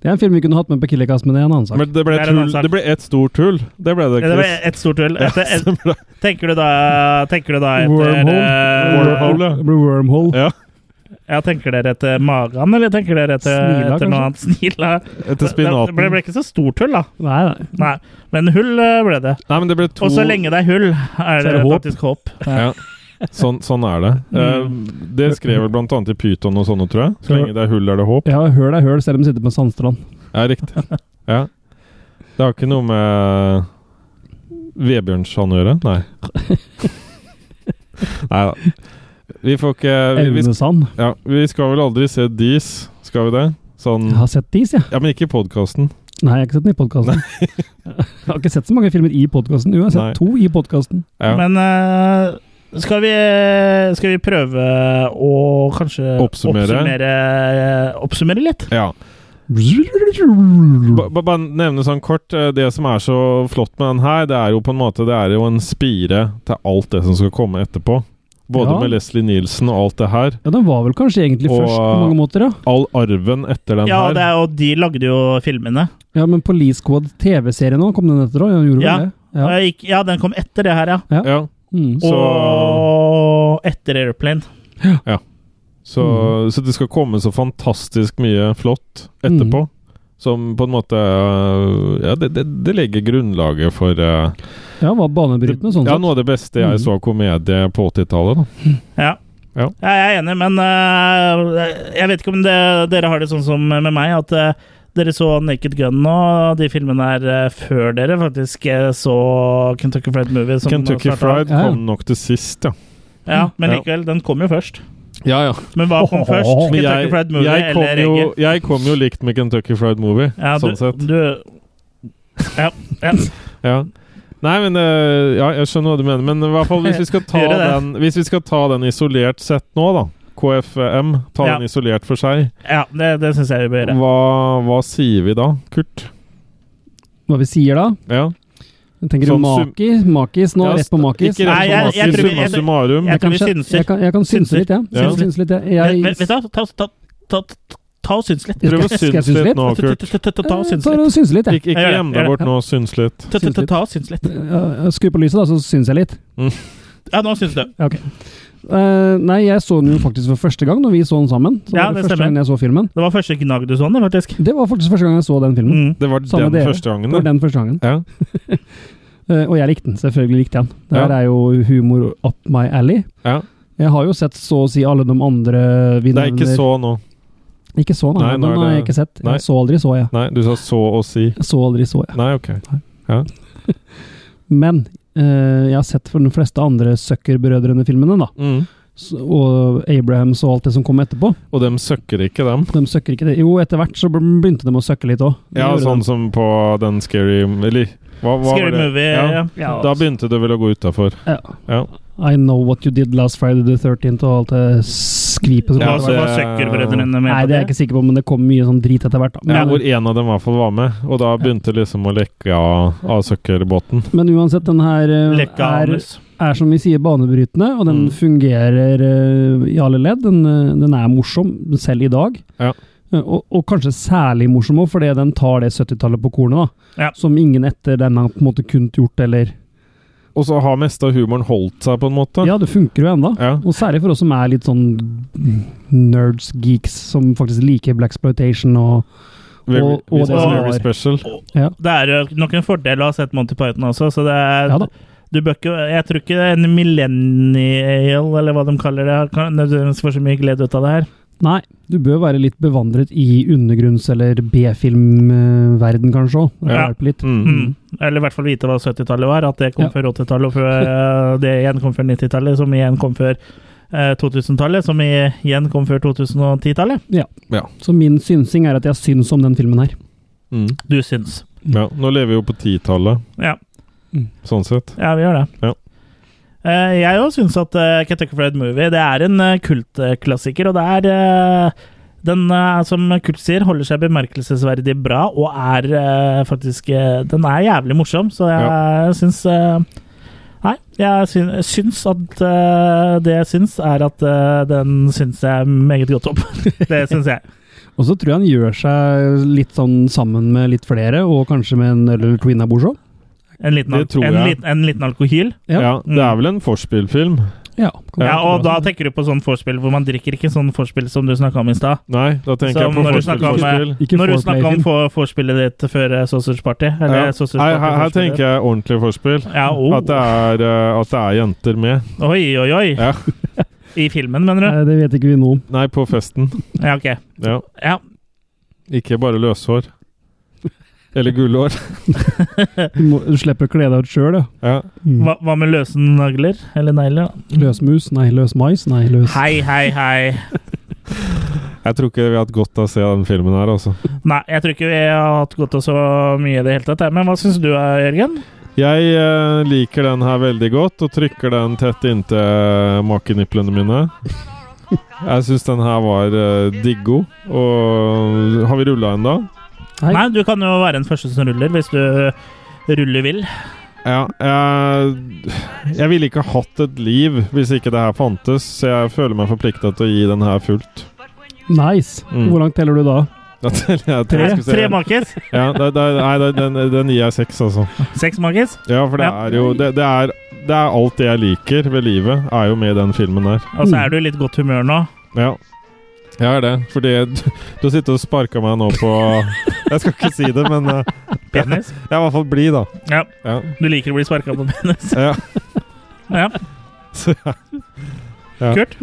S3: Det er en film vi kunne hatt med på Killercast, men det er en annen sak.
S1: Men det ble, et
S2: Det er en
S1: hull,
S2: annen sak.
S1: det ble ett stort hull. Det ble det,
S2: Det ble
S1: Chris.
S2: et stort hull.
S1: Ja,
S2: Etter, et,
S1: så bra.
S2: tenker du da Tenker du da etter
S3: Wormhole.
S2: eh,
S1: Wormhole, ja.
S3: Det blir wormhole.
S1: Ja,
S2: Ja, tenker dere etter magen, eller tenker dere etter,
S3: Snila,
S2: etter noe annet? Snila.
S1: etter
S2: Det ble,
S1: spinaten.
S2: ble ikke så stort hull, da.
S3: Nei, nei.
S2: Nei, men hull eh, ble det.
S1: Nei, men det ble to
S2: Og så lenge det er hull, er
S3: Så er
S2: det
S3: det håp.
S2: faktisk håp.
S1: Ja. Sånn, sånn er det. Eh,
S2: Mm.
S1: det skrev vel blant annet i Pyton og sånne, tror jeg. Så lenge det er hull, er det håp.
S3: Ja, høl er høl, selv om du sitter på en sandstrand.
S1: Ja, riktig. Ja. Det har ikke noe med Vebjørnson å gjøre? Nei. Nei da. Vi får ikke vi, vi,
S3: Evnesand.
S1: ja, vi skal vel aldri se Dis, skal vi det? Sånn
S3: Jeg har sett Dis, jeg.
S1: Ja, men ikke i podkasten.
S3: Nei, jeg har ikke sett den i podkasten. jeg har ikke sett så mange filmer i podkasten. Jo, jeg har sett
S1: Nei.
S3: to i podkasten.
S1: Ja.
S2: Men eh, skal vi, skal vi prøve å kanskje
S1: Oppsummere.
S2: Oppsummere, eh, oppsummere litt?
S1: ja. Ba- ba- Bare nevne sånn kort eh, Det som er så flott med den her, det er jo på en måte Det er jo en spire til alt det som skal komme etterpå. Både
S3: Ja.
S1: med Leslie Nielsen og alt det her.
S3: Ja, den var vel kanskje egentlig
S1: Og-
S3: først på mange måter, ja.
S1: All arven etter den
S2: Ja,
S1: her.
S2: det er, og de lagde jo filmene.
S3: Ja, men Police Squad TV-serien òg, kom den etter òg?
S2: Ja.
S3: Ja.
S2: Ja.
S3: Ja.
S2: Gikk, ja, den kom etter det her, ja.
S1: ja.
S3: Mm.
S1: Så-
S2: Og etter Airplane.
S1: Så,
S3: Mm.
S1: så det skal komme så fantastisk mye flott
S3: Mm.
S1: etterpå. Som på en måte øh, Ja, det, det, det legger grunnlaget for øh,
S3: ja, var
S1: det,
S3: banebrytende sånn
S1: Ja,
S3: sett.
S1: noe av det beste jeg
S3: Mm.
S1: så av komedie på 80-tallet. da.
S2: Ja.
S1: Ja.
S2: jeg er enig, men eh, jeg vet ikke om det, dere har det sånn som med meg, at eh, dere så Naked Gun nå, de filmene her eh, før dere faktisk eh, så Kentucky Fried Movie. Som
S1: Kentucky
S2: startet.
S1: Fried
S3: Ja, ja.
S1: kom nok til sist, ja.
S2: Ja, men
S1: Ja.
S2: likevel, den kom jo først.
S1: Ja, ja.
S2: Men hva kom
S3: Åh,
S2: først?
S1: Men
S2: Kentucky
S1: jeg,
S2: Fried Movie
S1: jeg, kom
S2: eller
S1: jo,
S2: Egget?
S1: jeg kom jo likt med Kentucky Fried Movie,
S2: Ja,
S1: sånn sett.
S2: du, du Ja. ja.
S1: Ja. Nei, men øh, Ja, jeg skjønner hva du mener, men i hvert fall hvis vi skal ta,
S2: Gjør det.
S1: den, hvis vi skal ta den isolert sett nå, da. KFM. Ta
S2: Ja.
S1: den isolert for seg.
S2: ja det, det syns jeg vi bør gjøre.
S1: Hva, hva sier vi da, Kurt?
S3: Hva vi sier da?
S1: Ja.
S3: Jeg tenker
S1: Sånn
S3: du makis, makis nå,
S1: Ja,
S3: rett på makis.
S1: Ikke rett på
S2: Nei, jeg-
S1: makis,
S2: jeg tror vi-
S1: summa
S2: jeg-
S1: summarum.
S2: jeg-
S3: kan
S2: tror vi
S3: skje-
S2: synser.
S3: Jeg kan, jeg kan synse
S2: Synser.
S3: litt, jeg.
S1: Ja.
S3: Synse litt, jeg.
S2: Men-
S3: jeg
S2: men- Vet du hva, ta, ta, ta, ta, ta og syns litt.
S3: Skal-
S1: Prøv å
S3: skal jeg
S1: synes
S3: synse
S1: litt
S3: litt?
S1: nå,
S2: Ta-
S1: Kurt.
S2: ta- ta- ta- Ta og
S3: Eh,
S2: syns
S3: tar
S2: litt.
S3: og synser litt, jeg.
S1: Ikke, ikke
S2: gjør det,
S1: gjem
S2: gjør
S1: deg
S2: det.
S1: bort nå, syns litt.
S2: Ta- ta- ta- Ta og syns litt.
S3: Eh, Skru på lyset, da, så synser jeg litt.
S2: Ja, nå syns du.
S3: Ja, Ok. Eh, nei, jeg så den jo faktisk for første gang når vi så den sammen. Så
S2: Ja,
S3: var det,
S2: det
S3: første
S2: stemmer.
S3: gang jeg så filmen.
S2: Det var første gnagg du så den, faktisk.
S3: Det var faktisk første gang jeg så den filmen.
S2: Mm.
S1: Det var
S3: Samme
S1: den
S3: dere.
S1: første gangen.
S3: Det var
S1: da.
S3: den første gangen.
S1: Ja.
S3: Eh, og jeg likte den. Selvfølgelig likte jeg den. Det her
S1: Ja.
S3: er jo humor up my alley.
S1: Ja.
S3: Jeg har jo sett så å si alle de andre vi
S1: Det er ikke så nå.
S3: nevner. Ikke så, nei.
S1: Nei, nå
S3: den
S1: er
S3: har jeg
S1: det-
S3: ikke sett.
S1: Nei.
S3: Jeg så aldri så, jeg.
S1: Nei, du sa så å si.
S3: Jeg så aldri så, jeg.
S1: Nei, ok.
S3: Men eh, jeg har sett for de fleste andre Sucker-brødrene-filmene, da.
S1: Mm.
S3: s- og Abrahams og alt det som kom etterpå.
S1: Og de søkker ikke, dem.
S3: De søkker ikke det. Jo, etter hvert så bl- begynte de å søkke litt òg.
S1: Ja, sånn som på den scary Eller hva, hva var
S2: Scary
S1: det?
S2: Movie, ja. Ja.
S1: Da begynte det vel å gå utafor.
S3: Ja.
S1: Ja.
S3: I know what you did last Friday the 13th og alt det skvipet som
S1: Ja,
S3: var.
S1: så-
S2: Hva søkker brødrene med
S3: Nei,
S2: på
S3: det er jeg ikke sikker på, men det kom mye sånn drit etter hvert. da.
S1: Ja,
S3: Men-
S1: hvor én av dem i hvert fall var med, og da begynte liksom å lekke av, av søkkerbåten.
S3: Men uansett, den her eh,
S2: Lekka
S3: er,
S2: anus.
S3: er som vi sier banebrytende, og den fungerer eh, i alle ledd. Den, eh, den er morsom, selv i dag.
S1: Ja.
S3: Eh, Og, og kanskje særlig morsom òg, fordi den tar det 70-tallet på kornet. da.
S2: Ja.
S3: Som ingen etter den har på en måte kunnet gjort, eller
S1: Og så har meste av humoren holdt seg, på en måte.
S3: Ja, det funker jo ennå.
S1: Ja.
S3: Og særlig for oss som er litt sånn nerds, geeks, som faktisk liker Blaxploitation og, og,
S1: Very,
S3: og det som
S1: very
S3: var.
S1: special.
S3: Ja.
S2: Det er jo nok en fordel å ha sett Monty Python også, så det er
S3: Ja da.
S2: du bør ikke, Jeg tror ikke en millennial, eller hva de kaller det, kan nødvendigvis får så mye glede ut av det her.
S3: Nei, du bør være litt bevandret i undergrunns- eller B-filmverden, kanskje òg. Det
S2: Ja.
S3: hjelper litt.
S1: Mm.
S2: Mm. Eller i hvert fall vite hva 70-tallet var, at det kom
S3: Ja.
S2: før 80-tallet, og før, eh, det igjen kom før 90-tallet, som igjen kom før eh, 2000-tallet, som i- igjen kom før 2010-tallet.
S3: Ja.
S1: Ja.
S3: Så min synsing er at jeg syns om den filmen her.
S1: Mm.
S2: Du syns.
S1: ja. Nå lever vi jo på titallet,
S2: Ja,
S1: sånn sett.
S2: ja vi gjør det.
S1: Ja.
S2: Eh, jeg òg syns at uh, Kentucky Fried Movie det er en eh, kultklassiker, og det er eh, den eh, som Kurt sier, holder seg bemerkelsesverdig bra, og er eh, faktisk eh, Den er jævlig morsom, så jeg syns eh, Nei, jeg syn- syns at eh, Det jeg syns, er at eh, den syns jeg meget godt om. det syns jeg.
S3: Og så tror jeg han gjør seg litt sånn sammen med litt flere, og kanskje med en øl eller to innabords òg.
S2: En liten,
S1: Det tror
S2: en,
S1: jeg.
S2: liten, en liten alkohyl.
S1: Ja.
S3: Ja.
S1: Det er vel en forspillfilm?
S3: Ja, kan
S2: Ja,
S3: man
S2: og
S3: tro
S2: da
S3: det.
S2: tenker du på sånn vorspiel hvor man drikker ikke sånn vorspiel som du snakka om i stad.
S1: Nei, da tenker jeg
S2: Som
S1: på
S2: når du snakker om,
S1: forspill-forspill.
S3: eh, Ikke
S2: Når du
S3: foreplay
S2: snakka om
S3: film.
S2: for- vorspillet ditt før eh, Sausage Party. Eller
S1: Ja.
S2: Sausage
S1: Nei,
S2: Party
S1: her, her tenker jeg ordentlig forspill.
S2: ja, oh.
S1: At, det er, eh, at det er jenter med.
S2: Oi, oi, oi!
S1: Ja.
S2: I filmen, mener du?
S3: Nei, det vet ikke vi noe om.
S1: Nei, på festen.
S2: Ja, ok.
S1: Ja.
S2: Ja.
S1: Ikke bare løshår. Eller gullhår.
S3: Du, må, du slipper å kle deg ut sjøl, ja.
S1: Ja.
S3: Mm.
S2: Hva, hva med løse nagler? Eller negler? da?
S3: Løsmus, nei, løs mais, nei, løs
S2: Hei, hei, hei.
S1: Jeg tror ikke vi har hatt godt av å se den filmen her, altså.
S2: Nei, jeg tror ikke vi har hatt godt av så mye i det hele tatt. jeg. Men hva syns du, eh, Jørgen?
S1: Jeg eh, liker den her veldig godt og trykker den tett inntil eh, makeniplene mine. Jeg syns den her var eh, diggo. Og har vi rulla en da?
S3: Hei.
S2: Nei, du kan jo være den første som ruller, hvis du ruller vil.
S1: Ja, jeg, jeg ville ikke hatt et liv hvis ikke det her fantes, så jeg føler meg forplikta til å gi den her fullt.
S3: Nice!
S1: Mm.
S3: Hvor langt teller du da?
S1: Jeg tror jeg
S2: Tre,
S1: skulle si-
S2: tre makis.
S1: Ja, det, det, nei, det, den, den gir jeg seks, altså.
S2: Seks makis.
S1: Ja, for det
S2: Ja.
S1: er jo det, det, er, det er alt det jeg liker ved livet, er jo med i den filmen der.
S2: Og så er du i litt godt humør nå.
S1: Ja. Jeg er det, fordi du, du har sittet og sparka meg nå på Jeg skal ikke si det, men eh,
S2: Penis.
S1: jeg er i hvert fall blid, da.
S2: Ja.
S1: Ja.
S2: Du liker å bli sparka på penis.
S1: Ja.
S2: Ja.
S1: Så, Ja.
S2: Kurt?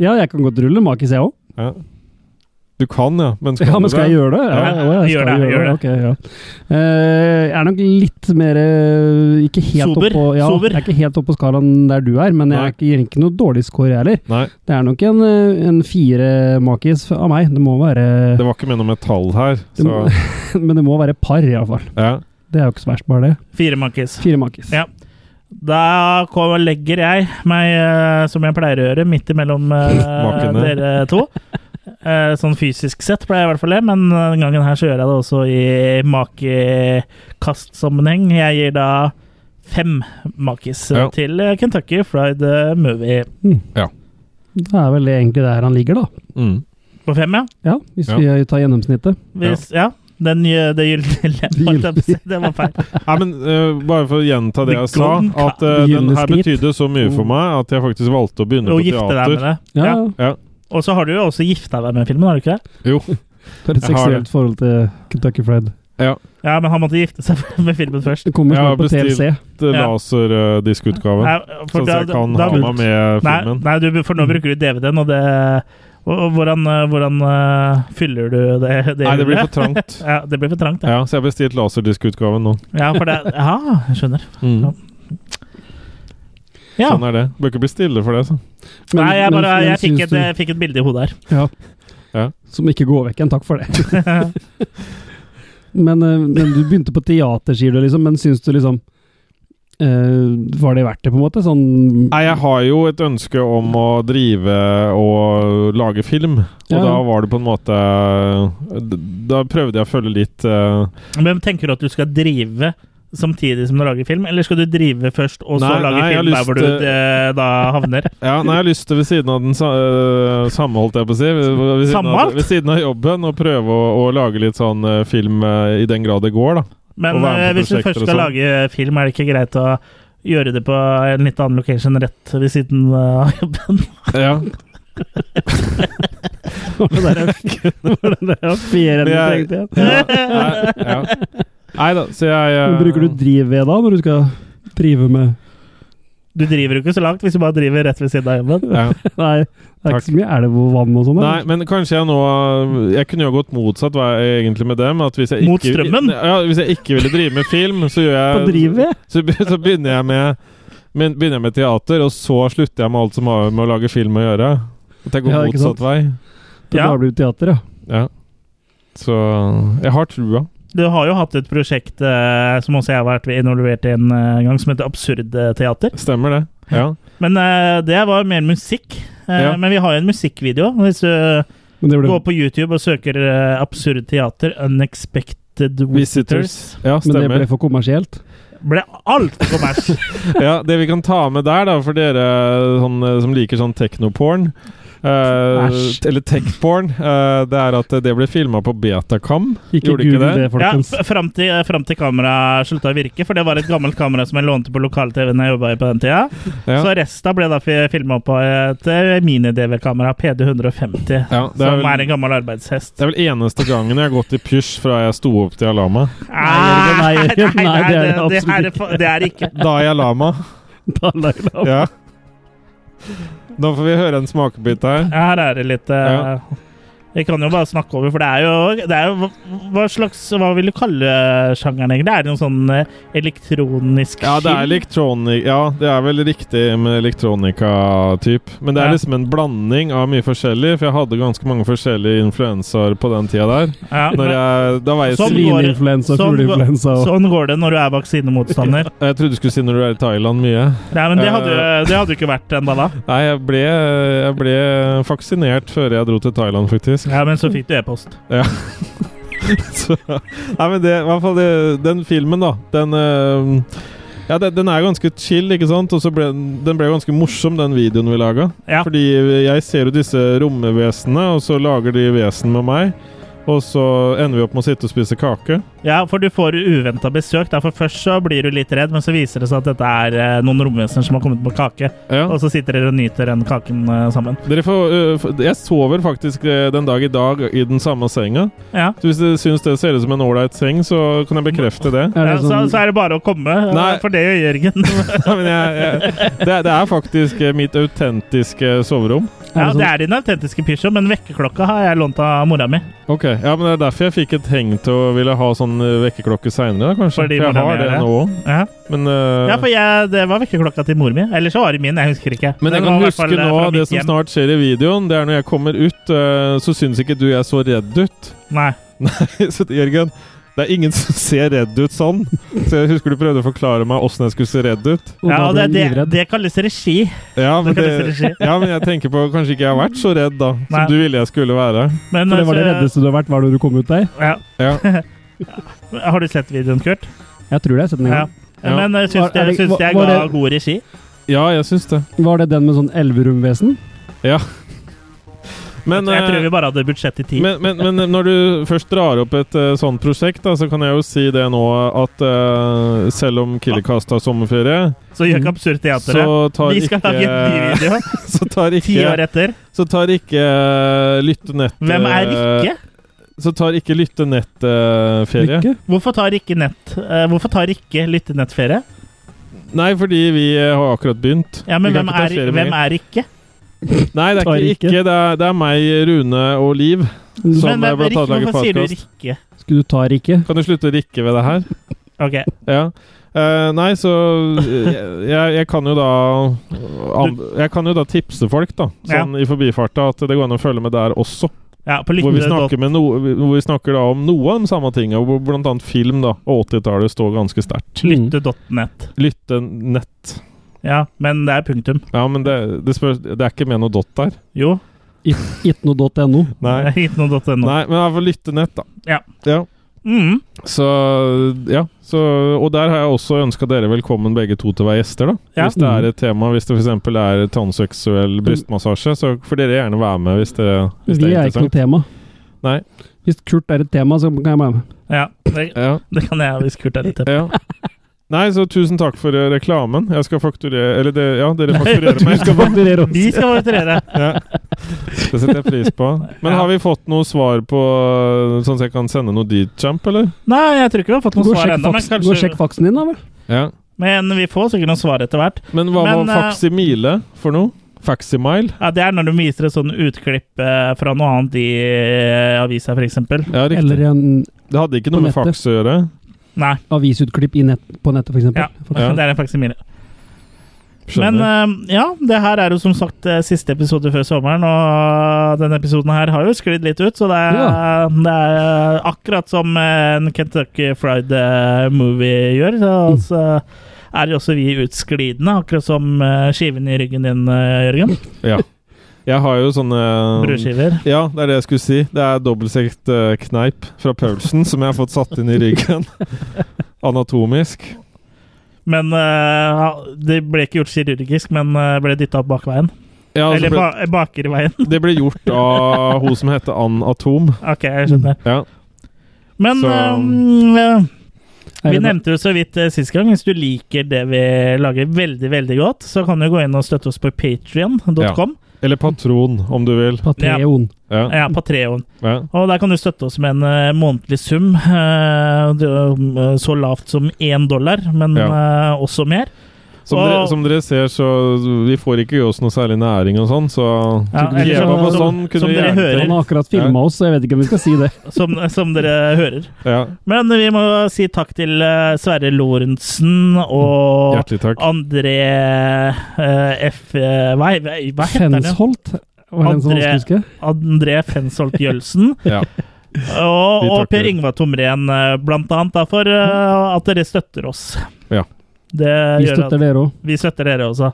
S3: Ja, jeg kan godt rulle makis, jeg òg.
S1: ja. Du kan, ja, men skal,
S3: Ja, men
S1: du det?
S3: skal jeg gjøre det?
S1: Ja,
S3: å, jeg
S2: gjør
S3: skal
S2: det, gjør det.
S3: Ok, ja. Eh, jeg er nok litt mer eh, Ikke helt
S2: Sober,
S3: opp på ja,
S2: sober.
S3: Jeg er ikke helt opp på skalaen der du er, men jeg
S1: Nei.
S3: er ikke, gir ikke noe dårlig score, jeg heller.
S1: Nei,
S3: Det er nok en, eh, en fire makis av meg. Det må være
S1: det var ikke med noe metall her,
S3: det
S1: så
S3: må, Men det må være par, iallfall.
S1: ja.
S3: Det er jo ikke så verst, bare det.
S2: Fire makis.
S3: Fire makis.
S2: Ja. Da kom- legger jeg meg, eh, som jeg pleier å gjøre, midt imellom eh,
S1: Makene.
S2: dere to. Eh, sånn fysisk sett pleier jeg i hvert fall det, men denne gangen her så gjør jeg det også i makekastsammenheng. Jeg gir da fem makis eh,
S1: Ja.
S2: til eh, Kentucky Fried eh, Movie.
S3: Det er vel egentlig der han ligger, da.
S1: mm.
S2: På fem, ja.
S3: Ja, Hvis vi tar gjennomsnittet.
S2: Hvis, ja. Den, gjør- det gyldige lem, holdt jeg på å si. Det var feil.
S1: Nei, men eh, Bare for å gjenta det
S2: The
S1: jeg sa,
S2: golden cow-
S1: at eh, den
S3: Gylne
S1: her
S3: skrit.
S1: betydde så mye for meg at jeg faktisk valgte å begynne
S2: Å
S1: på
S2: gifte deg med
S1: teater.
S2: det.
S3: Ja,
S2: Ja.
S3: ja.
S1: Ja.
S2: Og så har du jo også gifta deg med filmen, har du ikke det?
S1: Jo.
S3: Du har
S1: Jeg har
S3: et
S1: det.
S3: seksuelt forhold til Kentucky Fried.
S1: Ja.
S2: Ja, men han måtte gifte seg med filmen først.
S3: Det kommer
S1: Jeg har
S3: snart på
S1: bestilt-
S3: TLC.
S2: Ja.
S1: Laserdiskutgave.
S2: Nei,
S1: Sånn at jeg kan ha meg med
S2: nei,
S1: filmen. Mm.
S2: nei, du, for nå bruker du DVD-en, og det og, og hvordan, eh, hvordan eh, fyller du det? det
S1: Nei, det blir
S2: hullet?
S1: for trangt.
S2: ja, det blir for trangt, ja.
S1: Ja, så jeg har bestilt laserdiskutgaven nå.
S3: Mm.
S2: ja. for det, ja, jeg skjønner.
S1: Mm.
S2: Ja.
S1: Sånn er det. Bør ikke bli stille for det, så.
S3: Men-
S2: Nei, jeg,
S3: men-
S2: bare,
S3: men
S2: jeg, fikk
S3: synes
S2: et, jeg fikk et bilde i hodet her.
S3: Ja.
S1: Ja.
S3: Som ikke går vekk igjen. Takk for det. men, eh, men du begynte på teater, sier du, liksom. Men syns du liksom eh, Var det verdt det, på en måte? Sånn
S1: Nei, jeg har jo et ønske om å drive og lage film, og
S3: Ja, ja.
S1: da var det på en måte d- Da prøvde jeg å følge litt eh,
S2: Men tenker du at du skal drive samtidig som du lager film, eller skal du drive først og så
S1: Nei,
S2: lage
S1: nei, jeg har
S2: film der
S1: lyst
S2: hvor du
S1: til-
S2: eh, da havner?
S1: Ja, nei, jeg har lyst til ved siden av den sa- øh, samme, holdt jeg på å si. Ved, ved, siden av,
S2: Samhold?
S1: ved siden av jobben, og prøve å, å lage litt sånn øh, film øh, i den grad det går, da.
S2: Men
S1: Og være med
S2: eh,
S1: på
S2: hvis du
S1: prosjekter
S2: først
S1: og
S2: skal
S1: sånn.
S2: lage film, er det ikke greit å gjøre det på en litt annen location rett ved siden av jobben?
S1: Ja.
S3: var det der var det der fjerde du
S1: Jeg-
S3: tenkte igjen?
S1: ja, nei, ja. nei da, så jeg øh,
S2: eh,
S3: Men Bruker du driv ved da, når du skal drive med
S2: Du driver jo ikke så langt hvis du bare driver rett ved siden av jobben.
S1: ja.
S3: Nei, det er ikke så mye elv og vann og sånn?
S1: Nei,
S3: eller?
S1: men kanskje jeg nå Jeg kunne jo gått motsatt vei egentlig med dem. At hvis jeg
S2: Mot
S1: ikke,
S2: strømmen?
S1: Ja, hvis jeg ikke ville drive med film, så gjør
S2: eh,
S3: På
S1: jeg
S3: driv ved?
S1: Så, be- så begynner jeg med men begynner jeg med teater, og så slutter jeg med alt som har med å lage film å gjøre. At jeg går
S3: Ja, ikke sant?
S1: motsatt vei.
S3: Det
S2: Ja.
S3: da blir det teater, ja.
S1: Ja. Så jeg har trua.
S2: Du har jo hatt et prosjekt eh, som også jeg har vært involvert i en eh, gang, som heter Absurd eh, teater.
S1: Stemmer det. Ja.
S2: Men eh, det var mer musikk. Eh,
S1: Ja.
S2: Men vi har jo en musikkvideo. Hvis du
S3: Men det
S2: Gå
S3: ble,
S2: på YouTube og søker eh, Absurd teater, Unexpected Visitors.
S1: Visitors. Ja,
S3: men det ble
S1: stemmer.
S3: for kommersielt?
S2: Ble altfor kommers.
S1: Ja, det vi kan ta med der, da, for dere sånn, eh, som liker sånn teknoporn eh,
S3: Æsj.
S1: Eller tech-porn. eh, det er at det ble filma på Betacam.
S3: Ikke
S1: Gjorde ikke
S3: google
S1: det?
S3: det,
S2: ja,
S3: folkens.
S2: f- fram til, eh, fram til kameraet slutta å virke, for det var et gammelt kamera som jeg lånte på lokal-TV-en jeg jobba i på den tida.
S1: Ja.
S2: Så resta ble da filma på et eh, mini-DV-kamera, PD150,
S1: Ja, det er
S2: som
S1: vel-
S2: er en gammel arbeidshest.
S1: Det er vel eneste gangen jeg har gått i pysj fra jeg sto opp til jeg la meg.
S3: Nei, Jørgen, nei, Jørgen,
S2: nei,
S3: nei, det er det
S2: det, det,
S3: absolutt
S2: er, fa- det er ikke
S1: Da jeg la meg.
S3: Da la jeg det opp.
S1: Ja. Nå får vi høre en smakebit her.
S2: Her er det litt eh,
S1: Ja.
S2: Vi kan jo bare snakke over, for det er jo, det er jo hva- Hva slags Hva vil du kalle eh, sjangeren, egentlig? Er det noe sånn eh, elektronisk
S1: Ja, det er
S2: film?
S1: elektronik... Ja, det er vel riktig med elektronika-typ. Men det er
S2: Ja.
S1: liksom en blanding av mye forskjellig, for jeg hadde ganske mange forskjellige influensaer på den tida der.
S2: Ja, men-
S1: Når jeg, da var jeg,
S2: Sånn
S1: svin-
S2: går det. Sånn
S3: Svineinfluensa,
S2: går-
S3: fugleinfluensa og
S2: Sånn går det når du er vaksinemotstander.
S1: jeg trodde du skulle si når du er i Thailand mye.
S2: Nei, men det hadde, jo- det hadde jo ikke vært ennå da.
S1: Nei, jeg ble, jeg ble vaksinert før jeg dro til Thailand, faktisk.
S2: Ja, Men så fikk du e-post.
S1: Så, nei, men det, i hvert fall det, den filmen, da. Den eh, ja, den, den er ganske chill, ikke sant? Og så ble den- den ble ganske morsom, den videoen vi laga.
S2: Ja.
S1: Fordi jeg ser jo disse romvesenene, og så lager de vesen med meg. Og så ender vi opp med å sitte og spise kake.
S2: Ja, for du får uventa besøk. da, for først så blir du litt redd, men så viser det seg at dette er eh, noen romvesener som har kommet med kake.
S1: Ja.
S2: Og så sitter dere og nyter den kaken eh, sammen.
S1: Dere får, øh, f- jeg sover faktisk øh, den dag i dag i den samme senga.
S2: Ja.
S1: Så hvis dere syns det ser ut som en ålreit seng, så kan jeg bekrefte det.
S3: Er
S2: Ja,
S3: det
S2: så,
S3: sånn
S2: så er det bare å komme, eh,
S1: Nei.
S2: for det gjør Jørgen.
S1: Nei, men jeg, jeg, det, er- det er faktisk øh, mitt autentiske soverom.
S2: Ja,
S3: Er det
S2: det er din autentiske pysjo, men vekkerklokka har jeg lånt av mora mi.
S1: Ok, ja, men Det er derfor jeg fikk et heng til å ville ha sånn øh, vekkerklokke seinere, kanskje.
S2: Fordi
S1: For jeg
S2: hvordan
S1: har
S2: gjør
S1: det
S2: det?
S1: nå òg.
S2: Ja,
S1: Men, øh,
S2: for jeg, det var vekkerklokka til mor mi. Eller så var det min, jeg husker ikke.
S1: Men jeg
S2: Den
S1: kan
S2: var i hvert
S1: huske
S2: fall, eh,
S1: nå
S2: fra
S1: det
S2: mitt
S1: som
S2: hjem.
S1: snart skjer i videoen. Det er når jeg kommer ut, eh, så syns ikke du jeg så redd ut.
S2: Nei.
S1: så Jørgen, det er ingen som ser redd ut sånn. Så jeg husker du prøvde å forklare meg åssen jeg skulle se redd ut.
S3: Og
S2: Ja,
S3: da
S2: og
S3: ble
S2: det,
S3: jeg
S2: det,
S3: livredd.
S2: det kalles regi.
S1: Ja, men,
S2: Det kan du
S1: det,
S2: si.
S1: ja, men jeg tenker på kanskje ikke jeg har vært så redd, da. Som
S2: Nei.
S1: du ville jeg skulle være.
S2: Men,
S3: For det var det
S2: eh, så-
S3: reddeste du har vært, var det du kom ut der?
S2: Ja.
S1: Ja.
S2: Har du sett videoen, Kurt?
S3: Jeg tror det, jeg har sett den en
S2: Ja.
S3: gang.
S1: Ja.
S2: Men eh,
S3: Var-
S2: syns
S3: er
S2: jeg,
S3: det-
S2: syns
S3: var-
S2: jeg
S3: var
S2: ga
S3: det-
S2: god regi?
S1: ja, jeg syns det.
S3: Var det den med sånn elveromvesen?
S1: Ja. Men,
S2: jeg tror
S1: eh,
S2: vi bare hadde budsjett i tid.
S1: men, men, men når du først drar opp et eh, sånt prosjekt, da, så kan jeg jo si det nå at eh, selv om Killercast har sommerferie,
S2: så gjør ikke absurd teateret.
S1: så tar
S2: Vi skal
S1: ikke
S2: lage en ny video
S1: Så tar
S2: ti
S1: ikke
S2: år etter.
S1: Så tar ikke eh, lyttenett...
S2: Hvem er
S1: eh,
S2: Rikke?
S1: Så tar ikke eh, lyttenett-ferie.
S3: Lykke?
S2: Hvorfor tar Rikke nett eh, Hvorfor tar Rikke lyttenettferie?
S1: Nei, fordi vi eh, har akkurat begynt.
S2: Ja, men
S1: Vi kan
S2: hvem
S1: ikke ta
S2: er,
S1: ferie med
S2: hvem
S1: en gang.
S2: er Rikke?
S1: Nei, det er
S3: Tar
S1: ikke
S3: ikke.
S1: Rikke. Det er, det er meg, Rune og Liv som
S2: Men
S1: eh,
S2: hvem er
S1: blant
S2: Rikke?
S1: annet lager
S2: Hvorfor sier du
S1: podkast.
S2: Rikke?
S3: Skulle du ta Rikke?
S1: Kan du slutte å rikke ved det her?
S2: Ok,
S1: Ja. Eh, nei, så jeg, jeg, jeg kan jo da an- Jeg kan jo da tipse folk, da, sånn i forbifarta, at det går an å følge med der også.
S2: Ja, på
S1: Hvor vi,
S2: lyttende-
S1: snakker med no, hvor vi snakker da om noe av de samme tinga, hvor bl.a. film da, og 80-tallet står ganske sterkt.
S2: Lytte.net.
S1: Lyttenett.
S2: Ja, men det er punktum.
S1: Ja, men det, det, spørs, det er ikke med noe dott der.
S2: Jo.
S3: Itno.no.
S1: Nei.
S2: Hitno.no.
S1: Nei, men det er for lyttenett, da.
S2: Ja.
S1: Ja.
S2: Mm.
S1: Så ja. Så, og der har jeg også ønska dere velkommen begge to til å være gjester, da.
S2: Ja. Mm.
S1: Hvis det er et tema, hvis det f.eks. er tannseksuell brystmassasje, så får dere gjerne være med hvis, dere, hvis
S3: Vi
S1: det
S3: er
S1: er
S3: ikke noe
S1: interessant.
S3: tema.
S1: Nei.
S3: Hvis Kurt er et tema, så kan jeg være med.
S2: Ja, det,
S1: Ja.
S2: det kan jeg hvis Kurt er litt tett.
S1: ja. Nei, så tusen takk for eh, reklamen. Jeg skal fakturere Eller det, ja, dere fakturerer meg.
S3: skal fakturere oss.
S2: Vi skal fakturere.
S1: Ja. Det setter jeg pris på. Men
S2: Ja.
S1: har vi fått noe svar på eh, Sånn at jeg kan sende noe Deedchamp, eller?
S2: Nei, jeg tror ikke vi har fått
S3: Gå
S2: noe
S3: og
S2: svar
S3: sjekk
S2: ennå, men
S3: faksen- gå og sjekk
S2: kanskje
S3: faksen din, da vel.
S1: Ja.
S2: Men vi får sikkert noe svar etter hvert.
S1: Men hva
S2: Men,
S1: var
S2: eh,
S1: faksimile for noe? Facsimile?
S2: Ja, Det er når de viser et sånn utklipp eh, fra noe annet i eh, avisa, f.eks.
S1: Ja, riktig.
S3: Eller en
S1: Det hadde ikke
S3: på
S1: noe med
S3: nettet.
S1: faks å gjøre.
S2: Nei.
S3: avisutklipp i nett, på nettet, f.eks.
S2: Ja,
S1: Ja.
S2: det er en faksimile. Men
S1: Skjønner.
S2: eh, ja, det her er jo som sagt eh, siste episode før sommeren, og denne episoden her har jo sklidd litt ut, så det er, det er akkurat som eh, en Kentucky Fried eh, Movie gjør, så,
S1: Mm.
S2: så er jo også vi utsklidende, akkurat som eh, skiven i ryggen din, eh, Jørgen.
S1: ja. Jeg har jo sånne
S2: Brødskiver.
S1: Ja, det er det jeg skulle si. Det er dobbeltsekt eh, kneip fra Paulsen som jeg har fått satt inn i ryggen. Anatomisk.
S2: Men eh, ja, det ble ikke gjort kirurgisk, men eh, ble dytta opp bakveien.
S1: Ja, altså,
S2: Eller
S1: ble,
S2: ba bakerveien.
S1: det ble gjort av hun som heter Ann Atom.
S2: ok, jeg skjønner.
S1: Ja.
S2: Men
S1: Så-
S2: eh, eh,
S3: Er
S2: Vi
S3: det-
S2: nevnte jo så vidt eh, sist gang. Hvis du liker det vi lager veldig, veldig godt, så kan du gå inn og støtte oss på patrion.com.
S1: Eller patron, om du vil.
S3: Patreon.
S1: Ja.
S2: Ja. på Patreon.
S1: ja.
S2: Og der kan du støtte oss med en eh, månedlig sum. eh, det er, eh, så lavt som én dollar, men eh, også mer.
S1: Som,
S2: Og-
S1: dere, som dere ser, så vi får ikke gi oss noe særlig næring og sånn, så
S2: Ja,
S1: Kunne vi
S2: eller
S1: leva
S2: som-
S1: på
S2: som-
S1: sånn, kunne
S2: som
S1: vi
S2: dere
S1: gjerne
S2: hører.
S3: Han har akkurat filma oss, så jeg vet ikke om vi skal si det.
S2: Som, som dere hører.
S1: Ja,
S2: Men vi må si takk til eh, Sverre Lorentzen og
S1: hjertelig takk.
S2: André eh, F... eh, Hva, hva heter han? igjen?
S3: Fensholt var det en som
S2: André-
S3: vanskelig å huske.
S2: André Fensholt Jølsen.
S1: Ja. Vi
S2: Og, og
S1: takker.
S2: Per Yngvar Tomren, eh, blant annet, da, for eh, at dere støtter oss.
S1: Ja.
S2: Det
S3: Vi
S2: gjør
S3: støtter
S2: at
S3: dere òg.
S2: vi støtter dere også.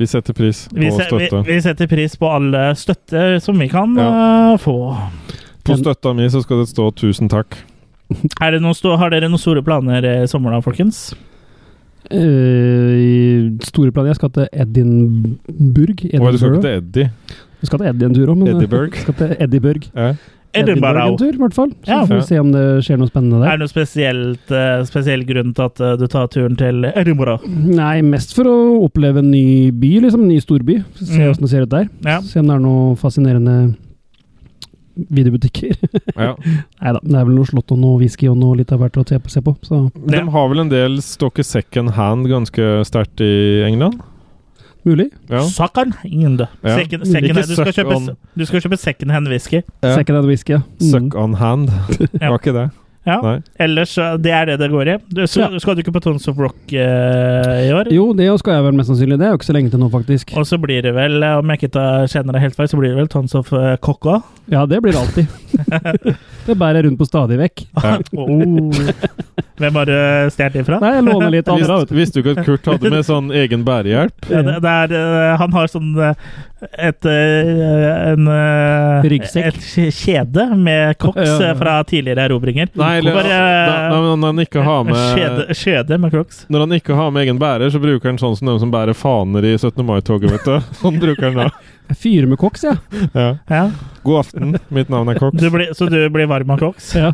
S1: Vi setter pris på
S2: Vi, se, vi,
S1: støtte.
S2: vi setter pris på alle støtte som vi kan eh, få.
S1: På støtta mi så skal det stå 'tusen takk'.
S2: Er det noen sto, har dere noen store planer i sommer, da, folkens?
S3: store planer. Eh, Jeg skal til Edinburgh.
S1: Å, du skal ikke
S3: Edinburgh.
S1: til Eddie?
S3: Jeg skal til Eddie en tur òg, men
S1: Edinburgh?
S3: jeg skal til Edinburgh.
S1: Ja.
S2: Edinburgh.
S3: en tur, i hvert fall. Så
S2: Ja.
S3: får vi se om det skjer noe spennende
S2: Er
S3: der.
S2: det noen spesielt, eh, spesiell grunn til at eh, du tar turen til Edinburgh?
S3: Nei, mest for å oppleve en ny by, liksom. En ny storby. Se
S2: Mm.
S3: åssen det ser ut der.
S2: Ja.
S3: Se om det er noe fascinerende videobutikker.
S1: Ja.
S3: Nei da, det er vel noe slott og noe whisky og noe litt av hvert å se på. Se på så
S1: De har vel en del stokke second hand ganske sterkt i England?
S3: mulig.
S1: Ja.
S2: Sakan? Ingen død.
S1: Ja.
S2: Second, second,
S1: Ikke
S2: du, skal
S1: suck
S2: kjøpe,
S1: on.
S2: du skal kjøpe second hand whisky.
S1: Ja.
S3: Second hand whisky, ja. Mm.
S1: Suck on hand. Var ikke det?
S2: Ja.
S1: Nei.
S2: Ellers, eh, det er det det går i. Du, så,
S3: Ja.
S2: Skal du ikke på Tons of Rock eh, i år?
S3: Jo, det skal jeg vel mest sannsynlig. Det er jo ikke så lenge til nå, faktisk.
S2: Og så blir det vel, eh, om jeg ikke tar- kjenner det helt feil, så blir det vel Tons of eh, Coco.
S3: Ja, det blir det alltid. det bærer jeg rundt på stadig vekk.
S2: Oh. Hvem har du stjålet ifra?
S3: Nei, jeg låner litt andre.
S1: Visste, visste du ikke at Kurt hadde med sånn egen bærehjelp?
S2: Ja, det, det er, eh, han har sånn eh, et eh, en, eh,
S3: Ryggsekk.
S2: Et kje- kjede med koks
S3: Ja, ja, ja.
S2: eh, fra tidligere erobringer.
S1: Nei, eller
S2: Bare,
S1: Nei,
S2: eh,
S1: men når han ikke har med
S2: Skjede, skjede med crocs.
S1: Når han ikke har med egen bærer, så bruker han sånn som de som bærer faner i 17. mai-toget, vet du. Sånn bruker han da.
S3: Jeg fyrer med koks, jeg.
S1: Ja.
S2: Ja.
S1: God aften, mitt navn er Cox.
S2: Du blir, så du blir varm av crocs?
S3: Ja.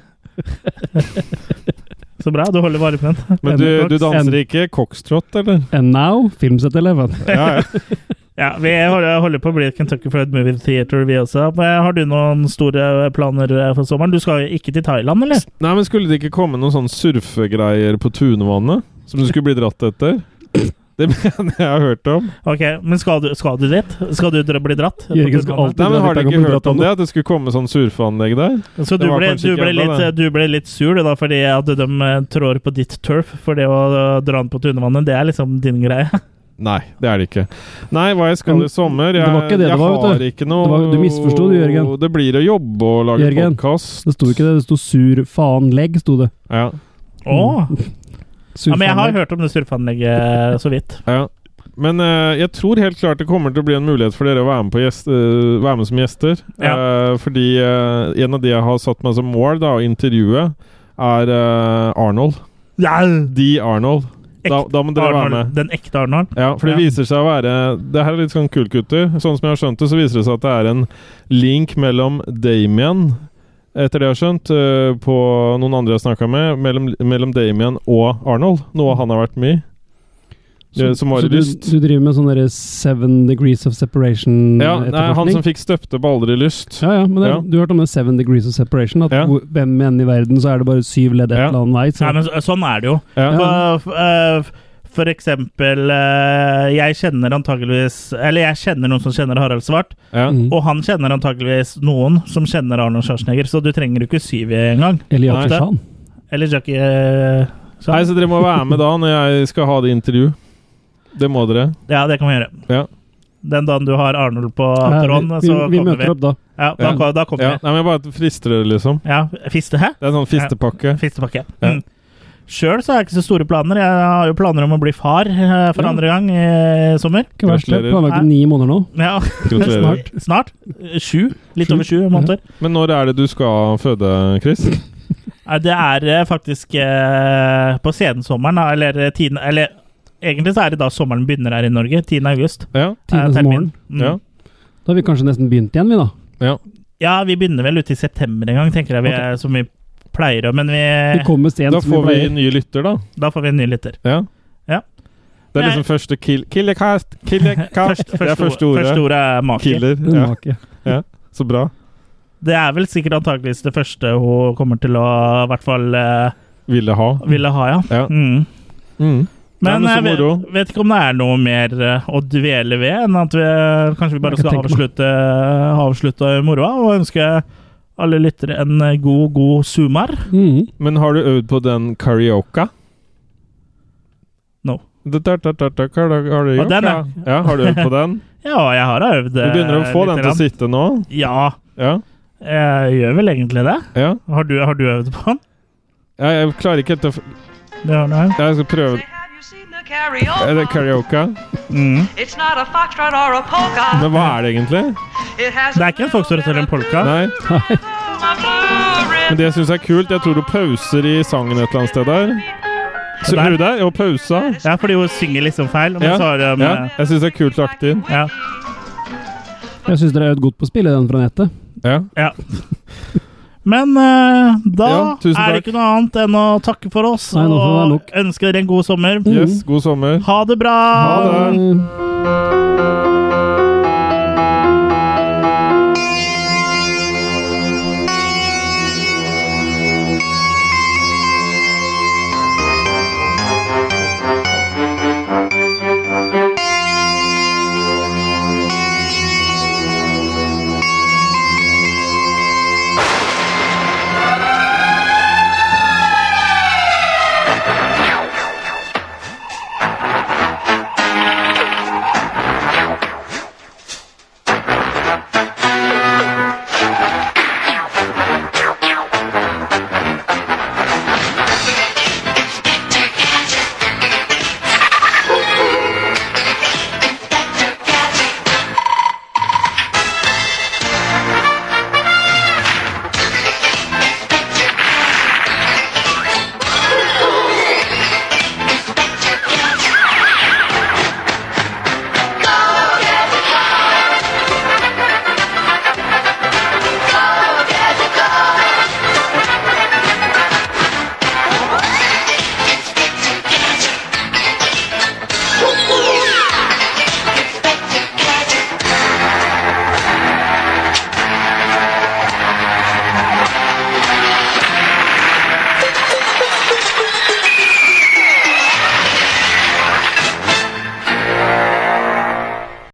S2: Så bra, du holder varmen.
S1: Men du, du danser ikke coxtrot, eller?
S3: And now, Filmset Eleven.
S1: Ja, ja.
S2: Ja, Vi holder, holder på å bli et Kentucky Fried Movie Theater, vi også. Men eh, Har du noen store eh, planer for sommeren? Du skal jo ikke til Thailand, eller?
S1: Nei, sånn men skulle det ikke komme noen sånne surfegreier på Tunvannet? Som du skulle bli dratt etter? Det mener jeg jeg har hørt om.
S2: Ok, Men skal du, skal du dit? Skal du dra- bli dratt?
S3: Jørgen skal alltid
S1: Nei, men Har
S3: dra
S1: dere
S3: dit,
S1: ikke
S3: jeg kommer
S1: hørt
S3: til å
S1: om
S3: dra
S1: det? At det skulle komme sånn surfeanlegg der?
S2: Så du
S1: Det var
S2: ble,
S1: kanskje
S2: du,
S1: ikke
S2: ble
S1: enda
S2: litt, eh,
S1: det.
S2: du ble litt sur du, da, fordi at de eh, trår på ditt turf for det å eh, dra den på tunvannet? Det er liksom din greie?
S1: Nei, det er det ikke. Nei, hva jeg skal
S3: Men
S1: i sommer?
S3: det
S1: Jeg,
S3: var ikke det
S1: jeg
S3: det var, vet
S1: har
S3: du.
S1: ikke noe
S3: Det var- du misforsto, du, Jørgen.
S1: Det blir å jobbe og lage
S3: Jørgen.
S1: podkast.
S3: Det sto ikke det, det sto sur faen legg, sto det.
S1: Ja. Mm.
S2: Å!
S3: Sur
S2: Ja, men jeg
S3: faen
S2: har
S3: legg.
S2: hørt om det surfeanlegget så vidt.
S1: ja. Men eh, jeg tror helt klart det kommer til å bli en mulighet for dere å være med, på gjest, eh, være med som gjester. Eh, fordi eh, en av de jeg har satt meg som mål da, å intervjue, er eh, Arnold.
S2: Ja,
S1: De Arnold. Da, da må dere være
S2: Arnold,
S1: med.
S2: den ekte Arnold.
S1: Ja, for det
S2: Ja.
S1: viser seg å være Det her er litt sånn kult, gutter. Sånn som jeg har skjønt det, så viser det seg at det er en link mellom Damien etter det jeg har skjønt, eh, på noen andre jeg har snakka med, mellom, mellom Damien og Arnold. Noe han har vært med i. eh, Som var
S3: så
S1: i lyst.
S3: Du, du driver med sånn derre seven degrees of separation
S1: Ja, nei, han som
S3: etterforskning?
S1: fikk støpte baller i lyst.
S3: Ja, ja, men det,
S1: Ja.
S3: du hørte om det seven degrees of separation? At
S1: Ja.
S3: hvor- hvem enn i verden, så er det bare syv ledd et
S1: Ja.
S3: eller annet vei. Så.
S2: Nei, men så- sånn er det jo.
S1: Ja.
S2: For, eh, for eksempel eh, Jeg kjenner antageligvis Eller jeg kjenner noen som kjenner Harald Svart,
S1: Ja.
S3: Mm.
S2: og han kjenner antageligvis noen som kjenner Arnold Schwarzenegger, så du trenger jo ikke syv engang.
S3: Eller
S1: Nei.
S3: Yakuza.
S2: Eller Jackie eh, Chan.
S1: Nei, så dere må være med da, når jeg skal ha det intervju. Det må dere.
S2: Ja, det kan vi gjøre.
S1: Ja.
S2: Den dagen du har Arnold på
S3: Ja,
S2: tråden,
S1: altså,
S3: vi,
S2: så
S3: vi, vi
S2: kommer vi.
S3: møter opp da.
S2: Ja, da,
S1: Ja.
S2: da kommer
S1: Ja, nei, men jeg bare frister dere, liksom.
S2: vi. Ja, fiste, hæ?
S1: Det er en sånn fistepakke.
S2: Fistepakke.
S1: Ja.
S2: Mm. Sjøl så har jeg ikke så store planer. Jeg har jo planer om å bli far eh, for
S3: Ja.
S2: andre gang i sommer.
S3: Ikke verst. det er
S1: Gratulerer.
S3: Planlagt i ni måneder nå.
S2: Ja,
S1: Gratulerer.
S3: Snart.
S2: Snart. Sju. Litt
S3: Sju.
S2: over sju måneder.
S1: Men når er det du skal føde, Chris?
S2: Nei, Det er eh, faktisk eh, på sensommeren, da, eller eh, tiden Eller egentlig så er det da sommeren begynner her i Norge. 10. august.
S1: Ja.
S2: er
S3: Tidenes
S2: termin.
S3: morgen.
S2: Mm.
S1: Ja.
S3: Da har vi kanskje nesten begynt igjen, vi da.
S1: ja.
S2: Ja, vi begynner vel ute i september en gang, tenker jeg, vi
S3: Ok.
S2: er, som vi pleier å Men vi,
S3: Vi kommer sent.
S1: Eh, Da
S3: som vi
S1: får vi
S3: pleier.
S1: nye lytter, da.
S2: da får vi en ny lytter.
S1: Ja.
S2: Ja.
S1: Det er
S2: Nei.
S1: liksom første kill Killercast! Killercast!
S2: Første,
S1: det er første ordet.
S2: første ordet er maki.
S1: Killer.
S3: En
S1: Ja.
S3: make.
S1: Så bra.
S2: Det er vel sikkert antakeligvis det første hun kommer til å i hvert fall eh,
S1: Ville ha.
S2: ville ha, ja.
S1: Ja.
S2: Mm.
S1: Mm.
S2: Men
S1: Nei, men så
S2: jeg vet,
S1: moro.
S2: vet ikke om det er noe mer eh, å dvele ved enn at vi eh, kanskje vi bare
S3: Jeg kan
S2: skal
S3: tenke meg.
S2: avslutte, avslutte moroa og ønske alle lyttere en eh, god, god sumar.
S3: Mhm.
S1: Men har du øvd på den karaoke?
S2: No.
S1: Det der, der, der, der, der, der, har du
S2: Ja,
S1: gjort,
S2: den,
S1: ja. ja, har du øvd på den?
S2: Ja, jeg har øvd.
S1: Du
S2: eh,
S1: begynner å få
S2: lite
S1: den til å
S2: grann.
S1: sitte nå?
S2: Ja,
S1: Ja.
S2: jeg gjør vel egentlig det.
S1: ja.
S2: Har du, har du øvd på den?
S1: Jeg, jeg klarer ikke helt å f-
S2: Det har du.
S1: Jeg skal
S11: Have
S1: prøve
S11: you seen the karaoke?
S1: Er det karaoke?
S2: Mm.
S11: It's not a foxtrot or a polka.
S1: Men hva er det egentlig?
S11: It has
S2: Det er ikke en foxtrot eller en polka.
S1: Nei.
S11: Men
S1: Men det jeg syns er kult, jeg tror du pauser i sangen et eller annet sted der. Ser du det? Jo, pausa.
S2: Ja, fordi hun synger liksom feil. Men
S1: Ja.
S2: så har de,
S1: ja.
S2: eh,
S1: Jeg syns det er kult lagt inn.
S2: ja.
S3: Jeg syns dere har øvd godt på å spille den fra nettet.
S1: Ja.
S2: Ja. Men eh, da
S1: Ja, tusen
S2: er det
S1: takk.
S2: ikke noe annet enn å takke for oss
S3: Nei, nå får det være
S2: og
S3: nok.
S2: ønske dere en god sommer.
S1: Yes, god sommer.
S2: Ha det bra!
S1: Ha det.
S3: Eh,